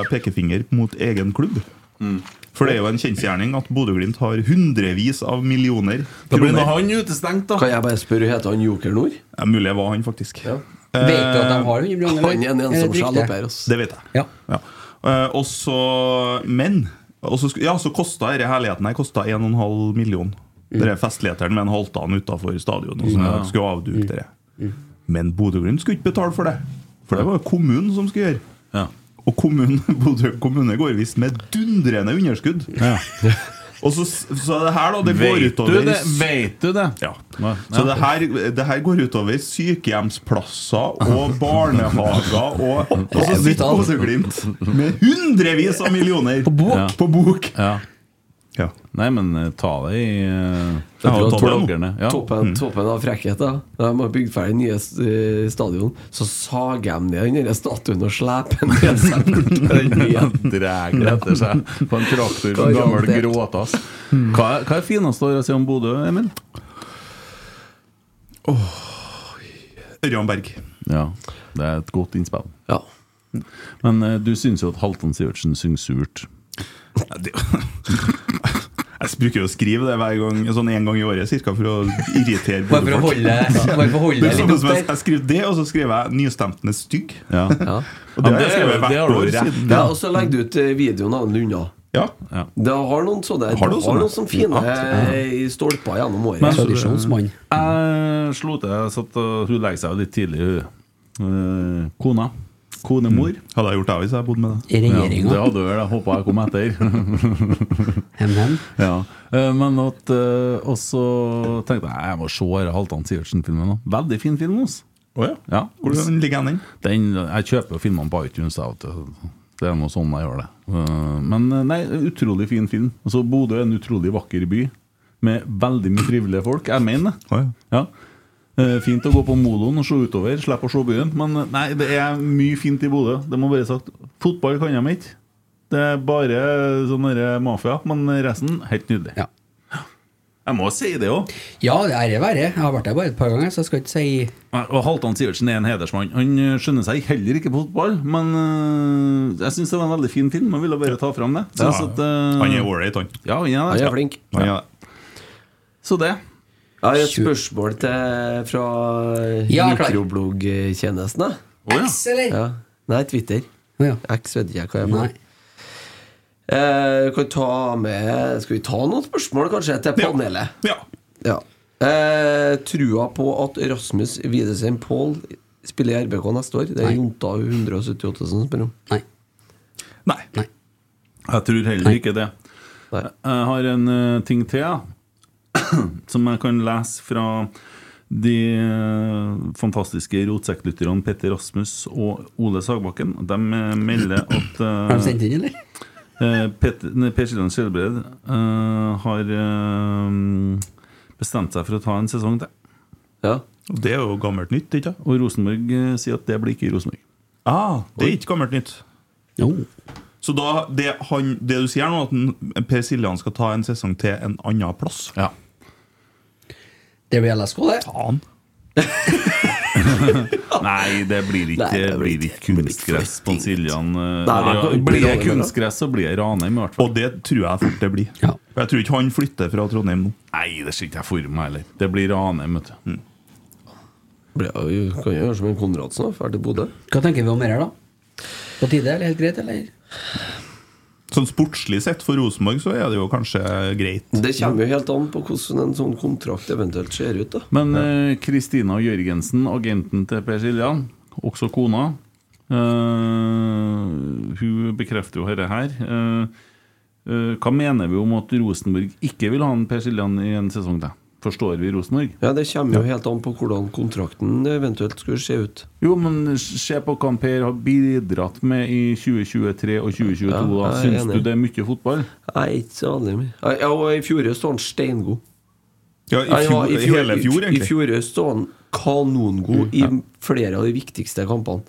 [SPEAKER 8] pekefinger mot egen klubb.
[SPEAKER 4] Mm.
[SPEAKER 8] For det er jo en kjensgjerning at Bodø-Glimt har hundrevis av millioner
[SPEAKER 4] Da blir nå
[SPEAKER 8] kroner.
[SPEAKER 4] han utestengt, da.
[SPEAKER 6] Kan jeg bare spørre, heter han Joker Nord?
[SPEAKER 8] Ja, mulig det var han, faktisk.
[SPEAKER 5] Vet du at de har 100 millioner?
[SPEAKER 6] Han er
[SPEAKER 5] Er
[SPEAKER 6] en
[SPEAKER 5] det
[SPEAKER 6] ensom
[SPEAKER 5] et
[SPEAKER 6] sjel
[SPEAKER 5] rykte?
[SPEAKER 6] oppi her. ass.
[SPEAKER 8] Eh, Det vet jeg.
[SPEAKER 5] Ja.
[SPEAKER 8] Ja. Eh, og så Men og så, sk- ja, så kosta denne herligheten her kosta 1,5 million.
[SPEAKER 5] Mm.
[SPEAKER 8] Denne festligheteren med en halvtann utafor stadionet som skulle
[SPEAKER 5] Mm.
[SPEAKER 8] avduke dere. Men Bodø-Glimt skulle ikke betale for det. For det var jo kommunen som skulle gjøre.
[SPEAKER 4] Ja.
[SPEAKER 8] Og kommunen, Bodø kommune går visst med dundrende underskudd. og så, så det her, da. Det går
[SPEAKER 4] Vet du
[SPEAKER 8] utover
[SPEAKER 4] det? Vet du det?
[SPEAKER 8] ja.
[SPEAKER 4] Nei,
[SPEAKER 8] Så
[SPEAKER 4] nei.
[SPEAKER 8] det her, det her går utover sykehjemsplasser og barnehager og Og så sitter Bodø-Glimt med hundrevis av millioner på
[SPEAKER 5] bok.
[SPEAKER 8] På bok.
[SPEAKER 4] Ja.
[SPEAKER 8] Ja.
[SPEAKER 4] Nei, men eh, ta det i uh,
[SPEAKER 8] Jeg tror at
[SPEAKER 4] bloggerne. Ja.
[SPEAKER 8] Mm.
[SPEAKER 6] Toppen, toppen av frekkhet. da. Da De har bygd ferdig nye eh, stadion. Så sager de ned den der statuen og sleper den ned seg bort til den byen.
[SPEAKER 4] Dreger etter seg på en traktor på en gammel
[SPEAKER 6] Garantert.
[SPEAKER 4] gråtass.
[SPEAKER 5] Hmm.
[SPEAKER 4] Hva, er- hva er finest å si om Bodø, Emil?
[SPEAKER 8] Ørjan Berg.
[SPEAKER 4] Ja, det er et godt innspill.
[SPEAKER 6] Ja.
[SPEAKER 4] Men eh, du syns jo at Halvdan Sivertsen synger surt.
[SPEAKER 8] Ja, det- Jeg bruker jo å skrive det hver gang, sånn en gang i året cirka, for å irritere
[SPEAKER 5] Bare for å
[SPEAKER 8] Bodø-folk.
[SPEAKER 5] holde, bare for å holde deg
[SPEAKER 8] Det er
[SPEAKER 5] litt
[SPEAKER 8] samme
[SPEAKER 5] opp
[SPEAKER 8] som jeg,
[SPEAKER 5] der.
[SPEAKER 8] jeg skriver det, og så skriver jeg 'nystemten er stygg'.
[SPEAKER 4] Ja.
[SPEAKER 6] Ja.
[SPEAKER 8] Og det
[SPEAKER 4] Ja,
[SPEAKER 8] har jeg
[SPEAKER 4] det er jo- det
[SPEAKER 8] skrevet
[SPEAKER 4] har
[SPEAKER 8] hvert
[SPEAKER 4] du
[SPEAKER 8] år
[SPEAKER 4] jo siden.
[SPEAKER 8] siden.
[SPEAKER 6] ja, Og så legger du ut eh, videoen av den unna.
[SPEAKER 8] Ja.
[SPEAKER 6] Det har noen sånne,
[SPEAKER 8] Har
[SPEAKER 6] har
[SPEAKER 8] du
[SPEAKER 6] noen
[SPEAKER 8] sånne?
[SPEAKER 6] sånne, fine eh, stolper gjennom året.
[SPEAKER 5] Tradisjonsmann.
[SPEAKER 4] Jeg slo til jeg satt, og Hun legger seg jo litt tidlig, hun. Eh, kona. Konemor.
[SPEAKER 8] Mm. Hadde jeg gjort det hvis jeg bodde med deg.
[SPEAKER 5] I
[SPEAKER 4] Ja, det
[SPEAKER 5] regjeringa.
[SPEAKER 4] hadde du vel, jeg håpa jeg kom etter.
[SPEAKER 5] Hem, hem.
[SPEAKER 4] ja. Eh, Men at eh, Og så tenkte jeg jeg må se denne Halvdan Sivertsen-filmen. nå. Veldig fin film. Også.
[SPEAKER 8] Oh, ja.
[SPEAKER 4] Ja.
[SPEAKER 8] Hvordan ligger den?
[SPEAKER 4] Den, jeg kjøper jo filmene på iTunes. Da, vet du. det er noe sånn jeg gjør det. Eh, Men eh, nei, utrolig fin film. Altså, Bodø er en utrolig vakker by med veldig mye trivelige folk. Jeg mener det.
[SPEAKER 8] Oh, ja.
[SPEAKER 4] Ja. Eh, Fint å gå på moloen og se utover. Slipp å se byen. Men eh, nei, det er mye fint i Bodø. Det må være sagt. Fotball kan de ikke. Det er bare sånn derre mafia. Men resten, helt nydelig.
[SPEAKER 5] Ja.
[SPEAKER 4] Jeg må si det òg.
[SPEAKER 5] Ja, det er det verre. Jeg har vært der bare et par ganger, så jeg skal ikke si
[SPEAKER 4] Og Halvdan Sivertsen er en hedersmann. Han eh, skjønner seg heller ikke på fotball, men eh, jeg syns det var en veldig fin film. Jeg ville bare ta fram det. Så
[SPEAKER 8] altså
[SPEAKER 4] jeg synes at, eh,
[SPEAKER 8] Han er ålreit, han.
[SPEAKER 4] Ja, han er
[SPEAKER 6] Han
[SPEAKER 4] det.
[SPEAKER 6] er flink.
[SPEAKER 8] Han er det.
[SPEAKER 4] Så det.
[SPEAKER 6] Jeg har et spørsmål til, eh, fra
[SPEAKER 5] Ja, klar.
[SPEAKER 6] mikrobloggtjenesten. da.
[SPEAKER 4] Å, ja.
[SPEAKER 5] X, eller?
[SPEAKER 6] Ja. Nei, Twitter.
[SPEAKER 5] Å, ja.
[SPEAKER 6] X vet ikke jeg hva jeg
[SPEAKER 5] Nei.
[SPEAKER 6] mener. Eh, kan ta med, skal vi ta noen spørsmål kanskje til panelet?
[SPEAKER 8] Ja.
[SPEAKER 6] Ja. Eh, trua på at Rasmus Widesheim Paul spiller i RBK neste år? Det er
[SPEAKER 5] Nei.
[SPEAKER 6] Jonta 178 som spør om.
[SPEAKER 5] Nei.
[SPEAKER 8] Nei.
[SPEAKER 5] Nei.
[SPEAKER 4] Jeg tror heller ikke det.
[SPEAKER 6] Nei.
[SPEAKER 4] Jeg har en eh, ting til, ja. som jeg kan lese fra de eh, fantastiske rotsekklytterne Petter Rasmus og Ole Sagbakken. De eh, melder at eh,
[SPEAKER 5] Har de sendt inn, eller?
[SPEAKER 4] Eh, Pet- nei, Per Siljan Skjelbred eh, har eh, bestemt seg for å ta en sesong til.
[SPEAKER 6] Ja.
[SPEAKER 8] Og Det er jo gammelt nytt, ikke sant?
[SPEAKER 4] Og Rosenborg eh, sier at det blir ikke i Rosenborg.
[SPEAKER 8] Ah, det er ikke gammelt nytt.
[SPEAKER 5] Jo.
[SPEAKER 8] Så da, det, han, det du sier nå, at en- Per Siljan skal ta en sesong til en annen plass
[SPEAKER 4] Ja.
[SPEAKER 5] Det blir LSK, det.
[SPEAKER 8] Faen.
[SPEAKER 4] Nei, det blir ikke, det
[SPEAKER 8] Nei, det blir
[SPEAKER 4] blir ikke kunstgress på Siljan. eh,
[SPEAKER 8] Nei,
[SPEAKER 4] ja,
[SPEAKER 8] det blir
[SPEAKER 4] Blir det
[SPEAKER 8] dårlig,
[SPEAKER 4] kunstgress, så blir det Ranheim, i hvert fall.
[SPEAKER 8] Og det tror jeg fort det blir. Jeg tror ikke han flytter fra Trondheim nå. Mm.
[SPEAKER 4] Nei, det ser ikke jeg for meg heller. Det blir Ranheim, vet du.
[SPEAKER 6] Blir jeg- Kan jeg gjøre som en Konradsen, da? Drar til Bodø.
[SPEAKER 5] Hva tenker vi om det her, da? På tide, eller helt greit, eller?
[SPEAKER 8] Sånn sportslig sett for Rosenborg, så er det jo kanskje greit.
[SPEAKER 6] Det kommer jo helt an på hvordan en sånn kontrakt eventuelt ser ut, da.
[SPEAKER 4] Men eh, Kristina Jørgensen, agenten til Per Siljan, også kona eh, Hun bekrefter jo dette her. Eh, eh, hva mener vi om at Rosenborg ikke vil ha en Per Siljan i en sesong til? Forstår vi Rosenborg?
[SPEAKER 6] Ja, Det kommer jo helt an på hvordan kontrakten eventuelt skulle se ut.
[SPEAKER 4] Jo, men se på hva Per har bidratt med i 2023 og 2022. da.
[SPEAKER 6] Ja, jeg er
[SPEAKER 4] Syns
[SPEAKER 6] enig.
[SPEAKER 4] du det er mye fotball?
[SPEAKER 6] Nei, ikke så veldig mye. Nei, Ja, og I fjor høst var han steingod.
[SPEAKER 8] Ja, i
[SPEAKER 6] Nei,
[SPEAKER 8] fjor- hele fjor,
[SPEAKER 6] I
[SPEAKER 8] egentlig. Mm,
[SPEAKER 6] fjor høst var han kanongod i flere av de viktigste kampene.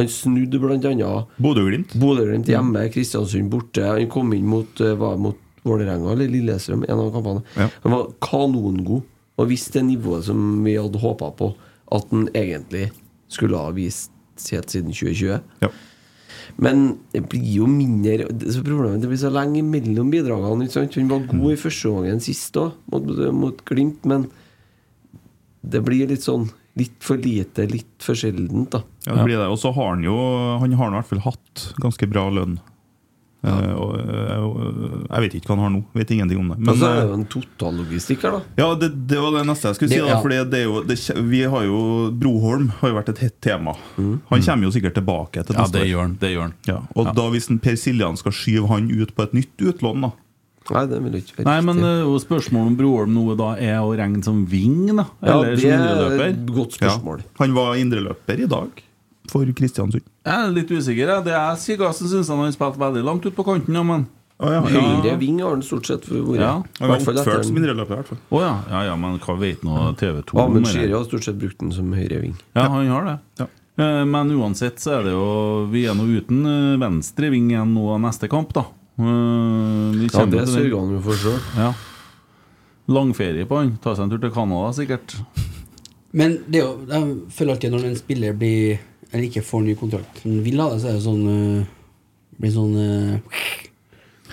[SPEAKER 6] Han snudde bl.a.
[SPEAKER 8] Bodø-Glimt. Mm.
[SPEAKER 6] Bodø-Glimt hjemme, Kristiansund borte. Han kom inn mot, eh, var det mot Vålerenga eller Lillestrøm, en av kampene. Han var kanongod og viste det nivået som vi hadde håpa på at han egentlig skulle ha vist helt siden 2020. Men det blir jo mindre det, så Problemet er at det blir så lenge mellom bidragene. Ikke sant? Hun var god i første gangen sist òg, mot, mot Glimt, men det blir litt sånn litt for lite, litt for sjeldent, da.
[SPEAKER 8] Ja, det blir det. Og så har han jo Han har nå i hvert fall hatt ganske bra lønn. Eh, og, eh, og, jeg vet ikke hva han har nå. Vet ingenting om det.
[SPEAKER 6] Men så er Altså, det
[SPEAKER 8] eh,
[SPEAKER 6] jo en totallogistikk her, da.
[SPEAKER 8] Ja, det, det var det neste jeg skulle si.
[SPEAKER 6] Det-
[SPEAKER 8] da,
[SPEAKER 6] ja.
[SPEAKER 8] fordi det er jo, det, kje- vi har jo, Broholm har jo vært et hett tema. Han kommer jo sikkert tilbake til
[SPEAKER 4] Ja,
[SPEAKER 8] neste
[SPEAKER 4] det
[SPEAKER 8] år.
[SPEAKER 4] gjør han. Det gjør han.
[SPEAKER 8] Ja, og da hvis en Per Siljan skal skyve han ut på et nytt utlån, da
[SPEAKER 6] Nei, det vil ikke
[SPEAKER 4] Nei, men eh, og spørsmålet om Broholm nå da er å regne som wing, da?
[SPEAKER 8] Ja,
[SPEAKER 4] Eller
[SPEAKER 8] det
[SPEAKER 4] som
[SPEAKER 8] er
[SPEAKER 4] indreløper?
[SPEAKER 8] et godt spørsmål. Han var indreløper i dag for Kristiansund.
[SPEAKER 4] Jeg er litt usikker. Jeg. Det er Sigassen syns han har spilt veldig langt ut på kanten, ja, men
[SPEAKER 6] Høyre ving har han stort sett vært.
[SPEAKER 4] Ja.
[SPEAKER 6] I hvert fall etter en-
[SPEAKER 8] i hvert fall.
[SPEAKER 4] Å ja. ja, ja, men hva vet nå TV 2
[SPEAKER 6] Ahmed Shiri har stort sett brukt den som høyre ving.
[SPEAKER 4] Ja, han har det. Eh, Men uansett så er det jo Vi er nå uten eh, venstre ving igjen nå av neste kamp, da. Eh,
[SPEAKER 6] Ja,
[SPEAKER 4] Vi
[SPEAKER 6] det
[SPEAKER 4] kommer til den.
[SPEAKER 6] sørger han jo for sjøl.
[SPEAKER 4] Ja. Langferie på han. Ta seg en tur til Canada, sikkert.
[SPEAKER 5] Men det er jo, jeg føler alltid når en spiller blir Eller ikke får ny kontrakt som vil ha det, så er det sånn øh, blir sånn øh,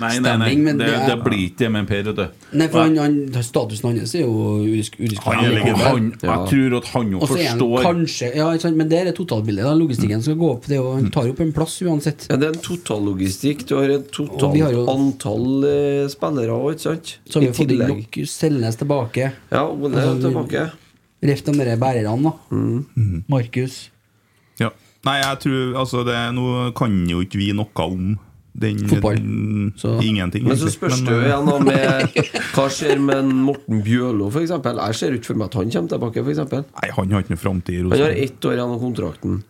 [SPEAKER 4] Nei, nei, nei.
[SPEAKER 5] Stemning, men
[SPEAKER 4] det,
[SPEAKER 5] det
[SPEAKER 4] det
[SPEAKER 5] er-
[SPEAKER 4] blir ikke det med Per, vet du.
[SPEAKER 5] Nei, for han, han, statusen hans er jo udisk- udiskutabel.
[SPEAKER 4] Han- Jeg tror at han jo
[SPEAKER 5] Og så er han
[SPEAKER 4] forstår
[SPEAKER 5] kanskje Ja, ikke sant, men der er totalbildet. da Logistikken skal gå opp. Det er jo, han tar jo opp en plass uansett.
[SPEAKER 6] Ja, det er en totallogistikk. Du har et
[SPEAKER 5] Og
[SPEAKER 6] totalt
[SPEAKER 5] vi har jo-
[SPEAKER 6] antall eh, spillere òg, ikke sant?
[SPEAKER 5] Så har vi
[SPEAKER 6] I
[SPEAKER 5] jo fått inn
[SPEAKER 6] tillegg.
[SPEAKER 5] nok Selnes tilbake.
[SPEAKER 6] Ja, Ole er
[SPEAKER 5] Altså,
[SPEAKER 6] tilbake. Mm.
[SPEAKER 5] Reft de der bærerne, da.
[SPEAKER 4] Mm.
[SPEAKER 5] Markus.
[SPEAKER 8] Ja. Nei, jeg tror altså det, Nå kan jo ikke vi noe om den
[SPEAKER 5] Fotball.
[SPEAKER 8] den- Ingenting.
[SPEAKER 6] Men så
[SPEAKER 8] egentlig.
[SPEAKER 6] spørs
[SPEAKER 8] Men,
[SPEAKER 6] det jo
[SPEAKER 8] eh,
[SPEAKER 6] igjen da med hva skjer med en Morten Bjørlo, f.eks. Jeg ser ikke for meg at han kommer tilbake, f.eks.
[SPEAKER 8] Nei, han har ikke noe framtid i
[SPEAKER 6] Han har
[SPEAKER 8] Rosenborg.
[SPEAKER 6] ett år igjen av kontrakten.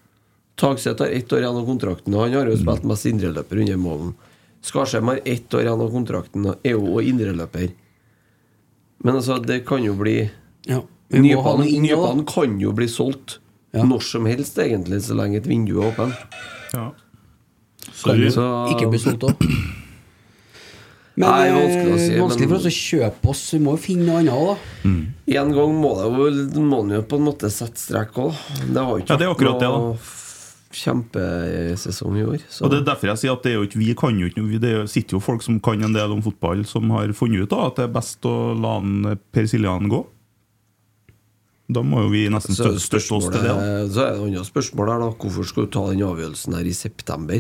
[SPEAKER 6] Tagseth har ett år igjen av kontrakten. og Han har jo spilt mest indreløper under målen. Skarsheim har ett år igjen av kontrakten og er jo også indreløper. Men altså, det kan jo bli
[SPEAKER 5] Ja, vi må ha
[SPEAKER 6] Nypanen
[SPEAKER 5] noe inn nå, da.
[SPEAKER 6] Nypanen kan jo bli solgt når som helst, egentlig, så lenge et vindu er åpent.
[SPEAKER 5] Kan jo
[SPEAKER 6] Så-
[SPEAKER 5] ikke bli solgt òg. Men
[SPEAKER 6] Nei,
[SPEAKER 5] eh,
[SPEAKER 6] vanskelig å si,
[SPEAKER 5] vanskelig for
[SPEAKER 6] men-
[SPEAKER 5] oss å kjøpe oss. Vi må jo finne noe annet òg, da.
[SPEAKER 6] En gang må det jo Må han jo på en måte sette strekk òg. Det har jo ikke
[SPEAKER 8] Ja, det er akkurat det, da.
[SPEAKER 6] noe f- kjempesesong i år. Så.
[SPEAKER 8] Og det er derfor jeg sier at det er jo ikke, vi kan jo ikke Det er jo- sitter jo folk som kan en del om fotball, som har funnet ut da at det er best å la en Per Siljan gå. Da må jo vi nesten
[SPEAKER 6] så, er
[SPEAKER 8] støtte,
[SPEAKER 6] det
[SPEAKER 8] støtte oss til det. Da.
[SPEAKER 6] spørsmålet- så er det et annet spørsmål her, da. Hvorfor skal du ta den avgjørelsen her i september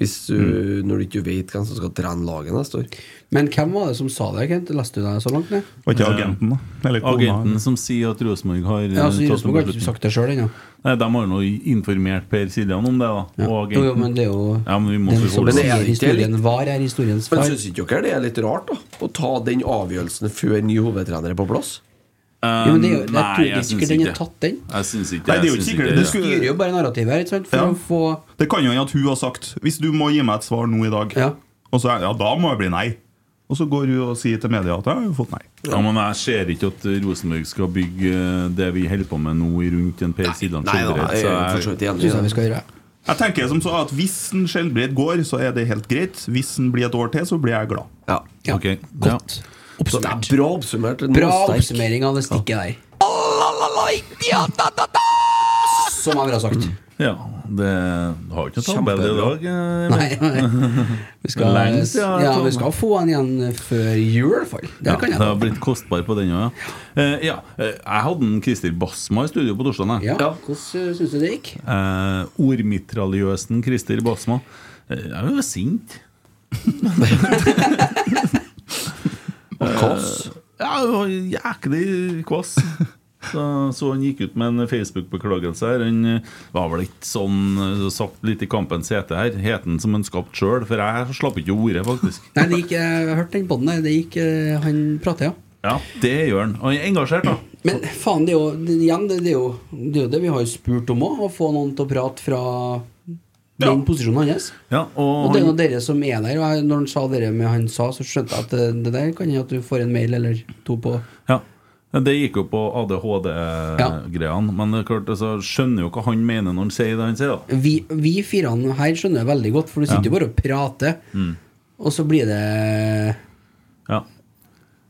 [SPEAKER 6] hvis du,
[SPEAKER 8] Mm.
[SPEAKER 6] når du ikke vet hvem som skal trene laget neste år?
[SPEAKER 5] Men hvem var det som sa det? Kent? Leste du det så langt ned?
[SPEAKER 8] Var ikke agenten, da? Eller kona,
[SPEAKER 4] agenten
[SPEAKER 8] eller?
[SPEAKER 4] som sier at Rosenborg har eh,
[SPEAKER 5] Ja, altså,
[SPEAKER 4] tatt en
[SPEAKER 5] Rosenborg har
[SPEAKER 4] beslutning.
[SPEAKER 5] ikke sagt det sjøl ennå.
[SPEAKER 4] Nei, De har nå informert Per Siljan om det, da. Og
[SPEAKER 5] Jo, jo,
[SPEAKER 4] agenten.
[SPEAKER 5] men det er jo
[SPEAKER 4] Ja, men vi må
[SPEAKER 5] den
[SPEAKER 4] forholde
[SPEAKER 5] som sier
[SPEAKER 6] Men
[SPEAKER 4] oss.
[SPEAKER 6] det er ikke
[SPEAKER 5] historien var, er historiens
[SPEAKER 6] Men
[SPEAKER 5] far.
[SPEAKER 6] syns ikke dere det er litt rart, da? Å ta den avgjørelsen før ny hovedtrener er på plass?
[SPEAKER 5] Jo, men det er jo-
[SPEAKER 8] Um,
[SPEAKER 5] jeg
[SPEAKER 4] Nei,
[SPEAKER 5] tror ikke
[SPEAKER 4] jeg syns
[SPEAKER 5] sikkert den er
[SPEAKER 4] ikke.
[SPEAKER 5] tatt, den.
[SPEAKER 4] Jeg syns ikke
[SPEAKER 8] Nei, det er jo
[SPEAKER 4] jeg
[SPEAKER 8] ikke
[SPEAKER 4] syns
[SPEAKER 8] sikkert.
[SPEAKER 4] det.
[SPEAKER 8] Det skulle-
[SPEAKER 5] styrer jo bare narrativet her, ikke sant? For
[SPEAKER 8] Ja.
[SPEAKER 5] å få
[SPEAKER 8] Det kan jo hende at hun har sagt Hvis du må gi meg et svar nå i dag, og så er, ja, da må jeg bli nei. Og så går hun og sier til media at jeg har jo fått nei.
[SPEAKER 4] Ja, men Jeg ser ikke at Rosenborg skal bygge eh, det vi holder på med nå, i rundt en Per
[SPEAKER 6] nei,
[SPEAKER 4] Siljan
[SPEAKER 6] da,
[SPEAKER 4] Skjelbred,
[SPEAKER 6] jeg
[SPEAKER 4] så
[SPEAKER 6] er for så vidt enig i Synes jeg det. vi skal gjøre.
[SPEAKER 8] Jeg tenker som så at Hvis en Skjelbred går, så er det helt greit. Hvis en blir et år til, så blir jeg glad.
[SPEAKER 6] Ja,
[SPEAKER 4] Ok,
[SPEAKER 5] Godt.
[SPEAKER 6] Oppsummert. Bra oppsummert.
[SPEAKER 5] Bra oppsummering av det stikket der.
[SPEAKER 6] Ja.
[SPEAKER 5] Så som jeg ville ha sagt.
[SPEAKER 4] Ja, det har ikke noe tabell i dag. eh,
[SPEAKER 5] Nei. Vi skal,
[SPEAKER 4] Lenge siden,
[SPEAKER 5] ja,
[SPEAKER 4] Tom.
[SPEAKER 5] vi skal få en igjen før jul, i hvert fall. Det
[SPEAKER 4] ja,
[SPEAKER 5] kan jeg
[SPEAKER 4] det har blitt kostbar på den òg, ja. Eh, ja. eh, Jeg hadde en Christer Basma i studio på torsdag.
[SPEAKER 5] Ja, Hvordan syns du det gikk?
[SPEAKER 4] Eh, ordmitraljøsen Christer Basma. Eh, jeg var sint.
[SPEAKER 8] Kvass?
[SPEAKER 4] Eh, ja, det var jæklig kvass. Så, så han gikk ut med en Facebook-beklagelse. her Han eh, var vel ikke sånn eh, satt litt i kampens hete her. Heten som han skapte sjøl, for jeg slapp ikke ordet, faktisk.
[SPEAKER 5] Nei, det gikk, jeg har hørt den podden der. Det gikk, eh, han prater, ja.
[SPEAKER 4] Ja, det gjør han. Og han er engasjert, da.
[SPEAKER 5] Men faen, det er jo det, igjen, det, det, er jo, det er jo det vi har spurt om òg, å få noen til å prate fra den posisjonen hans.
[SPEAKER 4] Ja,
[SPEAKER 5] Og
[SPEAKER 4] og
[SPEAKER 5] det er
[SPEAKER 4] han,
[SPEAKER 5] jo dere som er der. Og jeg, når han sa det med han sa, så skjønte jeg at det, det der kan hende at du får en mail eller to på
[SPEAKER 4] Ja. Men Det gikk jo på ADHD-greiene. eh, Men det er klart, altså, skjønner jo hva han mener når han sier det han sier. da
[SPEAKER 5] Vi, vi fire her skjønner jeg veldig godt, for du sitter jo
[SPEAKER 4] Ja.
[SPEAKER 5] bare og prater,
[SPEAKER 4] mm.
[SPEAKER 5] og så blir det
[SPEAKER 4] Ja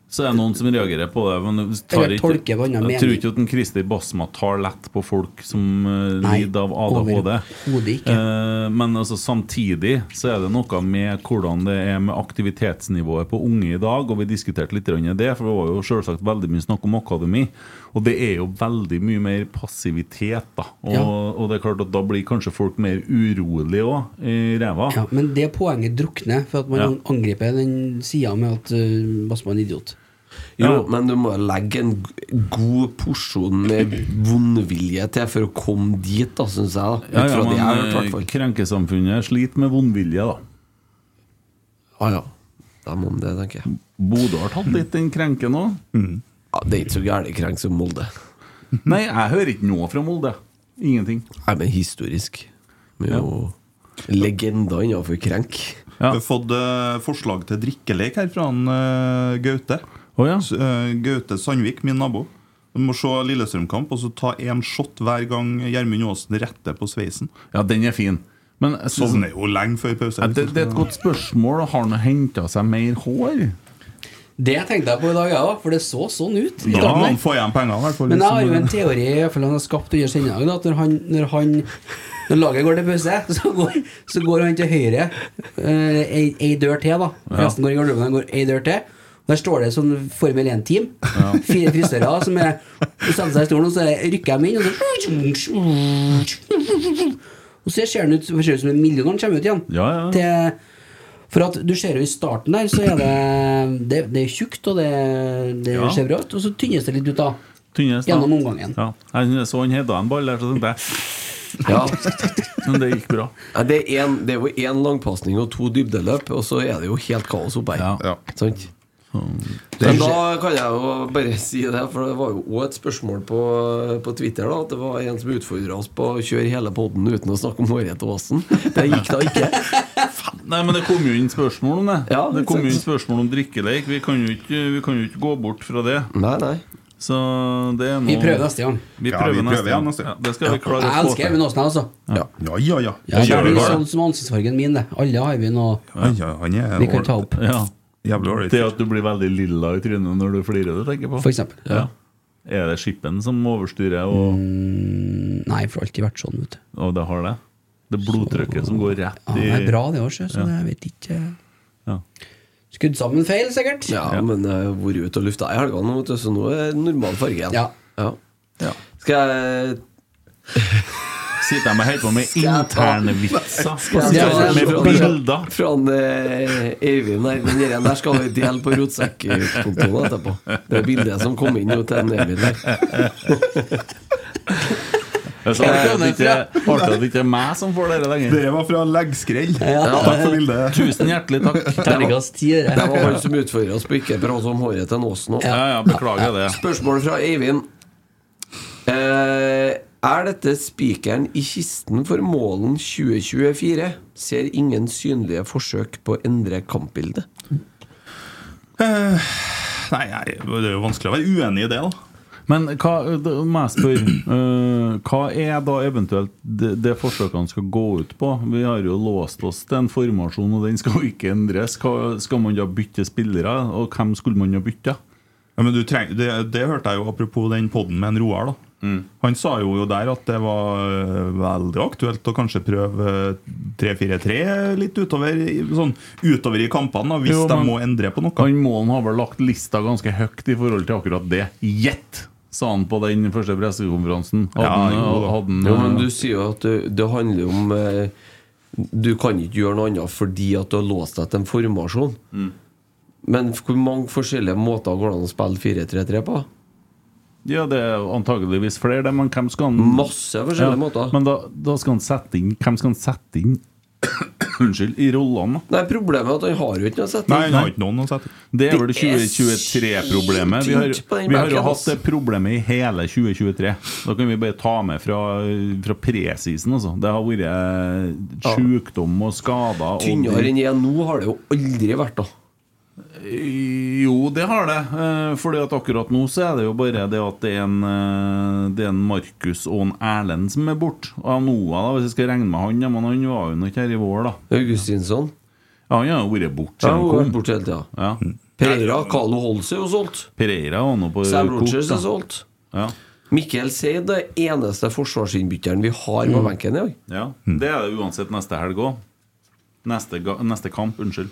[SPEAKER 4] Så er det noen som reagerer på det. Men du tar
[SPEAKER 5] Eller
[SPEAKER 4] ikke,
[SPEAKER 5] tolker hva han har
[SPEAKER 4] jeg tror
[SPEAKER 5] mening.
[SPEAKER 4] ikke at en Christer Basma tar lett på folk som eh,
[SPEAKER 5] Nei,
[SPEAKER 4] lider av ADHD.
[SPEAKER 5] overhodet ikke.
[SPEAKER 4] Eh, men altså, samtidig så er det noe med hvordan det er med aktivitetsnivået på unge i dag. Og vi diskuterte litt grann det, for det var jo selvsagt veldig mye snakk om akademi. Og det er jo veldig mye mer passivitet, da. Og,
[SPEAKER 5] Ja.
[SPEAKER 4] og det er klart at da blir kanskje folk mer urolige òg, i ræva.
[SPEAKER 5] Ja, men det poenget drukner, for at man
[SPEAKER 4] Ja.
[SPEAKER 5] angriper den sida med at uh, Basma er en idiot.
[SPEAKER 6] Jo, men du må legge en g- god porsjon med vondvilje til for å komme dit, da, syns jeg. da.
[SPEAKER 4] Ja,
[SPEAKER 6] Ut
[SPEAKER 4] ja,
[SPEAKER 6] fra det jeg har hørt, i
[SPEAKER 4] men
[SPEAKER 6] hvert
[SPEAKER 4] eh,
[SPEAKER 6] fall.
[SPEAKER 4] krenkesamfunnet sliter med vondvilje, da.
[SPEAKER 6] Ah, Ja, ja. Da må de det, tenker jeg.
[SPEAKER 4] Bodø har tatt litt den krenken òg.
[SPEAKER 3] Mm.
[SPEAKER 6] Ja, det er ikke så gæren krenk som Molde.
[SPEAKER 4] Nei, jeg hører ikke noe fra Molde. Ingenting.
[SPEAKER 6] Nei, men historisk. Vi er jo legender innenfor krenk.
[SPEAKER 8] Vi har fått eh, forslag til drikkelek her fra han, eh, Gaute. S- eh, Gaute Sandvik, min nabo. Du må se Lillestrøm-kamp og så ta én shot hver gang Gjermund Aasen retter på sveisen.
[SPEAKER 4] Ja, den er fin. Men jeg synes-
[SPEAKER 8] Sovner jo lenge før pause.
[SPEAKER 4] Ja, det, det er et godt spørsmål. Har han henta seg mer hår?
[SPEAKER 5] Det tenkte jeg på i dag, jeg òg, for det så sånn ut. i
[SPEAKER 8] Da
[SPEAKER 5] starten
[SPEAKER 8] må
[SPEAKER 5] her.
[SPEAKER 8] han få igjen pengene, i hvert fall.
[SPEAKER 5] Men jeg
[SPEAKER 8] liksom.
[SPEAKER 5] har jo en teori i hvert fall han har skapt under sendag, da, at når han, når han når laget går til pause, så går, så går han til høyre eh, ei, ei dør til, da.
[SPEAKER 4] Ja.
[SPEAKER 5] Resten går i garderoben, han går ei dør til. Og Der står det sånn Formel 1-team.
[SPEAKER 4] Ja.
[SPEAKER 5] Fire frisører som er de setter seg i stolen, og så rykker de inn, og så Og så ser han ut ser ut som en million når han kommer ut igjen.
[SPEAKER 4] Ja, ja.
[SPEAKER 5] Til, for at du ser jo i starten der, så er det Det, det er tjukt, og det, det
[SPEAKER 4] Ja.
[SPEAKER 5] ser bra ut, og så tynnes det litt ut, da.
[SPEAKER 4] Tynnes, da.
[SPEAKER 5] Gjennom omgangen.
[SPEAKER 4] Ja. Jeg så han hedda en ball der, så tenkte jeg
[SPEAKER 6] Ja.
[SPEAKER 4] Men det gikk bra.
[SPEAKER 6] Ja, det, er en, det er jo én langpasning og to dybdeløp, og så er det jo helt kaos oppe her. Sant? Men da kan jeg jo bare si det, for det var jo òg et spørsmål på, på Twitter. da At det var en som utfordra oss på å kjøre hele poden uten å snakke om håret til Åsen. Det gikk da ikke.
[SPEAKER 4] Nei, men det kom jo inn spørsmål om det.
[SPEAKER 6] Ja,
[SPEAKER 4] det kom jo inn
[SPEAKER 6] sant.
[SPEAKER 4] spørsmål om drikkeleik. Vi kan jo ikke, vi kan jo ikke gå bort fra det.
[SPEAKER 6] Nei, nei
[SPEAKER 4] Så det er noe
[SPEAKER 5] Vi prøver neste gang.
[SPEAKER 4] Vi
[SPEAKER 8] Ja,
[SPEAKER 4] prøver,
[SPEAKER 8] vi prøver
[SPEAKER 4] neste, gang.
[SPEAKER 8] igjen neste gang.
[SPEAKER 4] Ja, det skal vi klare
[SPEAKER 5] Jeg
[SPEAKER 4] å få
[SPEAKER 5] elsker Even Aasen, altså.
[SPEAKER 8] Ja, ja, ja. ja.
[SPEAKER 5] Ja, det
[SPEAKER 8] Gjør
[SPEAKER 5] blir
[SPEAKER 8] bare
[SPEAKER 5] sånn som ansiktsfargen min, det. Alle har vi noe
[SPEAKER 8] Ja, ja, han er
[SPEAKER 5] vi kan ta opp,
[SPEAKER 4] Ja.
[SPEAKER 8] Jævlig ålreit.
[SPEAKER 4] Det at du blir veldig lilla i trynet når du flirer, du tenker på.
[SPEAKER 5] for eksempel.
[SPEAKER 4] Ja. Er det skippen som overstyrer, og,
[SPEAKER 5] Mm, Nei, for det har alltid vært sånn, vet du.
[SPEAKER 4] og det har det? Det blodtrykket som går rett
[SPEAKER 5] Ja,
[SPEAKER 4] i
[SPEAKER 5] det er bra, det sånn, òg, så jeg vet ikke
[SPEAKER 4] Ja.
[SPEAKER 5] Skudd sammen feil, sikkert.
[SPEAKER 6] Ja, men jeg har vært ute og lufta i helga nå, vet du, så nå er det normal farge igjen.
[SPEAKER 5] Ja.
[SPEAKER 6] Ja.
[SPEAKER 4] Ja.
[SPEAKER 6] Skal jeg
[SPEAKER 4] Sitter de og holder på med
[SPEAKER 6] jeg ta-
[SPEAKER 4] interne vitser?
[SPEAKER 6] Ja,
[SPEAKER 4] Sitter
[SPEAKER 6] det er-
[SPEAKER 4] de med
[SPEAKER 6] fra-
[SPEAKER 4] bilder?
[SPEAKER 6] Fra han, eh, Eivind der. Den der, der skal vi dele på rotsekkkontoen etterpå. Det er bildet som kom inn jo til en Eivind der. Eh,
[SPEAKER 4] Det er så artig at det ikke- artig at det ikke er meg som får dere lenger.
[SPEAKER 8] Dere var fra leggskrell.
[SPEAKER 5] Ja.
[SPEAKER 8] Takk for bildet.
[SPEAKER 4] Eh, Tusen hjertelig takk.
[SPEAKER 5] Terningkast ti, det
[SPEAKER 6] Det
[SPEAKER 5] der.
[SPEAKER 6] var han som utfordra oss på ikke prate om håret til Nåsen òg.
[SPEAKER 4] Ja, ja, beklager det.
[SPEAKER 6] Spørsmål fra Eivind. Eh, er dette spikeren i kisten for målen 2024? Ser ingen synlige forsøk på å endre kampbildet.
[SPEAKER 8] Nei, nei, det er jo vanskelig å være uenig i det, da.
[SPEAKER 4] Men hva, da må jeg spørre eh, Hva er da eventuelt det, det forsøkene skal gå ut på? Vi har jo låst oss til en formasjon, og den skal jo ikke endres. Hva, skal man da bytte spillere? Og hvem skulle man da bytte?
[SPEAKER 8] Ja, men du treng, det, det hørte jeg jo apropos den podden med en Roar, da.
[SPEAKER 4] Mm.
[SPEAKER 8] Han sa jo jo der at det var eh, veldig aktuelt å kanskje prøve eh, 3-4-3 litt utover, i- sånn, utover i kampene, da, hvis
[SPEAKER 4] Jo,
[SPEAKER 8] de
[SPEAKER 4] men-
[SPEAKER 8] må endre på noe.
[SPEAKER 4] Han Målen har vel lagt lista ganske høyt i forhold til akkurat det. Gjett, sa han på den første pressekonferansen. Hadde han- hadde han-
[SPEAKER 6] jo, men du sier jo at det, det handler jo om eh, Du kan ikke gjøre noe annet fordi at du har låst deg til en formasjon.
[SPEAKER 4] Mm.
[SPEAKER 6] Men f- hvor mange forskjellige måter går det an å spille 4-3-3 på?
[SPEAKER 4] Ja, det er antageligvis flere, det, men hvem skal han
[SPEAKER 6] Masse forskjellige måter.
[SPEAKER 4] Men da, da skal han sette inn Hvem skal han sette inn Unnskyld, i rollene?
[SPEAKER 6] Nei, problemet er at han har jo ikke noe å sette
[SPEAKER 8] Nei, han har ikke noen å sette
[SPEAKER 4] Det er vel
[SPEAKER 6] Det er
[SPEAKER 4] 2023-problemet. Vi, har-
[SPEAKER 6] sykt på den
[SPEAKER 4] vi har jo
[SPEAKER 6] benken,
[SPEAKER 4] hatt
[SPEAKER 6] ass.
[SPEAKER 4] det problemet i hele 2023. Da kan vi bare ta med fra, fra presisen, altså. Det har vært sykdom og skader. og-
[SPEAKER 6] Tynnere enn jeg er nå har det jo aldri vært, da.
[SPEAKER 4] Jo, det har det. Eh, Fordi at akkurat nå så er det jo bare det at det er en, eh, det er en Markus og en Erlend som er borte. Og Noah, da, hvis jeg skal regne med han, ja, men han var jo nå ikke her i vår, da.
[SPEAKER 6] Augustinsson?
[SPEAKER 4] Ja, han har jo vært borte
[SPEAKER 6] Ja, han har vært
[SPEAKER 4] borte
[SPEAKER 6] hele tida.
[SPEAKER 4] Ja.
[SPEAKER 6] Pereira, Carlo Holse er jo solgt.
[SPEAKER 4] Pereira var nå på
[SPEAKER 6] Sam
[SPEAKER 4] kort,
[SPEAKER 6] Rogers
[SPEAKER 4] da.
[SPEAKER 6] er solgt.
[SPEAKER 4] Ja.
[SPEAKER 6] Mikkel Seid er eneste forsvarsinnbytteren vi har på
[SPEAKER 4] Mm.
[SPEAKER 6] benken i dag.
[SPEAKER 4] ja. Det er det uansett neste helg òg. Neste, ga- neste kamp, unnskyld.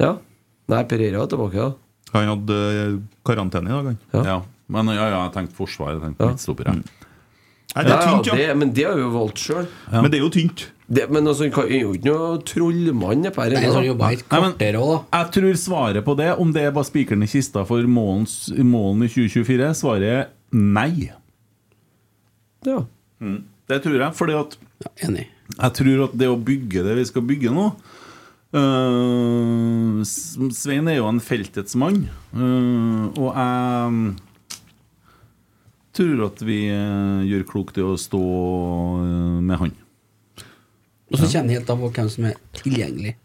[SPEAKER 6] Ja. Nei, Pereira er tilbake, da.
[SPEAKER 8] Han hadde eh, karantene i dag, han.
[SPEAKER 4] Ja. Men ja, ja, jeg tenkte forsvar. Jeg tenkte midtstopper, jeg.
[SPEAKER 8] Nei, det er tynt, ja.
[SPEAKER 6] det, men det har vi jo valgt sjøl.
[SPEAKER 8] Ja. Men det er jo tynt.
[SPEAKER 6] men altså, han kan- han er jo ikke noe trollmann. det Per, da.
[SPEAKER 4] Nei, men Jeg tror svaret på det, om det er bare spikeren i kista for målens- målen i 2024, svaret er nei.
[SPEAKER 6] Ja.
[SPEAKER 4] Mm. Det tror jeg, fordi at Jeg tror at det å bygge det vi skal bygge nå øh, S- Svein er jo en feltets mann, øh, og jeg tror at vi øh, gjør klokt i å stå øh, med han.
[SPEAKER 5] Og så kjenner jeg helt av hvem som er tilgjengelig.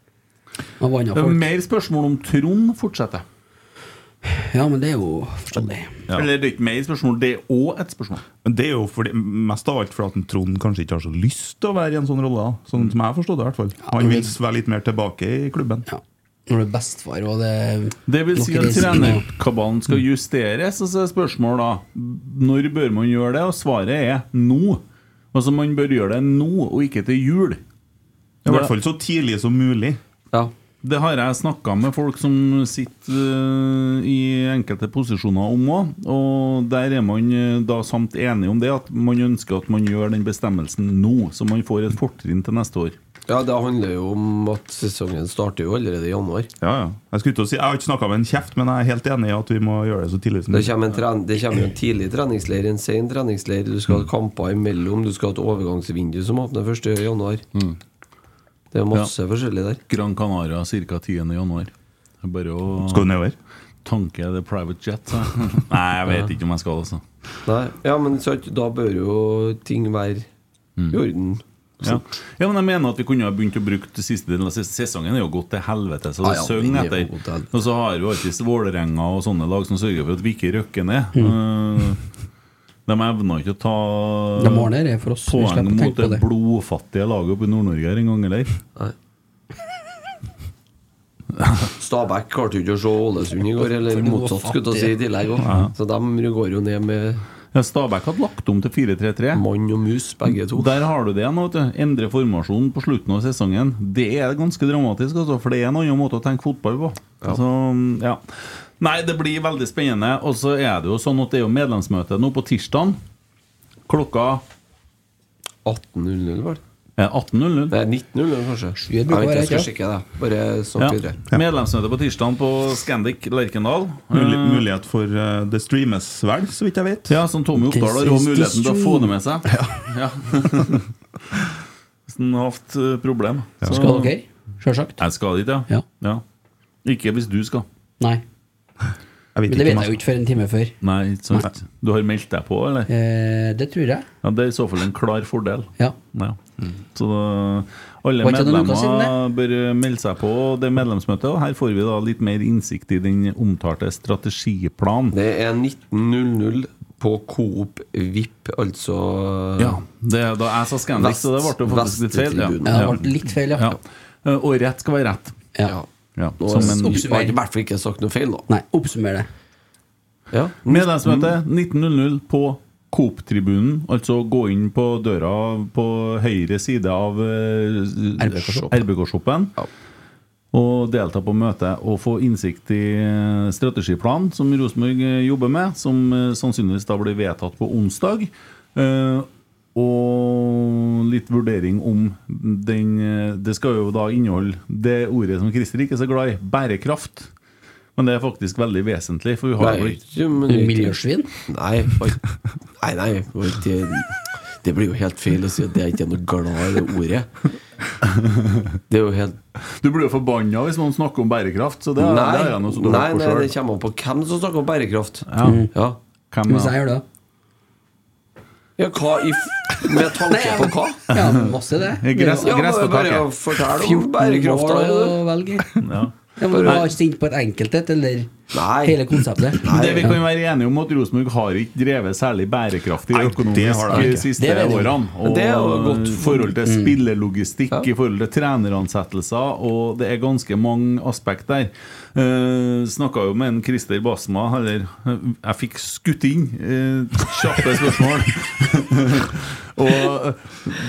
[SPEAKER 5] Av andre
[SPEAKER 4] Det er
[SPEAKER 5] folk.
[SPEAKER 4] Eh, mer spørsmål om Trond fortsetter.
[SPEAKER 5] Ja, men det er jo forståelig.
[SPEAKER 4] Eller det er ikke mer spørsmål, det er òg et spørsmål.
[SPEAKER 8] Men det er jo fordi, mest av alt fordi at Trond kanskje ikke har så lyst til å være i en sånn rolle. da.
[SPEAKER 5] Mm.
[SPEAKER 8] Sånn som jeg har forstått det, i hvert fall. Han vil være litt mer tilbake i klubben.
[SPEAKER 5] Når du er bestefar og det
[SPEAKER 4] Det vil si
[SPEAKER 5] Nok
[SPEAKER 4] at
[SPEAKER 5] risiko.
[SPEAKER 4] trenerkabalen skal
[SPEAKER 8] Mm.
[SPEAKER 4] justeres, og så er spørsmålet da når bør man gjøre det, og svaret er nå. Altså man bør gjøre det nå, og ikke til jul.
[SPEAKER 8] I hvert fall så tidlig som mulig.
[SPEAKER 4] Det har jeg snakka med folk som sitter øh, i enkelte posisjoner om òg, og der er man øh, da samt enige om det, at man ønsker at man gjør den bestemmelsen nå, så man får et fortrinn til neste år.
[SPEAKER 6] Ja, det handler jo om at sesongen starter jo allerede i januar.
[SPEAKER 8] Ja, ja. Jeg, skulle til å si, jeg har ikke snakka med en kjeft, men jeg er helt enig i at vi må gjøre det så tidlig
[SPEAKER 4] Mm.
[SPEAKER 8] som
[SPEAKER 6] Det kommer, en tren det kommer en tidlig treningsleir, en sen treningsleir. Du
[SPEAKER 4] Mm.
[SPEAKER 6] skal ha kamper imellom. Du skal ha et overgangsvindu som åpner 1. januar. Mm. Det er masse forskjellig der.
[SPEAKER 4] Gran Canaria ca. 10. januar. Det er Bare å
[SPEAKER 8] Skal du nedover?
[SPEAKER 4] Tanke er det private jet. sa jeg. Nei, jeg vet ikke om jeg skal, altså.
[SPEAKER 6] Nei, ja, men sant, da bør jo ting være i orden.
[SPEAKER 4] Mm. Ja. ja, men jeg mener at vi kunne ha begynt å bruke det siste delen av ses- sesongen. er jo gått til helvete, så
[SPEAKER 6] Ah, Ja, ja, den
[SPEAKER 4] det søng
[SPEAKER 6] er jo
[SPEAKER 4] etter.
[SPEAKER 6] gått til helvete.
[SPEAKER 4] Og så har vi alltid Vålerenga og sånne lag som sørger for at vi ikke røkker ned. Eh, De evner ikke å ta
[SPEAKER 5] Mm. De ordner det for oss, vi
[SPEAKER 4] poeng
[SPEAKER 5] slipper å
[SPEAKER 4] mot
[SPEAKER 5] tenke på
[SPEAKER 4] det,
[SPEAKER 5] det.
[SPEAKER 4] blodfattige laget oppe i Nord-Norge her en gang, eller?
[SPEAKER 6] Stabæk klarte jo ikke å se Ålesund i går, eller
[SPEAKER 4] For det var
[SPEAKER 6] motsatt, skulle jeg
[SPEAKER 4] fattig.
[SPEAKER 6] si, i tillegg òg.
[SPEAKER 4] Ja.
[SPEAKER 6] Så de går jo ned med
[SPEAKER 4] Ja, Stabæk hadde lagt om til 4-3-3.
[SPEAKER 6] Mann og mus, begge to.
[SPEAKER 4] Der har du det igjen. vet du. Endre formasjonen på slutten av sesongen. Det er ganske dramatisk, altså, for det er en annen måte å tenke fotball på. Så, ja. Nei, det blir veldig spennende. Og så er det jo sånn at det er jo medlemsmøte nå på tirsdag. Klokka
[SPEAKER 6] 18.00, var det?
[SPEAKER 4] Eh, 18.00?
[SPEAKER 6] Nei, 19.00, kanskje. Jeg
[SPEAKER 4] bruker
[SPEAKER 6] vet ikke, jeg skal
[SPEAKER 4] å være
[SPEAKER 6] sjekke det. Bare snakk
[SPEAKER 4] Ja.
[SPEAKER 6] videre.
[SPEAKER 4] Medlemsmøte på tirsdag på Scandic Lerkendal.
[SPEAKER 8] Muli
[SPEAKER 4] Eh,
[SPEAKER 8] mulighet for eh, det streames vel, så vidt jeg vet.
[SPEAKER 4] Ja, som Tommy Oppdal har også muligheten til å få det med seg. Ja. Hvis han har hatt eh, problem.
[SPEAKER 5] Så skal dere, sjølsagt.
[SPEAKER 4] Jeg skal dit, ja.
[SPEAKER 5] Ja.
[SPEAKER 4] Ikke hvis du skal.
[SPEAKER 5] Nei.
[SPEAKER 4] Jeg
[SPEAKER 5] Men det vet jeg jo ikke før en time før.
[SPEAKER 4] Nei, ikke sant. Du har meldt deg på, eller?
[SPEAKER 5] Eh, det tror jeg.
[SPEAKER 4] Ja, Det er i så fall en klar fordel.
[SPEAKER 5] Ja. Mm.
[SPEAKER 4] Så da, alle
[SPEAKER 5] Var ikke det noen uker
[SPEAKER 4] medlemmer bør eh, melde seg på det medlemsmøtet. Og her får vi da litt mer innsikt i den omtalte strategiplanen.
[SPEAKER 6] Det er 19.00 på Coop VIP, altså
[SPEAKER 4] Ja, det, da jeg sa Scandic, så det ble jo faktisk litt feil.
[SPEAKER 6] Vesttribunen.
[SPEAKER 5] feil,
[SPEAKER 4] ja. Eh, Og rett skal være rett.
[SPEAKER 5] Ja.
[SPEAKER 4] Ja,
[SPEAKER 6] Nå
[SPEAKER 4] som en-
[SPEAKER 6] har jeg i hvert fall ikke sagt noe feil, da.
[SPEAKER 5] Nei, oppsummer det.
[SPEAKER 6] Ja.
[SPEAKER 4] Medlemsmøte 19.00 på Coop-tribunen, altså gå inn på døra på høyre side av eh,
[SPEAKER 7] RBK-shop.
[SPEAKER 4] RBK-shoppen. Og delta på møtet og få innsikt i eh, strategiplanen som Rosenborg eh, jobber med, som eh, sannsynligvis da blir vedtatt på onsdag. Eh, Og litt vurdering om den eh, Det skal jo da inneholde det ordet som Christer ikke er så glad i, bærekraft. Men det er faktisk veldig vesentlig, for vi har vel ikke-
[SPEAKER 6] Miljøsvin? Nei, for- nei, nei for det, det blir jo helt feil å si at jeg ikke er noe glad i det ordet. Det er jo helt
[SPEAKER 4] Du blir jo forbanna hvis noen snakker om bærekraft, så det er,
[SPEAKER 6] nei,
[SPEAKER 4] det er jeg noe som
[SPEAKER 6] nei, nei, det kommer an på hvem som snakker om bærekraft.
[SPEAKER 4] Ja. Mm. Hvem Hvis da? jeg gjør
[SPEAKER 5] det,
[SPEAKER 6] Ja, hva i f- Med tanke på hva?
[SPEAKER 5] Ja, masse det.
[SPEAKER 6] Gress,
[SPEAKER 5] Ja,
[SPEAKER 6] gress på
[SPEAKER 5] bare-
[SPEAKER 6] taket. Fortell om bærekraft.
[SPEAKER 5] mål å velge. Ja, men du var ikke sint på et enkelthet, eller hele konseptet?
[SPEAKER 4] Det vi kan være enige om at Rosenborg har ikke drevet særlig bærekraftig økonomisk
[SPEAKER 8] har de
[SPEAKER 4] de
[SPEAKER 8] ikke.
[SPEAKER 4] siste
[SPEAKER 8] Det er det.
[SPEAKER 4] årene.
[SPEAKER 8] Men
[SPEAKER 4] Og
[SPEAKER 8] det er jo godt.
[SPEAKER 4] i forhold til
[SPEAKER 8] Mm.
[SPEAKER 4] spillelogistikk, i forhold til treneransettelser, og det er ganske mange aspekt der. Uh, Snakka jo med en Christer Basma, eller eh, Jeg fikk skutt inn eh, kjappe spørsmål. og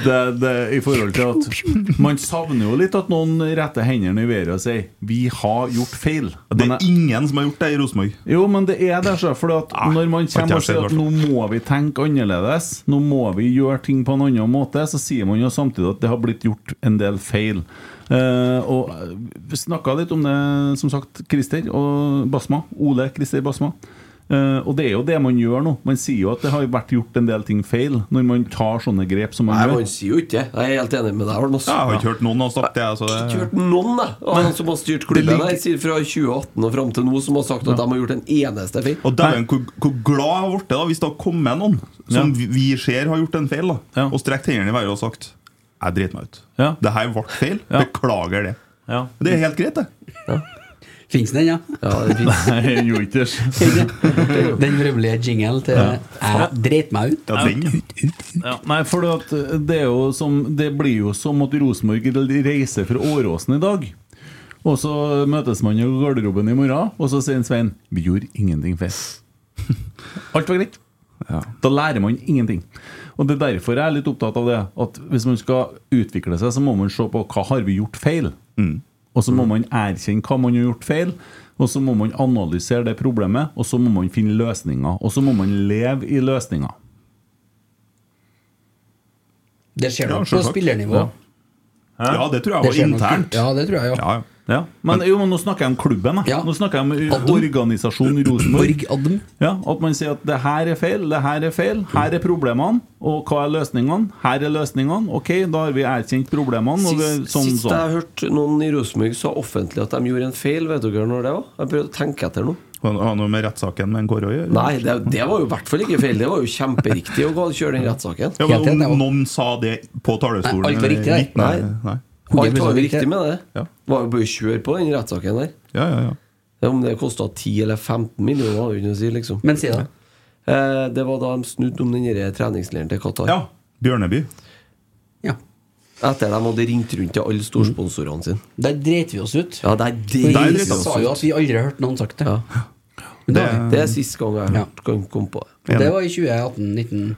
[SPEAKER 4] det, det, i forhold til at man savner jo litt at noen retter hendene i været og sier 'vi har gjort feil'.
[SPEAKER 8] Det er ingen som har gjort det i Rosenborg.
[SPEAKER 4] Jo, men det er det, for at når man
[SPEAKER 8] har ikke
[SPEAKER 4] kommer og
[SPEAKER 8] Ah, jeg sett,
[SPEAKER 4] sier at nå må vi tenke annerledes, nå må vi gjøre ting på en annen måte, så sier man jo samtidig at det har blitt gjort en del feil. Eh, og Vi snakka litt om det, som sagt, Christer og Basma. Ole Christer Basma. Eh, og det er jo det man gjør nå. Man sier jo at det har vært gjort en del ting feil, når man tar sånne grep som man
[SPEAKER 6] Nei,
[SPEAKER 4] gjør.
[SPEAKER 6] man sier jo ikke det. Jeg er helt enig med deg. Arne, også.
[SPEAKER 4] Jeg har ikke
[SPEAKER 8] hørt noen har sagt det. Altså,
[SPEAKER 6] Jeg har ikke hørt noen jeg, av
[SPEAKER 8] Nei.
[SPEAKER 6] dem som har styrt klubben
[SPEAKER 8] Det ligger-
[SPEAKER 6] her siden fra 2018 og fram til nå, som har sagt at de har gjort en e- eneste feil.
[SPEAKER 8] Og dæven, hvor, hvor glad jeg har blitt da, hvis det har kommet noen som vi- vi ser har gjort en feil, da, og strekt hendene i været og sagt 'jeg driter meg ut'. Det her ble feil. Beklager det. Det er helt greit, det.
[SPEAKER 5] Fins den, ja?
[SPEAKER 4] Nei, jeg gjorde ikke det.
[SPEAKER 5] Den vrøvlige jingle til
[SPEAKER 4] Ja.
[SPEAKER 5] Jeg dreit meg ut.
[SPEAKER 4] Ja, nei, for det, at eh, det, er jo som, det blir jo som at Rosenborg reiser fra Åråsen i dag. Og så møtes man i garderoben i morgen, og så sier Svein Vi gjorde ingenting feil. Alt var greit. Da lærer man ingenting. Og Det er derfor jeg er litt opptatt av det. At Hvis man skal utvikle seg, så må man se på hva har vi gjort feil. Og så må man erkjenne hva man har gjort feil. Og så må man analysere det problemet, og så må man finne løsninger. Og så må man leve i løsninger.
[SPEAKER 5] Det skjer
[SPEAKER 4] Ja,
[SPEAKER 5] nok på
[SPEAKER 4] selvsagt.
[SPEAKER 5] spillernivå.
[SPEAKER 4] Ja. Hæ? Ja, det tror jeg var
[SPEAKER 5] skjer nok-
[SPEAKER 4] internt.
[SPEAKER 5] Ja, det tror jeg jo.
[SPEAKER 4] Ja, Men, jo, men nå snakker jeg om klubben. da. Nå snakker jeg om organisasjonen Rosenborg. Ja, at man sier at det her er feil, det her er feil, her er problemene. Og hva er løsningene? Her er løsningene. Ok, da har vi erkjent problemene. Og det,
[SPEAKER 6] Sist,
[SPEAKER 4] sånn,
[SPEAKER 6] sist jeg
[SPEAKER 4] sånn.
[SPEAKER 6] hørte noen i Rosenborg sa offentlig at de gjorde en feil, vet dere når det var? Jeg prøvde å tenke etter noe.
[SPEAKER 8] Har noe med rettssaken med en Kåre å gjøre?
[SPEAKER 6] Nei, det, det var jo i hvert fall ikke feil. Det var jo kjemperiktig å gå og kjøre den rettssaken.
[SPEAKER 8] Ja, men om noen sa det på talerstolen
[SPEAKER 6] Nei, alt var riktig,
[SPEAKER 8] eller-
[SPEAKER 6] nei.
[SPEAKER 8] Nei, nei.
[SPEAKER 6] Alt var jo riktig med det. Var jo bare å kjøre på den rettssaken der.
[SPEAKER 8] Ja, ja, ja.
[SPEAKER 6] Om det kosta 10 eller 15 millioner, har jeg ikke noe å si, liksom.
[SPEAKER 5] Men si det.
[SPEAKER 6] Eh, Det var da de snudde om den der treningsleiren til Qatar.
[SPEAKER 8] Ja, Bjørneby.
[SPEAKER 5] Ja.
[SPEAKER 6] Etter de hadde ringt rundt til alle storsponsorene sine.
[SPEAKER 5] Mm. Der dreit vi oss ut.
[SPEAKER 6] Ja, der
[SPEAKER 5] Vi
[SPEAKER 6] dreit vi oss
[SPEAKER 5] sa jo
[SPEAKER 6] ut.
[SPEAKER 5] at vi aldri har hørt noen sagt det.
[SPEAKER 6] Det,
[SPEAKER 5] Men
[SPEAKER 6] det er sist gang jeg hørte- kan kom på det.
[SPEAKER 5] Og det var i 2018-19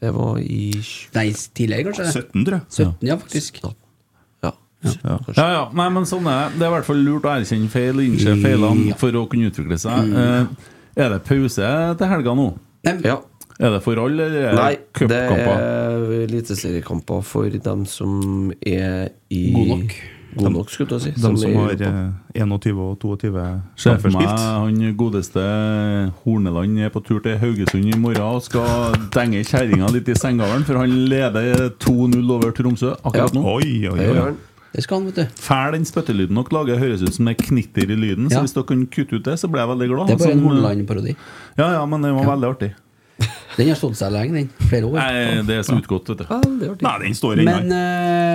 [SPEAKER 6] Det var i
[SPEAKER 5] Nei, tidligere, kanskje?
[SPEAKER 8] 17, tror jeg.
[SPEAKER 5] 17, ja, faktisk.
[SPEAKER 4] Ja. Ja, ja. Nei, men sånn er det. Det er i hvert fall lurt å erkjenne feil, innse feilene, for å kunne utvikle seg.
[SPEAKER 8] Mm.
[SPEAKER 4] Eh, Er det pause til helga nå?
[SPEAKER 6] Ja.
[SPEAKER 4] Er det for alle, eller
[SPEAKER 8] Eh,
[SPEAKER 4] er
[SPEAKER 6] Nei,
[SPEAKER 4] det
[SPEAKER 6] det
[SPEAKER 4] cupkamper?
[SPEAKER 6] er eliteseriekamper for dem som er i
[SPEAKER 8] God nok.
[SPEAKER 6] God nok, skulle jeg si.
[SPEAKER 8] De som
[SPEAKER 6] er i
[SPEAKER 8] har
[SPEAKER 6] Europa.
[SPEAKER 8] eh, 21 og 22
[SPEAKER 4] Ser for
[SPEAKER 8] kamper
[SPEAKER 4] meg
[SPEAKER 8] spilt.
[SPEAKER 4] han godeste Horneland er på tur til Haugesund i morgen og skal denge kjerringa litt i sengegavlen, for han leder 2-0 over Tromsø akkurat nå.
[SPEAKER 8] Oi, oi, oi.
[SPEAKER 5] Det skal han, vet du.
[SPEAKER 4] Fæl den spyttelyden dere lager, høres ut som det knitter i lyden.
[SPEAKER 5] Ja.
[SPEAKER 4] Så hvis dere kan kutte ut det, så blir jeg veldig glad.
[SPEAKER 5] Det er bare en
[SPEAKER 4] Som-
[SPEAKER 5] Horneland-parodi.
[SPEAKER 4] Ja, ja, men den var veldig artig.
[SPEAKER 5] Den har stått seg lenge, den. Flere år.
[SPEAKER 4] Nei, det er så utgått, vet du. Nei, den står inne.
[SPEAKER 5] Men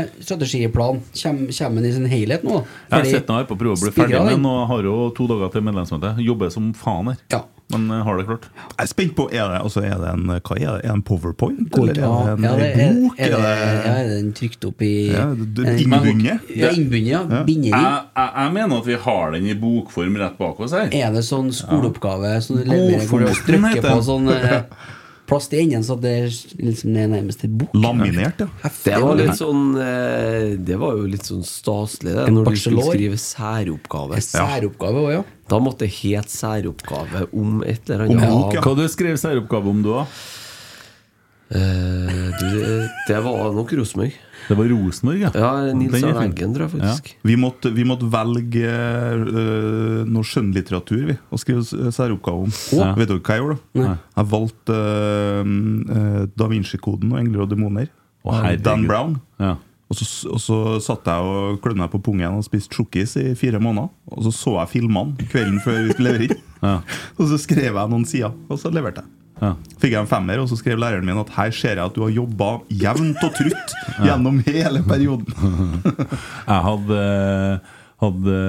[SPEAKER 5] eh, strategiplan, kommer den i sin helhet nå?
[SPEAKER 4] Jeg har sett den her på prøve å bli
[SPEAKER 5] Spiller
[SPEAKER 4] ferdig
[SPEAKER 5] den?
[SPEAKER 4] med den, og har jo to dager til medlemsmøtet. Jobber som faen her. Men eh, har det klart.
[SPEAKER 8] Jeg er spent på Er det, altså, er det, en, hva er det? Er det en powerpoint?
[SPEAKER 5] Går
[SPEAKER 8] Eller er det en
[SPEAKER 5] ja, det er,
[SPEAKER 8] bok?
[SPEAKER 5] er, det, ja,
[SPEAKER 8] Er
[SPEAKER 5] er den trykt opp i
[SPEAKER 8] Ja, det- det-
[SPEAKER 5] er den-
[SPEAKER 8] innbundet?
[SPEAKER 5] Ja, innbundet, ja. Binderi.
[SPEAKER 4] Jeg, jeg, jeg mener at vi har den i bokform rett bak oss her.
[SPEAKER 5] Er det sånn skoleoppgave som du leverer hvor du
[SPEAKER 4] Godfoten
[SPEAKER 5] trykker på
[SPEAKER 4] heter den.
[SPEAKER 5] sånn eh, plast i enden, så det liksom er nærmest et bok.
[SPEAKER 8] Laminert, ja.
[SPEAKER 6] Det var litt sånn eh, Det var jo litt sånn staselig, det.
[SPEAKER 5] En
[SPEAKER 6] Når du skulle
[SPEAKER 5] bachelor.
[SPEAKER 6] skrive særoppgave.
[SPEAKER 5] Særoppgave òg, ja.
[SPEAKER 6] Da måtte det hete særoppgave om et eller
[SPEAKER 4] Om
[SPEAKER 6] annet.
[SPEAKER 4] bok, ja. Hva
[SPEAKER 6] du skrev særoppgave om, du, da? det, det var nok Rosenborg.
[SPEAKER 4] Det var Rosenborg, ja?
[SPEAKER 6] Nils
[SPEAKER 8] Den er
[SPEAKER 6] Arne
[SPEAKER 8] fin.
[SPEAKER 6] Eggen, tror jeg faktisk.
[SPEAKER 8] Ja. Vi, måtte, vi måtte velge eh, noe skjønnlitteratur vi, og skrive s- særoppgave om.
[SPEAKER 4] Ja.
[SPEAKER 8] Vet dere hva jeg gjorde? da?
[SPEAKER 4] Nei.
[SPEAKER 8] Jeg valgte eh, eh, Da Vinci-koden og Engler og demoner.
[SPEAKER 4] Å, herregud.
[SPEAKER 8] Dan Brown.
[SPEAKER 4] Ja.
[SPEAKER 8] Og, så, og så satt jeg og klødde meg på pungen og spiste sjokkis i fire måneder. Og så så jeg filmene kvelden før vi skulle levere inn. Og så skrev jeg noen sider, og så leverte jeg. Fikk jeg en femmer, og så skrev læreren min at her ser jeg at du har jobba jevnt og trutt gjennom hele perioden.
[SPEAKER 4] Jeg hadde, eh, hadde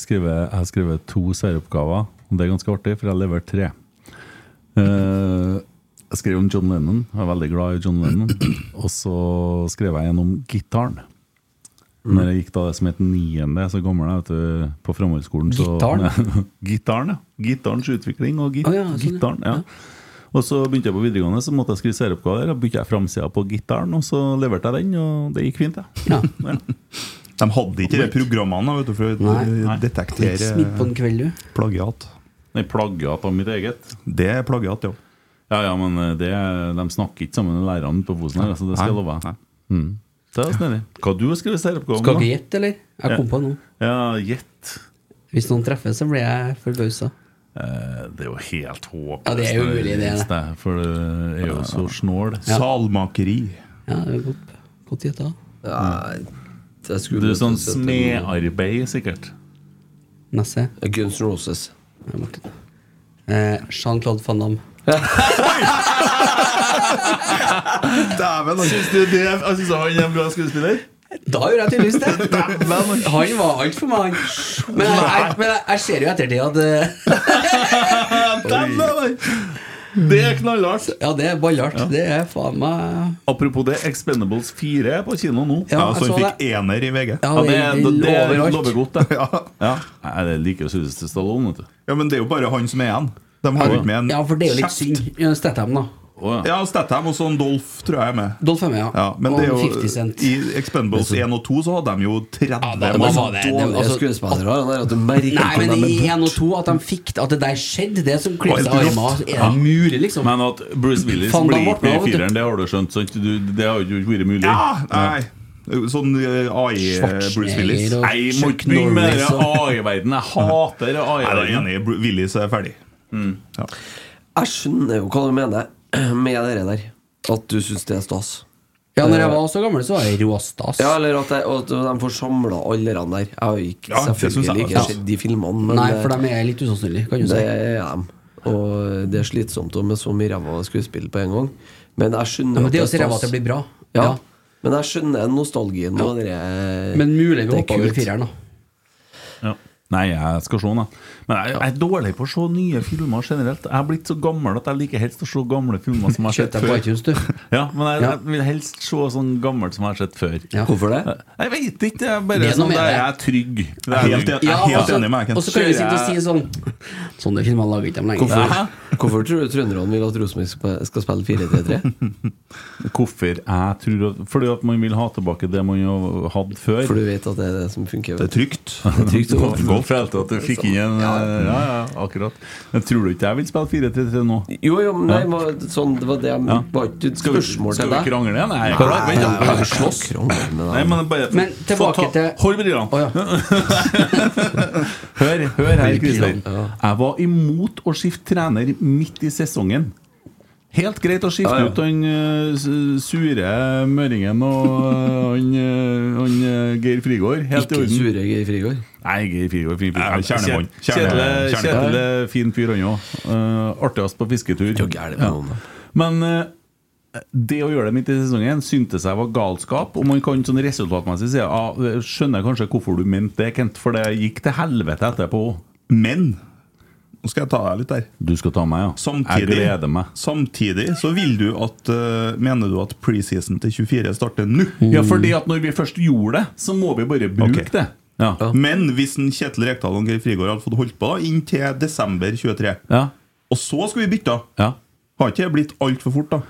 [SPEAKER 4] skrevet, jeg har skrevet to særoppgaver. og Det er ganske artig, for jeg leverte tre. Eh, jeg skrev om John Lennon. Jeg er veldig glad i John Lennon. Og så skrev jeg en om gitaren. Når jeg gikk da det som het niende, så gammel jeg, vet du, på Framholdsskolen så-
[SPEAKER 8] Gitaren?
[SPEAKER 4] Gitaren, ja. Gitarens utvikling og git
[SPEAKER 5] sånn,
[SPEAKER 4] gitaren. ja. Og så begynte jeg på videregående, så måtte jeg skrive særoppgaver. Da begynte jeg framsida på gitaren, og så leverte jeg den, og det gikk fint, det.
[SPEAKER 8] De hadde ikke de programmene vet du, for å
[SPEAKER 4] Nei.
[SPEAKER 8] detektere
[SPEAKER 4] Smitt på en kveld, du.
[SPEAKER 8] plagiat.
[SPEAKER 4] Nei, plagiat av mitt eget.
[SPEAKER 8] Det er plagiat, jo.
[SPEAKER 4] Ja, ja, men eh, det, de snakker ikke sammen med lærerne på Fosen her, altså det skal jeg love. deg. Mm. Det er snedig. Hva du har skrevet særoppgave om?
[SPEAKER 5] Skal
[SPEAKER 4] da?
[SPEAKER 5] ikke gjette, eller? Jeg kom
[SPEAKER 4] Ja.
[SPEAKER 5] på noe.
[SPEAKER 4] Ja, gjett.
[SPEAKER 5] Hvis noen treffer, så blir jeg forbausa.
[SPEAKER 4] Eh, Det er jo helt håpløst.
[SPEAKER 5] Ja, det er jo umulig, det,
[SPEAKER 4] minste, For det er jo så snål.
[SPEAKER 5] Ja.
[SPEAKER 8] Salmakeri.
[SPEAKER 5] Ja, det er godt, godt gjetta.
[SPEAKER 6] Det skulle
[SPEAKER 4] Du er
[SPEAKER 6] til
[SPEAKER 4] sånn
[SPEAKER 6] å sette en-
[SPEAKER 4] smedarbeid, sikkert.
[SPEAKER 5] Nesse.
[SPEAKER 6] Guns N' Roses.
[SPEAKER 5] Eh, Jean-Claude van Damme.
[SPEAKER 8] Dæven!
[SPEAKER 4] Syns du det jeg altså. synes han er en bra skuespiller? altså.
[SPEAKER 5] Da gjorde jeg tydeligvis det. Han var alt for meg, han. Men jeg, jeg, men jeg, jeg ser jo i ettertid at eh,
[SPEAKER 4] Det er knallhardt.
[SPEAKER 5] Ja, det er ballhardt. Det er faen meg
[SPEAKER 4] Apropos det, Expendables 4 er på kino nå.
[SPEAKER 5] Ja, Ja, så jeg han så fikk
[SPEAKER 8] altså, ener i VG.
[SPEAKER 5] Ja,
[SPEAKER 4] Ja, det, det, det,
[SPEAKER 8] overalt.
[SPEAKER 4] lover godt, det.
[SPEAKER 8] Ja.
[SPEAKER 4] Ja. Nei, det liker jo Sylvester Stallone, vet du.
[SPEAKER 8] ja, men det er jo bare han som er igjen. De har jo ikke med en
[SPEAKER 5] Ja, for det er jo litt
[SPEAKER 8] kjeft.
[SPEAKER 5] synd. Ja, Statham, da.
[SPEAKER 8] Ja, Statham og sånn Dolph tror jeg er med.
[SPEAKER 5] Dolph er med, ja.
[SPEAKER 8] Ja, men
[SPEAKER 5] Og
[SPEAKER 8] det er jo,
[SPEAKER 5] 50 Cent.
[SPEAKER 8] I Expendables 1 og 2 så hadde de jo 30
[SPEAKER 5] da- da
[SPEAKER 8] mann.
[SPEAKER 5] var det- det-
[SPEAKER 6] Dårlige
[SPEAKER 5] altså-
[SPEAKER 6] skuespillere. det der, At du merker
[SPEAKER 5] Nei, men
[SPEAKER 6] at de
[SPEAKER 5] i
[SPEAKER 6] er
[SPEAKER 5] 1 og 2, at de fikk At det der skjedde, det som
[SPEAKER 4] Oi,
[SPEAKER 5] klipper seg i armen, er det mulig, liksom?
[SPEAKER 4] Men at Bruce Willis
[SPEAKER 5] Faen, da
[SPEAKER 4] blir ikke
[SPEAKER 5] våkna
[SPEAKER 4] med
[SPEAKER 5] jeg,
[SPEAKER 4] i
[SPEAKER 5] vet du.
[SPEAKER 4] fireren, det har du skjønt? Sant? Du, det har jo ikke vært mulig.
[SPEAKER 8] Ja, nei Sånn eh, AI eh, Bruce Willis.
[SPEAKER 5] Schwarzenegger og
[SPEAKER 4] Nei, jeg må ikke begynne med den AI-verdenen. Jeg hater Mm.
[SPEAKER 8] Nei, da er jeg
[SPEAKER 4] AI-verdenen.
[SPEAKER 8] enig. Bru- Willis er ferdig. Ja.
[SPEAKER 6] Jeg skjønner jo hva du mener med det der. At du syns det er stas. Eh,
[SPEAKER 5] Ja, når jeg var så gammel, så var jeg råstas.
[SPEAKER 6] Ja, eller at, jeg, at de får samla alle de der. Jeg har jo ikke
[SPEAKER 8] Ja, det synes jeg-
[SPEAKER 6] selvfølgelig ikke
[SPEAKER 8] ja.
[SPEAKER 6] sett de filmene, men
[SPEAKER 5] Nei,
[SPEAKER 6] eh,
[SPEAKER 5] for de er litt usannsynlige, kan du si.
[SPEAKER 6] det er dem. Og det er slitsomt og med så mye ræva skuespill på en gang. Men jeg skjønner
[SPEAKER 5] Ja, men det er
[SPEAKER 6] at
[SPEAKER 5] jo så ræva at det
[SPEAKER 6] stas.
[SPEAKER 5] blir bra.
[SPEAKER 6] Ja.
[SPEAKER 5] Ja.
[SPEAKER 6] Men jeg skjønner nostalgien. og det er-
[SPEAKER 5] Men mulig
[SPEAKER 6] det
[SPEAKER 5] vi
[SPEAKER 6] er
[SPEAKER 5] hoppa over
[SPEAKER 6] kult.
[SPEAKER 5] fireren, da.
[SPEAKER 4] Ja. Nei, jeg skal se den, jeg. Men jeg, jeg er dårlig på å se nye filmer generelt. Jeg er blitt så gammel at jeg liker helst å se gamle filmer som jeg har
[SPEAKER 5] Kjøtt
[SPEAKER 4] sett
[SPEAKER 5] deg på
[SPEAKER 4] før.
[SPEAKER 5] iTunes, du.
[SPEAKER 4] Ja, men jeg,
[SPEAKER 5] Ja.
[SPEAKER 4] jeg vil helst se sånn gammelt som jeg har sett før.
[SPEAKER 5] Ja.
[SPEAKER 6] Hvorfor det?
[SPEAKER 4] Jeg veit ikke. Jeg bare
[SPEAKER 5] Det er noe
[SPEAKER 4] sånn,
[SPEAKER 5] med
[SPEAKER 4] der er
[SPEAKER 5] det.
[SPEAKER 4] jeg trygg. Det er
[SPEAKER 8] Helt,
[SPEAKER 4] trygg.
[SPEAKER 8] jeg er helt
[SPEAKER 5] altså-
[SPEAKER 8] enig med deg,
[SPEAKER 5] Og
[SPEAKER 8] Kent.
[SPEAKER 5] så kan du sitte og
[SPEAKER 4] Kjører
[SPEAKER 5] si
[SPEAKER 4] jeg-
[SPEAKER 5] sånn Sånne filmer lager ikke de lenger.
[SPEAKER 6] Hvorfor, hvorfor tror du trønderne vil at Rosenborg skal- skal spille 4-3-3?
[SPEAKER 4] Hvorfor jeg tror at, Fordi at man vil ha tilbake det man jo hadde før.
[SPEAKER 6] For du vet at det er det som funker.
[SPEAKER 8] Det er trygt.
[SPEAKER 6] Det er trygt å gå for. sånn.
[SPEAKER 4] Godt følte at du fikk inn en Ja, ja, akkurat. Men tror du ikke jeg vil spille 4-3-3 nå?
[SPEAKER 6] Jo, jo, men nei, var, sånn, det var det jeg
[SPEAKER 4] Ja.
[SPEAKER 6] var ikke et
[SPEAKER 4] Skal vi,
[SPEAKER 6] spørsmål
[SPEAKER 4] skal
[SPEAKER 6] til
[SPEAKER 4] vi
[SPEAKER 6] deg.
[SPEAKER 4] krangle igjen? Nei, jeg
[SPEAKER 6] Kan-
[SPEAKER 4] klarer- vent,
[SPEAKER 6] Nei,
[SPEAKER 4] jeg-
[SPEAKER 6] jeg
[SPEAKER 4] jeg-
[SPEAKER 6] kan ikke krangle med deg.
[SPEAKER 4] Nei, men bare
[SPEAKER 5] Men tilbake
[SPEAKER 4] få ta-
[SPEAKER 5] til-
[SPEAKER 4] Hold brillene!
[SPEAKER 5] Å, ja.
[SPEAKER 4] Hør, hør her, Christer. Jeg var imot å skifte trener midt i sesongen. Helt greit å skifte
[SPEAKER 6] Ja, ja.
[SPEAKER 4] ut han eh, s- sure møringen og eh, han, eh, han eh, Geir Frigård. Helt i
[SPEAKER 6] Ikke
[SPEAKER 4] orden.
[SPEAKER 6] sure Geir Frigård.
[SPEAKER 4] Nei, Geir Frigård, fin fyr.
[SPEAKER 8] Nei, kjernemann. Kjerne-
[SPEAKER 4] Kjetil er-
[SPEAKER 8] kjerne-
[SPEAKER 4] Kjetil er fin fyr, han òg. artigst på fisketur.
[SPEAKER 6] jo gærent med noen, da.
[SPEAKER 4] Men eh, det å gjøre det midt i sesongen syntes jeg var galskap. Og man kan sånn resultatmessig si ah, Skjønner jeg kanskje hvorfor du mente det, Kent, for det gikk til helvete etterpå.
[SPEAKER 8] Men nå skal jeg ta deg litt der.
[SPEAKER 4] Du skal ta meg, ja.
[SPEAKER 8] Samtidig,
[SPEAKER 4] Jeg gleder meg.
[SPEAKER 8] samtidig så vil du at eh, Mener du at preseason til 24 starter nå?
[SPEAKER 4] Ja, fordi at når vi først gjorde det, så må vi bare bruke
[SPEAKER 8] Ok.
[SPEAKER 4] det. Ja.
[SPEAKER 8] Men hvis en Kjetil Rekdal og Geir Frigård hadde fått holdt på da inntil desember 23,
[SPEAKER 4] Ja.
[SPEAKER 8] og så skulle vi bytte, da,
[SPEAKER 4] Ja.
[SPEAKER 8] Har ikke det blitt altfor fort, da?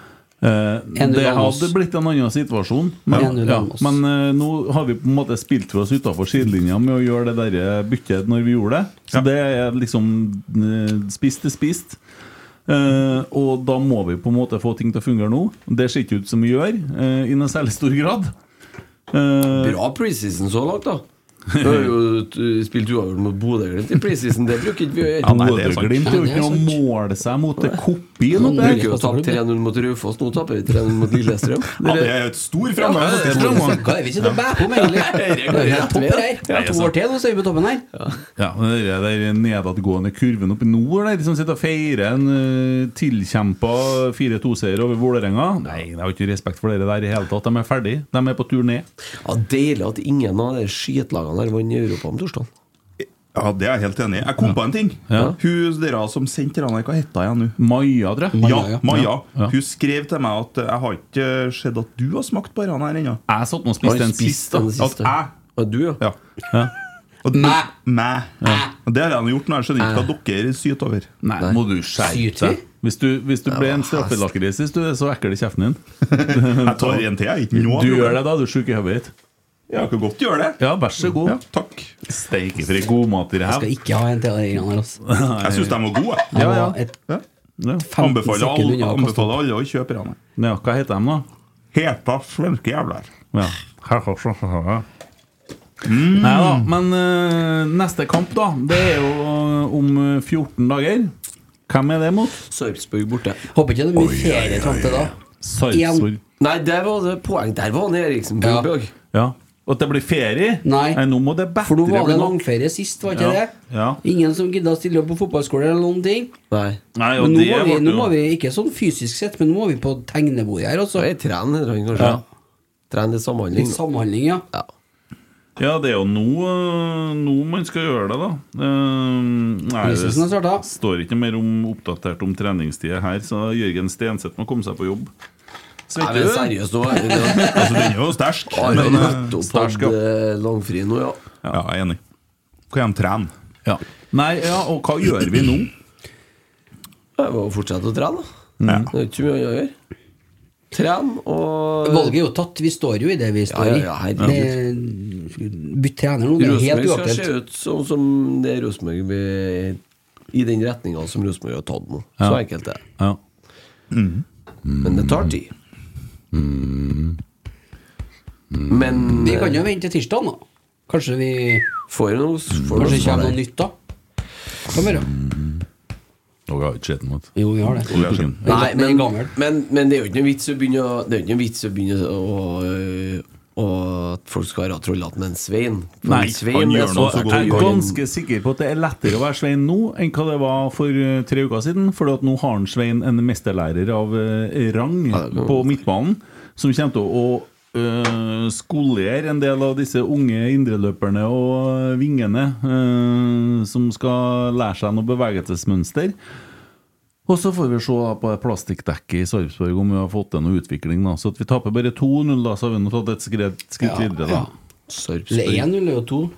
[SPEAKER 4] En det Ulamos. hadde blitt en annen situasjon, men,
[SPEAKER 8] En
[SPEAKER 4] ja,
[SPEAKER 8] Ulamos.
[SPEAKER 4] men eh, nå har vi på en måte spilt for oss utafor sidelinja med å gjøre det der eh, byttet når vi gjorde det. Så det er liksom eh, spist er spist. Eh, og da må vi på en måte få ting til å fungere nå. Det ser ikke ut som vi gjør, eh, i noen særlig stor grad. Eh,
[SPEAKER 6] Bra preseason så langt, da. Vi har jo t- spilt uavgjort mot Bodø-Glimt i preseason. Det bruker ikke vi å gjøre.
[SPEAKER 4] Ja, nei, det er sant. Bodø-Glimt er jo ikke noe å måle seg mot. Det kopier noe
[SPEAKER 6] Vi
[SPEAKER 4] der.
[SPEAKER 6] bruker jo å tape 3-0 mot Raufoss, nå taper vi 3-0 mot Lillestrøm.
[SPEAKER 8] Ja, det er jo et stor
[SPEAKER 6] Ja,
[SPEAKER 8] framgang,
[SPEAKER 6] det er
[SPEAKER 8] faktisk.
[SPEAKER 6] stor framgang.
[SPEAKER 5] Hva er vi sitter og bærer på med, egentlig?
[SPEAKER 6] går
[SPEAKER 5] Det er
[SPEAKER 6] rett
[SPEAKER 5] topper her.
[SPEAKER 6] ved.
[SPEAKER 5] Det er to år til, nå, så er vi på toppen her.
[SPEAKER 4] altså. Ja, men det er der nedadgående kurven oppe i nord der, som sitter og feirer en uh, tilkjempa 4-2-seier over Vålerenga. Nei, jeg har ikke respekt for dere der i hele tatt. De er ferdig. De er på tur ned.
[SPEAKER 6] Ja, Deilig at ingen av de skitlagene der vant i Europa om torsdag.
[SPEAKER 8] Ja, det er jeg helt enig i. Jeg kom på en ting.
[SPEAKER 6] Ja.
[SPEAKER 8] Hun dere som sendte til Hva het hun igjen nå?
[SPEAKER 4] Maja, tror jeg.
[SPEAKER 8] Ja,
[SPEAKER 4] Maja, ja.
[SPEAKER 8] Maja.
[SPEAKER 4] Ja.
[SPEAKER 8] Hun skrev til meg at eh, jeg har ikke sett at du har smakt på denne her ennå.
[SPEAKER 4] Jeg satt nå og spiste den sist, da.
[SPEAKER 8] At jeg
[SPEAKER 6] Og du,
[SPEAKER 8] ja. Og du, meg. Og Det har jeg nå gjort, nå. jeg skjønner ikke hva dere syter over.
[SPEAKER 4] Nei, må du skjerpe
[SPEAKER 8] Syter vi?
[SPEAKER 4] deg. Hvis du, hvis du ble en straffelakris i sted, så ekkel i kjeften din.
[SPEAKER 8] Jeg tar en til, jeg. Ikke noe
[SPEAKER 4] Du
[SPEAKER 8] problem.
[SPEAKER 4] gjør det, da. Du er sjuk i hodet ditt.
[SPEAKER 8] Jeg kan godt gjøre det.
[SPEAKER 4] Ja, vær så god.
[SPEAKER 8] Ja, takk.
[SPEAKER 4] Steike for ei god mat i det
[SPEAKER 5] Jeg
[SPEAKER 4] her.
[SPEAKER 5] skal ikke ha en til av de greiene her, altså.
[SPEAKER 8] Jeg syns de var gode. jeg.
[SPEAKER 5] Jeg
[SPEAKER 4] Ja, ja.
[SPEAKER 5] var et
[SPEAKER 4] Ja.
[SPEAKER 5] 15
[SPEAKER 8] Anbefaler
[SPEAKER 5] sekunder
[SPEAKER 8] alle,
[SPEAKER 5] unna å kaste opp.
[SPEAKER 8] anbefaler alle å kjøpe denne.
[SPEAKER 4] Ja, hva heter de, da?
[SPEAKER 8] Heta svenske jævler.
[SPEAKER 4] Ja. Mm. Nei da, men eh, neste kamp, da, det er jo eh, om eh, 14 dager. Hvem er det mot?
[SPEAKER 6] Sarpsborg borte.
[SPEAKER 5] Håper ikke det blir mye ferie fram til da.
[SPEAKER 4] Sarpsborg.
[SPEAKER 6] Nei, der var det poeng. Der var han Eriksen
[SPEAKER 5] Ja.
[SPEAKER 6] Bjørnbjørg.
[SPEAKER 4] Ja. Og at det blir ferie?
[SPEAKER 5] Nei.
[SPEAKER 4] nå må det
[SPEAKER 5] For
[SPEAKER 4] bedre
[SPEAKER 5] nå var det
[SPEAKER 4] bli nok.
[SPEAKER 5] langferie sist, var ikke
[SPEAKER 4] Ja.
[SPEAKER 5] det?
[SPEAKER 4] Ja.
[SPEAKER 5] Ingen som gidda å stille opp på fotballskole eller noen ting.
[SPEAKER 6] Nei.
[SPEAKER 4] Nei, og
[SPEAKER 5] Men nå
[SPEAKER 4] det
[SPEAKER 5] må, vi,
[SPEAKER 4] ble
[SPEAKER 5] nå
[SPEAKER 4] jo-
[SPEAKER 5] må vi ikke sånn fysisk sett, men nå må vi på tegnebordet her, altså.
[SPEAKER 6] Jeg trener han, kanskje.
[SPEAKER 4] Ja.
[SPEAKER 6] Trener til
[SPEAKER 5] Litt
[SPEAKER 6] samhandling.
[SPEAKER 5] samhandling, ja.
[SPEAKER 6] Ja.
[SPEAKER 4] ja, det er jo nå, eh, nå man skal gjøre det, da. Eh,
[SPEAKER 8] Ehm,
[SPEAKER 4] nei, det
[SPEAKER 5] Preseason har starta.
[SPEAKER 4] står ikke mer om oppdatert om treningstider her, så Jørgen Stenseth må komme seg på jobb.
[SPEAKER 6] Nei, men seriøst, nå er det
[SPEAKER 8] Altså, den er jo sterk.
[SPEAKER 6] Har
[SPEAKER 8] Men,
[SPEAKER 6] jeg
[SPEAKER 8] eh,
[SPEAKER 6] nettopp hatt
[SPEAKER 4] starskap.
[SPEAKER 6] eh, langfri nå, ja.
[SPEAKER 8] ja, jeg er enig. Kan de trene?
[SPEAKER 4] Ja. Nei, ja, og hva gjør vi nå?
[SPEAKER 6] Jeg må jo fortsette å trene, da.
[SPEAKER 8] Ja.
[SPEAKER 6] Det er jo ikke mye annet å gjøre. Trene og
[SPEAKER 5] Valget er jo tatt. Vi står jo i det vi står
[SPEAKER 6] Ja,
[SPEAKER 5] i.
[SPEAKER 6] ja, ja, herregud.
[SPEAKER 5] Det- Bytt trener nå, det er helt
[SPEAKER 6] Rosenborg skal se
[SPEAKER 5] uaktuelt.
[SPEAKER 6] ut sånn som det Rosenborg vi- I den retninga som Rosenborg har tatt nå. Så enkelt er det.
[SPEAKER 4] Ja. Mm.
[SPEAKER 6] Men det tar tid. Men
[SPEAKER 5] Mm.
[SPEAKER 6] eh,
[SPEAKER 5] Vi kan jo vente til tirsdag, da. Kanskje vi
[SPEAKER 6] får jo noe får
[SPEAKER 5] Kanskje det
[SPEAKER 6] noe
[SPEAKER 5] kommer
[SPEAKER 6] svar
[SPEAKER 5] noe
[SPEAKER 6] der.
[SPEAKER 5] nytt da. Kom her, da.
[SPEAKER 4] Dere har ikke sett den, vet du.
[SPEAKER 5] Jo, vi har det.
[SPEAKER 6] Nei,
[SPEAKER 5] Den er
[SPEAKER 6] men,
[SPEAKER 5] gammel.
[SPEAKER 6] men, men det er jo ikke noe vits å begynne å, Det er jo ikke noe vits å begynne å å- å- at folk skal være trollete med en Svein. For
[SPEAKER 4] Nei,
[SPEAKER 6] en Svein
[SPEAKER 8] han
[SPEAKER 6] er
[SPEAKER 8] gjør noe
[SPEAKER 6] sånn-
[SPEAKER 8] så godt.
[SPEAKER 4] Jeg er ganske sikker på at det er lettere å være Svein nå enn hva det var for eh, tre uker siden. For at nå har han Svein en mesterlærer av eh, rang på midtbanen, som kommer til å eh, skolere en del av disse unge indreløperne og vingene eh, som skal lære seg noe bevegelsesmønster. Og så får vi se da på det plastikkdekket i Sarpsborg om vi har fått til noe utvikling. da Så at vi taper bare 2-0, da, så har vi nå tatt et skritt, skritt
[SPEAKER 5] Ja,
[SPEAKER 4] videre.
[SPEAKER 5] ja.
[SPEAKER 4] da
[SPEAKER 5] Eller
[SPEAKER 6] Sarpsborg.
[SPEAKER 5] 1-0 eller 2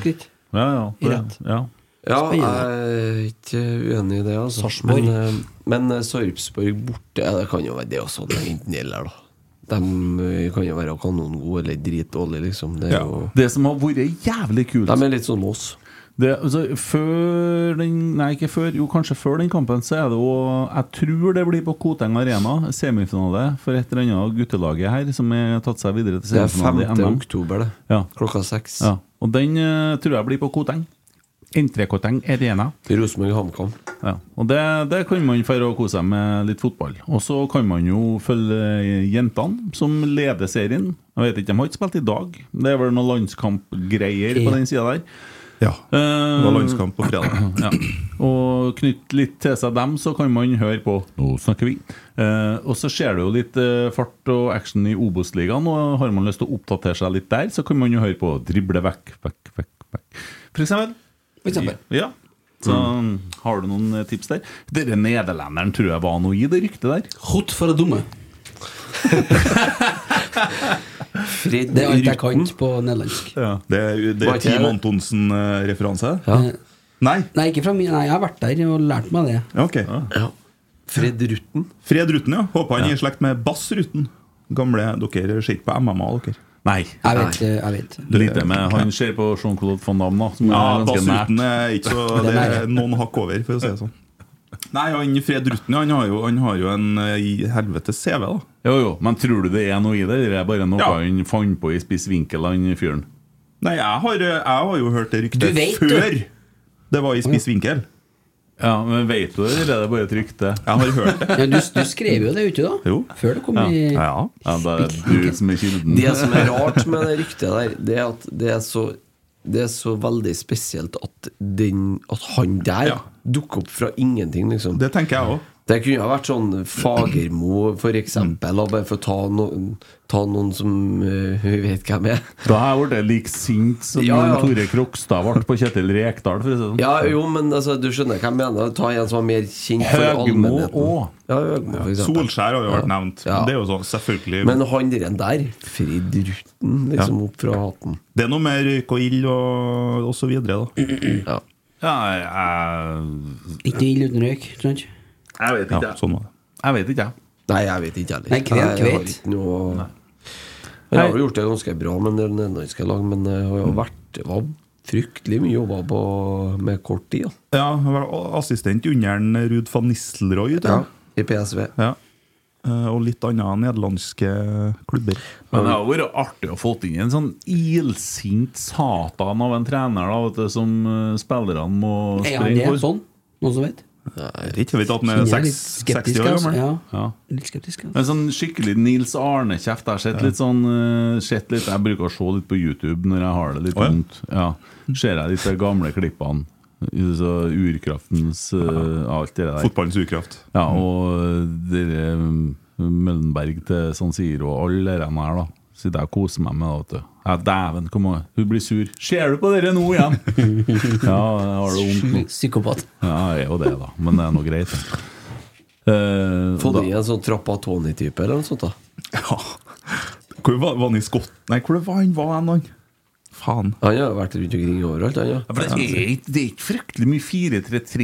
[SPEAKER 5] skritt.
[SPEAKER 4] Ja, ja,
[SPEAKER 5] I
[SPEAKER 4] det,
[SPEAKER 5] rett.
[SPEAKER 4] ja.
[SPEAKER 6] Ja, jeg er
[SPEAKER 5] Spennende.
[SPEAKER 6] ikke uenig i det. Altså.
[SPEAKER 5] Sarpsborg.
[SPEAKER 6] Men, eh, Men eh, Sarpsborg borte ja, Det kan jo være det også, det enten gjelder, da. De eh, kan jo være kanongode eller dritdårlige, liksom. Det er
[SPEAKER 8] Ja.
[SPEAKER 6] jo,
[SPEAKER 4] Det som har vært jævlig kult
[SPEAKER 6] de er litt sånn oss.
[SPEAKER 4] det, altså, Før den Nei, ikke før Jo, kanskje før den kampen Så er det jo Jeg tror det blir på Koteng Arena Semifinale For et eller annet av guttelaget her Som har tatt seg videre til
[SPEAKER 6] Det er 5.
[SPEAKER 4] semifinale i NM
[SPEAKER 6] oktober, det.
[SPEAKER 4] Ja.
[SPEAKER 6] Klokka seks.
[SPEAKER 4] ja. Og den eh, tror jeg blir på Koteng Entrekoteng Arena
[SPEAKER 6] Rosenborg HamKam.
[SPEAKER 4] ja. Og det, det kan man for å kose seg med litt fotball Og så kan man jo følge eh, jentene Som leder serien Jeg vet ikke, de har ikke spilt i dag Det er vel noen landskampgreier på den siden der
[SPEAKER 8] Ja. Det var
[SPEAKER 4] Eh,
[SPEAKER 8] landskamp på fredag.
[SPEAKER 4] ja. Og knytte litt til seg dem, så kan man høre på Nå snakker vi. Eh, og så ser du jo litt eh, fart og action i Obos-ligaen, og har man lyst til å oppdatere seg litt der, så kan man jo høre på Drible vekk, vekk, vekk, vekk. For eksempel.
[SPEAKER 5] For eksempel.
[SPEAKER 4] Ja. Så har du noen eh, tips der? Dere nederlenderen tror jeg var noe i det ryktet der.
[SPEAKER 5] Hot for det dumme.
[SPEAKER 6] Fred
[SPEAKER 5] Det er alt jeg
[SPEAKER 6] Rutten.
[SPEAKER 5] kan på nederlandsk.
[SPEAKER 8] Det, er- det
[SPEAKER 6] Var ikke
[SPEAKER 8] er
[SPEAKER 6] jeg
[SPEAKER 8] Team
[SPEAKER 6] det?
[SPEAKER 8] Antonsen-referanse?
[SPEAKER 6] Ja.
[SPEAKER 8] Nei?
[SPEAKER 5] Nei, ikke fra min Nei, jeg har vært der og lært meg det.
[SPEAKER 8] Ja, Ok.
[SPEAKER 6] Ja. Fred Rutten?
[SPEAKER 8] Fred Rutten, ja. Håper han er i slekt med Bass Rutten. Gamle, Dere ser ikke på MMA, dere?
[SPEAKER 4] Nei.
[SPEAKER 5] Jeg vet, jeg vet.
[SPEAKER 4] Lite, men han ser på Jean-Claude van Damme, da. Som
[SPEAKER 8] Ja,
[SPEAKER 4] er ganske nært.
[SPEAKER 8] Bassuten er ikke så Det er noen hakk over, for å si det sånn. Nei, han Fred Rutten han har jo, han har jo en eh, i helvete CV, da.
[SPEAKER 4] Jo, jo, men tror du det er noe i det? Eller er det bare noe
[SPEAKER 8] Ja.
[SPEAKER 4] han fant på i spiss vinkel, han fyren?
[SPEAKER 8] Nei, jeg har, eh, jeg har jo hørt det
[SPEAKER 5] Du
[SPEAKER 8] ryktet
[SPEAKER 5] vet, du.
[SPEAKER 8] før det var i spiss vinkel.
[SPEAKER 4] Ja, men vet du det, eller er det bare et rykte?
[SPEAKER 8] Jeg har hørt det.
[SPEAKER 5] Ja, du, du skrev jo det ute, da.
[SPEAKER 8] Jo.
[SPEAKER 5] Før det kom
[SPEAKER 4] Ja.
[SPEAKER 5] i
[SPEAKER 8] Ja.
[SPEAKER 4] Ja, det er du som er
[SPEAKER 8] Mhm.
[SPEAKER 4] kilden.
[SPEAKER 6] Det som er rart med det ryktet der, det er at det er så, det er så veldig spesielt at, den, at han der
[SPEAKER 8] Ja.
[SPEAKER 6] dukker opp fra ingenting, liksom.
[SPEAKER 8] Det tenker jeg òg.
[SPEAKER 6] Det kunne ha vært sånn Fagermo, for eksempel, da, bare for å ta, noen- ta noen som eh, vi vet hvem er.
[SPEAKER 4] Da har jeg blitt like sint som
[SPEAKER 6] Ja, ja.
[SPEAKER 4] Tore Krokstad ble på Kjetil Rekdal, for å si det sånn.
[SPEAKER 6] Ja, jo, men altså, du skjønner hva jeg mener. Ta en som er mer kjent for
[SPEAKER 4] Høgmo
[SPEAKER 6] allmennheten.
[SPEAKER 4] òg.
[SPEAKER 6] Ja, Høgmo, for eksempel.
[SPEAKER 8] Solskjær har jo vært
[SPEAKER 6] Ja.
[SPEAKER 8] nevnt.
[SPEAKER 6] Ja.
[SPEAKER 8] Det er jo sånn, selvfølgelig.
[SPEAKER 6] Men han der, der Fred Rutten, liksom opp fra hatten.
[SPEAKER 8] det er noe med røyk og ild og, og så videre, da.
[SPEAKER 6] Ja.
[SPEAKER 4] Ja, jeg,
[SPEAKER 5] Ikke ild uten røyk. sant?
[SPEAKER 4] jeg vet
[SPEAKER 8] Ja, sånn var det.
[SPEAKER 4] Jeg vet ikke, jeg.
[SPEAKER 6] Nei, jeg vet ikke heller.
[SPEAKER 5] Nei, kvet,
[SPEAKER 6] jeg har
[SPEAKER 5] kvet.
[SPEAKER 6] ikke noe Men Jeg har jo gjort det ganske bra med den nederlandske lag, men det har jo vært det var fryktelig mye jobba på med kort tid. da.
[SPEAKER 8] Ja, han var assistent under en Ruud van Nistelrooy. tror jeg.
[SPEAKER 6] I PSV.
[SPEAKER 8] Ja. Eh, Og litt andre nederlandske klubber.
[SPEAKER 4] Men det har vært artig å få inn en sånn ilsint satan av en trener da, vet du, som eh, spillerne må
[SPEAKER 5] Er han
[SPEAKER 4] springe
[SPEAKER 5] det?
[SPEAKER 4] for.
[SPEAKER 5] Sånn? Noen som vet?
[SPEAKER 8] Jeg vet ikke at han er
[SPEAKER 5] Jeg er litt
[SPEAKER 8] seks-
[SPEAKER 5] skeptisk,
[SPEAKER 8] 60 år
[SPEAKER 5] altså.
[SPEAKER 8] gammel.
[SPEAKER 5] Ja.
[SPEAKER 4] Ja.
[SPEAKER 5] Litt skeptisk, altså.
[SPEAKER 4] En sånn skikkelig Nils Arne-kjeft. Jeg har sett litt sånn eh, sett litt, Jeg bruker å se litt på YouTube når jeg har det litt
[SPEAKER 8] Å, ja.
[SPEAKER 4] vondt. Ja. Ser jeg disse gamle klippene. Så urkraftens eh, Alt det der.
[SPEAKER 8] Fotballens urkraft.
[SPEAKER 4] Ja, og dere um, Møllenberg til San Siro og alle dere her, da. Sitter jeg og koser meg med det. vet du. Ja, dæven, kom an. Hun blir sur. Ser du på dere nå igjen? ja, jeg har det vondt nå.
[SPEAKER 5] Psykopat.
[SPEAKER 4] Ja, jeg er jo det, da. Men det er nå greit. Eh,
[SPEAKER 6] Få
[SPEAKER 4] da-
[SPEAKER 6] inn en sånn Trappatoni-type eller noe sånt. da
[SPEAKER 8] Ja. Hvor var, var han i Skott... Nei, hvor var han? Var han, han? Faen.
[SPEAKER 6] Han har jo vært rundt omkring overalt, han. Ja.
[SPEAKER 4] Ja, For det er ikke, det er ikke fryktelig mye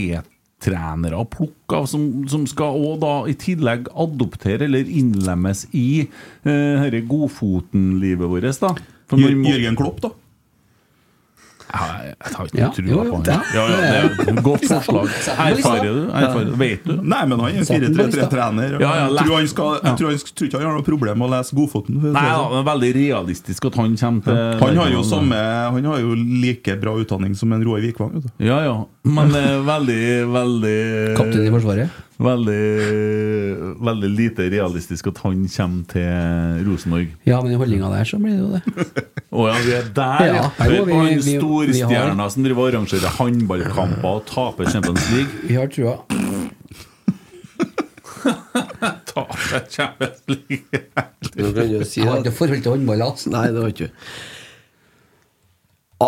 [SPEAKER 4] 4-3-3-trenere å plukke av, som, som skal også da i tillegg adoptere eller innlemmes i eh, herre godfoten-livet vårt, da. For man
[SPEAKER 8] Jør-
[SPEAKER 4] må-
[SPEAKER 8] Jørgen Klopp, da.
[SPEAKER 4] Ja, jeg har
[SPEAKER 5] Ja, jo,
[SPEAKER 4] ikke trua
[SPEAKER 5] jo,
[SPEAKER 4] på
[SPEAKER 5] det-
[SPEAKER 4] han. Ja, ja, det er jo et godt forslag. Erfarer du? Erfarer, du? vet du?
[SPEAKER 8] Nei, men han er
[SPEAKER 5] Satt den på lista.
[SPEAKER 8] 4-3-3-trener.
[SPEAKER 4] Ja, ja,
[SPEAKER 8] jeg tror,
[SPEAKER 4] lett.
[SPEAKER 8] han skal, jeg tror, han, sk- tror ikke han har noe problem med å lese Godfoten. for å si det
[SPEAKER 4] Nei, ja,
[SPEAKER 8] sånn.
[SPEAKER 4] men veldig realistisk at han kommer til
[SPEAKER 8] han, har jo samme, han har jo like bra utdanning som en Roar Vikvang. Vet du.
[SPEAKER 4] Ja, ja. Men eh, veldig, veldig
[SPEAKER 5] Kaptein i Forsvaret.
[SPEAKER 4] Veldig, veldig lite realistisk at han kommer til Rosenborg.
[SPEAKER 5] Ja, men i holdninga der så blir det jo det.
[SPEAKER 4] Å ja, vi er der, ja.
[SPEAKER 5] Ja,
[SPEAKER 4] Hør
[SPEAKER 5] jo,
[SPEAKER 4] på
[SPEAKER 5] vi-
[SPEAKER 4] han
[SPEAKER 5] vi- vi har-
[SPEAKER 4] storstjerna som driver og arrangerer håndballkamper og taper Champions League.
[SPEAKER 5] Vi har trua.
[SPEAKER 4] Taper Champions League
[SPEAKER 6] Nå kan du jo si
[SPEAKER 5] Jeg har
[SPEAKER 6] at
[SPEAKER 5] ikke forhold til håndball, altså.
[SPEAKER 6] Nei, det var ikke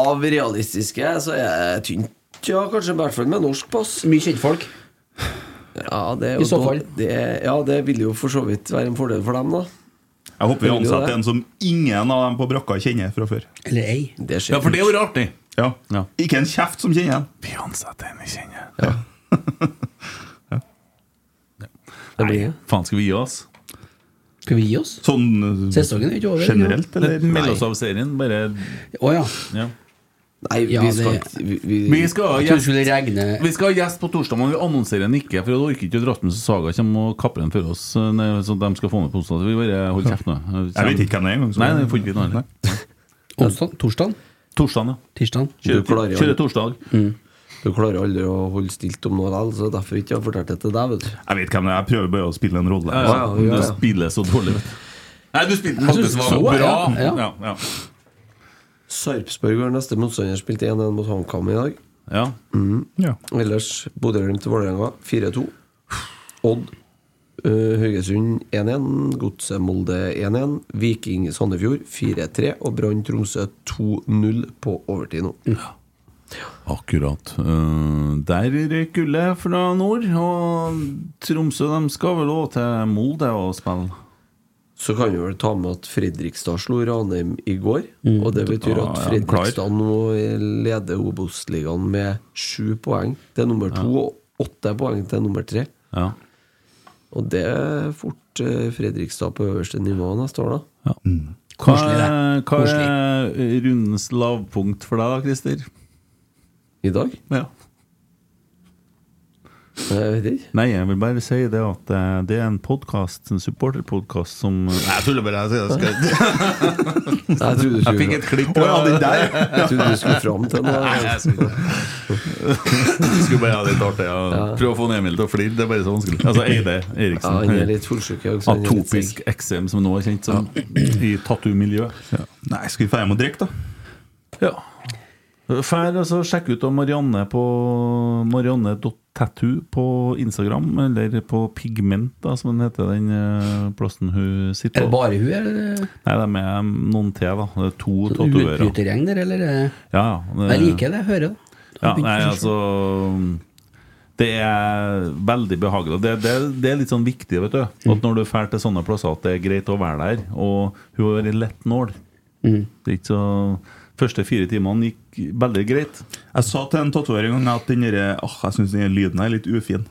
[SPEAKER 6] Av realistiske så er jeg tynt. Ja, kanskje i hvert fall med norsk pass.
[SPEAKER 5] Mye kjentfolk.
[SPEAKER 6] Ja, det er
[SPEAKER 5] I
[SPEAKER 6] jo
[SPEAKER 5] så fall.
[SPEAKER 6] godt- Det er, ja, det vil jo for så vidt være en fordel for dem, da.
[SPEAKER 8] Jeg håper vi
[SPEAKER 6] Vil du
[SPEAKER 8] ansetter
[SPEAKER 6] det?
[SPEAKER 8] en som ingen av dem på brakka kjenner fra før.
[SPEAKER 5] Eller ei.
[SPEAKER 6] Det skjer.
[SPEAKER 4] Ja, for det er jo artig.
[SPEAKER 8] Ja.
[SPEAKER 4] Ja.
[SPEAKER 8] Ikke en kjeft som kjenner en.
[SPEAKER 4] Vi ansetter en vi kjenner.
[SPEAKER 6] Det blir-
[SPEAKER 4] Faen, skal vi gi oss?
[SPEAKER 5] Skal vi gi oss?
[SPEAKER 8] Sånn eh,
[SPEAKER 5] Sesongen er ikke over.
[SPEAKER 8] generelt, eller?
[SPEAKER 4] Meld oss av serien, bare
[SPEAKER 5] Å ja.
[SPEAKER 4] ja.
[SPEAKER 6] Nei,
[SPEAKER 5] Ja,
[SPEAKER 6] vi skal
[SPEAKER 5] det-
[SPEAKER 6] ikke vi, vi,
[SPEAKER 4] Vi skal ha
[SPEAKER 5] Jeg trodde det
[SPEAKER 4] gjest,
[SPEAKER 5] skulle regne
[SPEAKER 4] vi skal ha gjest på torsdag, men vi annonserer den ikke. For jeg orker ikke å dra den, så Saga kommer og kapper den for oss. eh, nei, Så de skal få den på onsdag. Så vi bare holder kjeft nå.
[SPEAKER 8] Jeg vet ikke hvem det er engang. så-
[SPEAKER 4] Nei, det får ikke vi noe heller.
[SPEAKER 5] onsdag, torsdag,
[SPEAKER 4] Torsdag, ja.
[SPEAKER 5] tirsdag. Mm.
[SPEAKER 6] Du
[SPEAKER 4] Kjøre,
[SPEAKER 6] klarer jo-
[SPEAKER 4] kjøre torsdag.
[SPEAKER 6] Du klarer aldri å holde stilt om noe likevel, så derfor ikke jeg har fortalt det til deg, vet du.
[SPEAKER 8] Jeg vet hvem det er. Jeg prøver bare å spille en rolle.
[SPEAKER 6] ja,
[SPEAKER 4] Ja, ja,
[SPEAKER 6] ja,
[SPEAKER 4] Altså, Du
[SPEAKER 6] ja.
[SPEAKER 4] spiller så dårlig, vet du. Nei, du
[SPEAKER 5] Jeg
[SPEAKER 4] spilte
[SPEAKER 5] synes
[SPEAKER 4] faktisk var
[SPEAKER 5] så,
[SPEAKER 4] bra.
[SPEAKER 5] ja, ja.
[SPEAKER 4] Ja, ja.
[SPEAKER 6] Sarpsborg var neste motstander. Spilte 1-1 mot HamKam i dag. Mm.
[SPEAKER 4] Ja.
[SPEAKER 8] Ja.
[SPEAKER 6] Ellers Bodø-Glimt til Vålerenga 4-2. Odd eh, Haugesund 1-1. Godset Molde 1-1. Viking Sandefjord 4-3. Og Brann Tromsø 2-0 på overtid nå.
[SPEAKER 4] Akkurat. Eh, der røyk gullet fra nord, og Tromsø de skal vel òg til Molde og spille.
[SPEAKER 6] Så kan vi vel ta med at Fredrikstad slo Ranheim i går. Og det betyr at
[SPEAKER 8] Ah, ja, klar.
[SPEAKER 6] Fredrikstad nå leder Obos-ligaen med sju poeng til nummer to og åtte poeng til nummer tre.
[SPEAKER 4] Ja.
[SPEAKER 6] Og det er fort eh, Fredrikstad på øverste nivå neste år, da.
[SPEAKER 4] Hva, er- hva er rundens lavpunkt for deg, da, Christer?
[SPEAKER 6] I dag?
[SPEAKER 4] Ja.
[SPEAKER 6] Jeg vet ikke.
[SPEAKER 4] Nei, jeg vil bare si det at eh, det er en podkast, en supporterpodkast, som eh, Nei, jeg tuller bare. Jeg, sier det, skal...
[SPEAKER 6] Nei, jeg trodde du
[SPEAKER 4] jeg
[SPEAKER 6] skulle-
[SPEAKER 4] fikk et klipp.
[SPEAKER 6] Å, ja, den der. Jeg trodde du skulle fram til noe.
[SPEAKER 4] Nei, jeg skulle ikke Jeg skulle bare ha det litt artig. Ja. Prøve å få en Emil til å flire. Det er bare så vanskelig. Altså Eide Eriksen.
[SPEAKER 6] Ja, han er litt fullsjuk, jeg også. Han er litt
[SPEAKER 4] Atopisk eksem, som nå er kjent som i tattoo-miljøet.
[SPEAKER 8] Nei, skal vi dra hjem og drikke, da?
[SPEAKER 4] Ja. Fær altså sjekke ut av Marianne på marianne.tattoo på Instagram, eller på Pigment, da, som den heter, den eh, plassen hun sitter
[SPEAKER 5] Er det
[SPEAKER 4] på.
[SPEAKER 5] bare hun, eller?
[SPEAKER 4] Nei, det er med noen til, da. Det er to tatovører.
[SPEAKER 5] Utbrytergjeng der, eller? er det-
[SPEAKER 4] Ja, ja.
[SPEAKER 5] Jeg liker det, jeg hører det.
[SPEAKER 4] Ja, nei, altså Det er veldig behagelig. Det, det, det er litt sånn viktig, vet du.
[SPEAKER 5] Mm.
[SPEAKER 4] At når du drar til sånne plasser, at det er greit å være der. Og hun har vært lett nål.
[SPEAKER 5] Mm.
[SPEAKER 4] Det er ikke så Første fire timene gikk veldig greit.
[SPEAKER 8] Jeg sa til en tatoverer en gang at den derre- ah, jeg syns den lyden er litt ufin.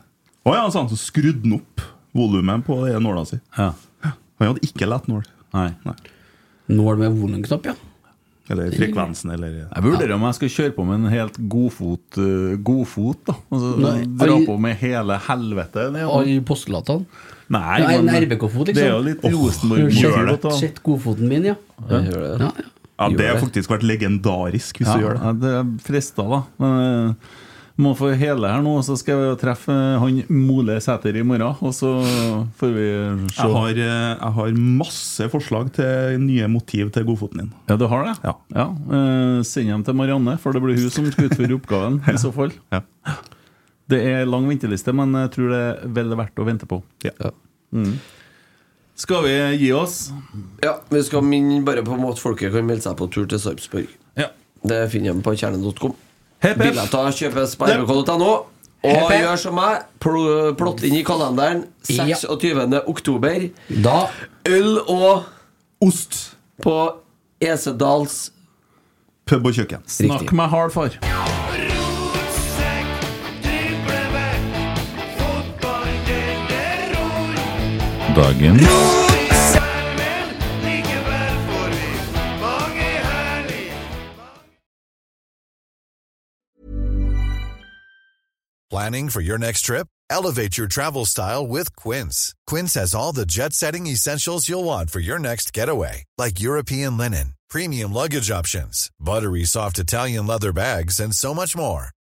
[SPEAKER 8] Å ja, sa han, så skrudde han opp volumet på den nåla si.
[SPEAKER 4] Ja.
[SPEAKER 8] Han hadde ikke lett nål.
[SPEAKER 4] Nei.
[SPEAKER 5] Nål med volumknapp, ja.
[SPEAKER 8] Eller frekvensen, eller
[SPEAKER 4] Jeg vurderer om jeg skal kjøre på med en helt godfot, eh, godfot da. Altså,
[SPEAKER 5] Nei,
[SPEAKER 4] dra
[SPEAKER 5] all-
[SPEAKER 4] på med hele helvete. ned.
[SPEAKER 5] Alle postulatene.
[SPEAKER 4] Nei,
[SPEAKER 5] Ja, en
[SPEAKER 4] men-
[SPEAKER 5] RBK-fot, liksom.
[SPEAKER 4] Det er jo litt
[SPEAKER 5] Åh,
[SPEAKER 4] Rosenborg-gjør
[SPEAKER 5] Sett, sett godfoten min, ja.
[SPEAKER 8] Ja, gjør det.
[SPEAKER 5] Ja,
[SPEAKER 8] Ja, det har
[SPEAKER 4] Gjør det.
[SPEAKER 8] faktisk vært legendarisk, hvis
[SPEAKER 4] ja,
[SPEAKER 8] du gjør det.
[SPEAKER 4] ja, det er frista, da. Men eh, må få hele her nå, så skal vi jo treffe eh, han Mole Sæter i morgen. Og så får vi se.
[SPEAKER 8] Jeg har, eh, jeg har masse forslag til nye motiv til godfoten din.
[SPEAKER 4] Ja, du har det?
[SPEAKER 8] Ja.
[SPEAKER 4] eh, send dem til Marianne, for det blir hun som skal utføre oppgaven. I så fall
[SPEAKER 8] Ja.
[SPEAKER 4] Det er lang venteliste, men jeg tror det er vel verdt å vente på.
[SPEAKER 8] Ja.
[SPEAKER 4] Mm. Skal vi gi oss?
[SPEAKER 6] Ja, vi skal minne bare på om at folket kan melde seg på tur til Sarpsborg.
[SPEAKER 4] Ja.
[SPEAKER 6] Det finner de på kjernen.com.
[SPEAKER 4] Hepp, hepp.
[SPEAKER 6] Billetter kjøpes på rbk.no. Og
[SPEAKER 5] Hepp, hepp.
[SPEAKER 6] gjør som meg, pl- plott inn i kalenderen 26. oktober.
[SPEAKER 5] Da
[SPEAKER 6] Øl og ost på Esedals
[SPEAKER 8] Pub og kjøkken.
[SPEAKER 4] Snakk meg hard, far. Dagen
[SPEAKER 9] Planning for your next trip? Elevate your travel style with Quince. Quince has all the jet setting essentials you'll want for your next getaway, like European linen, premium luggage options, buttery soft Italian leather bags, and so much more.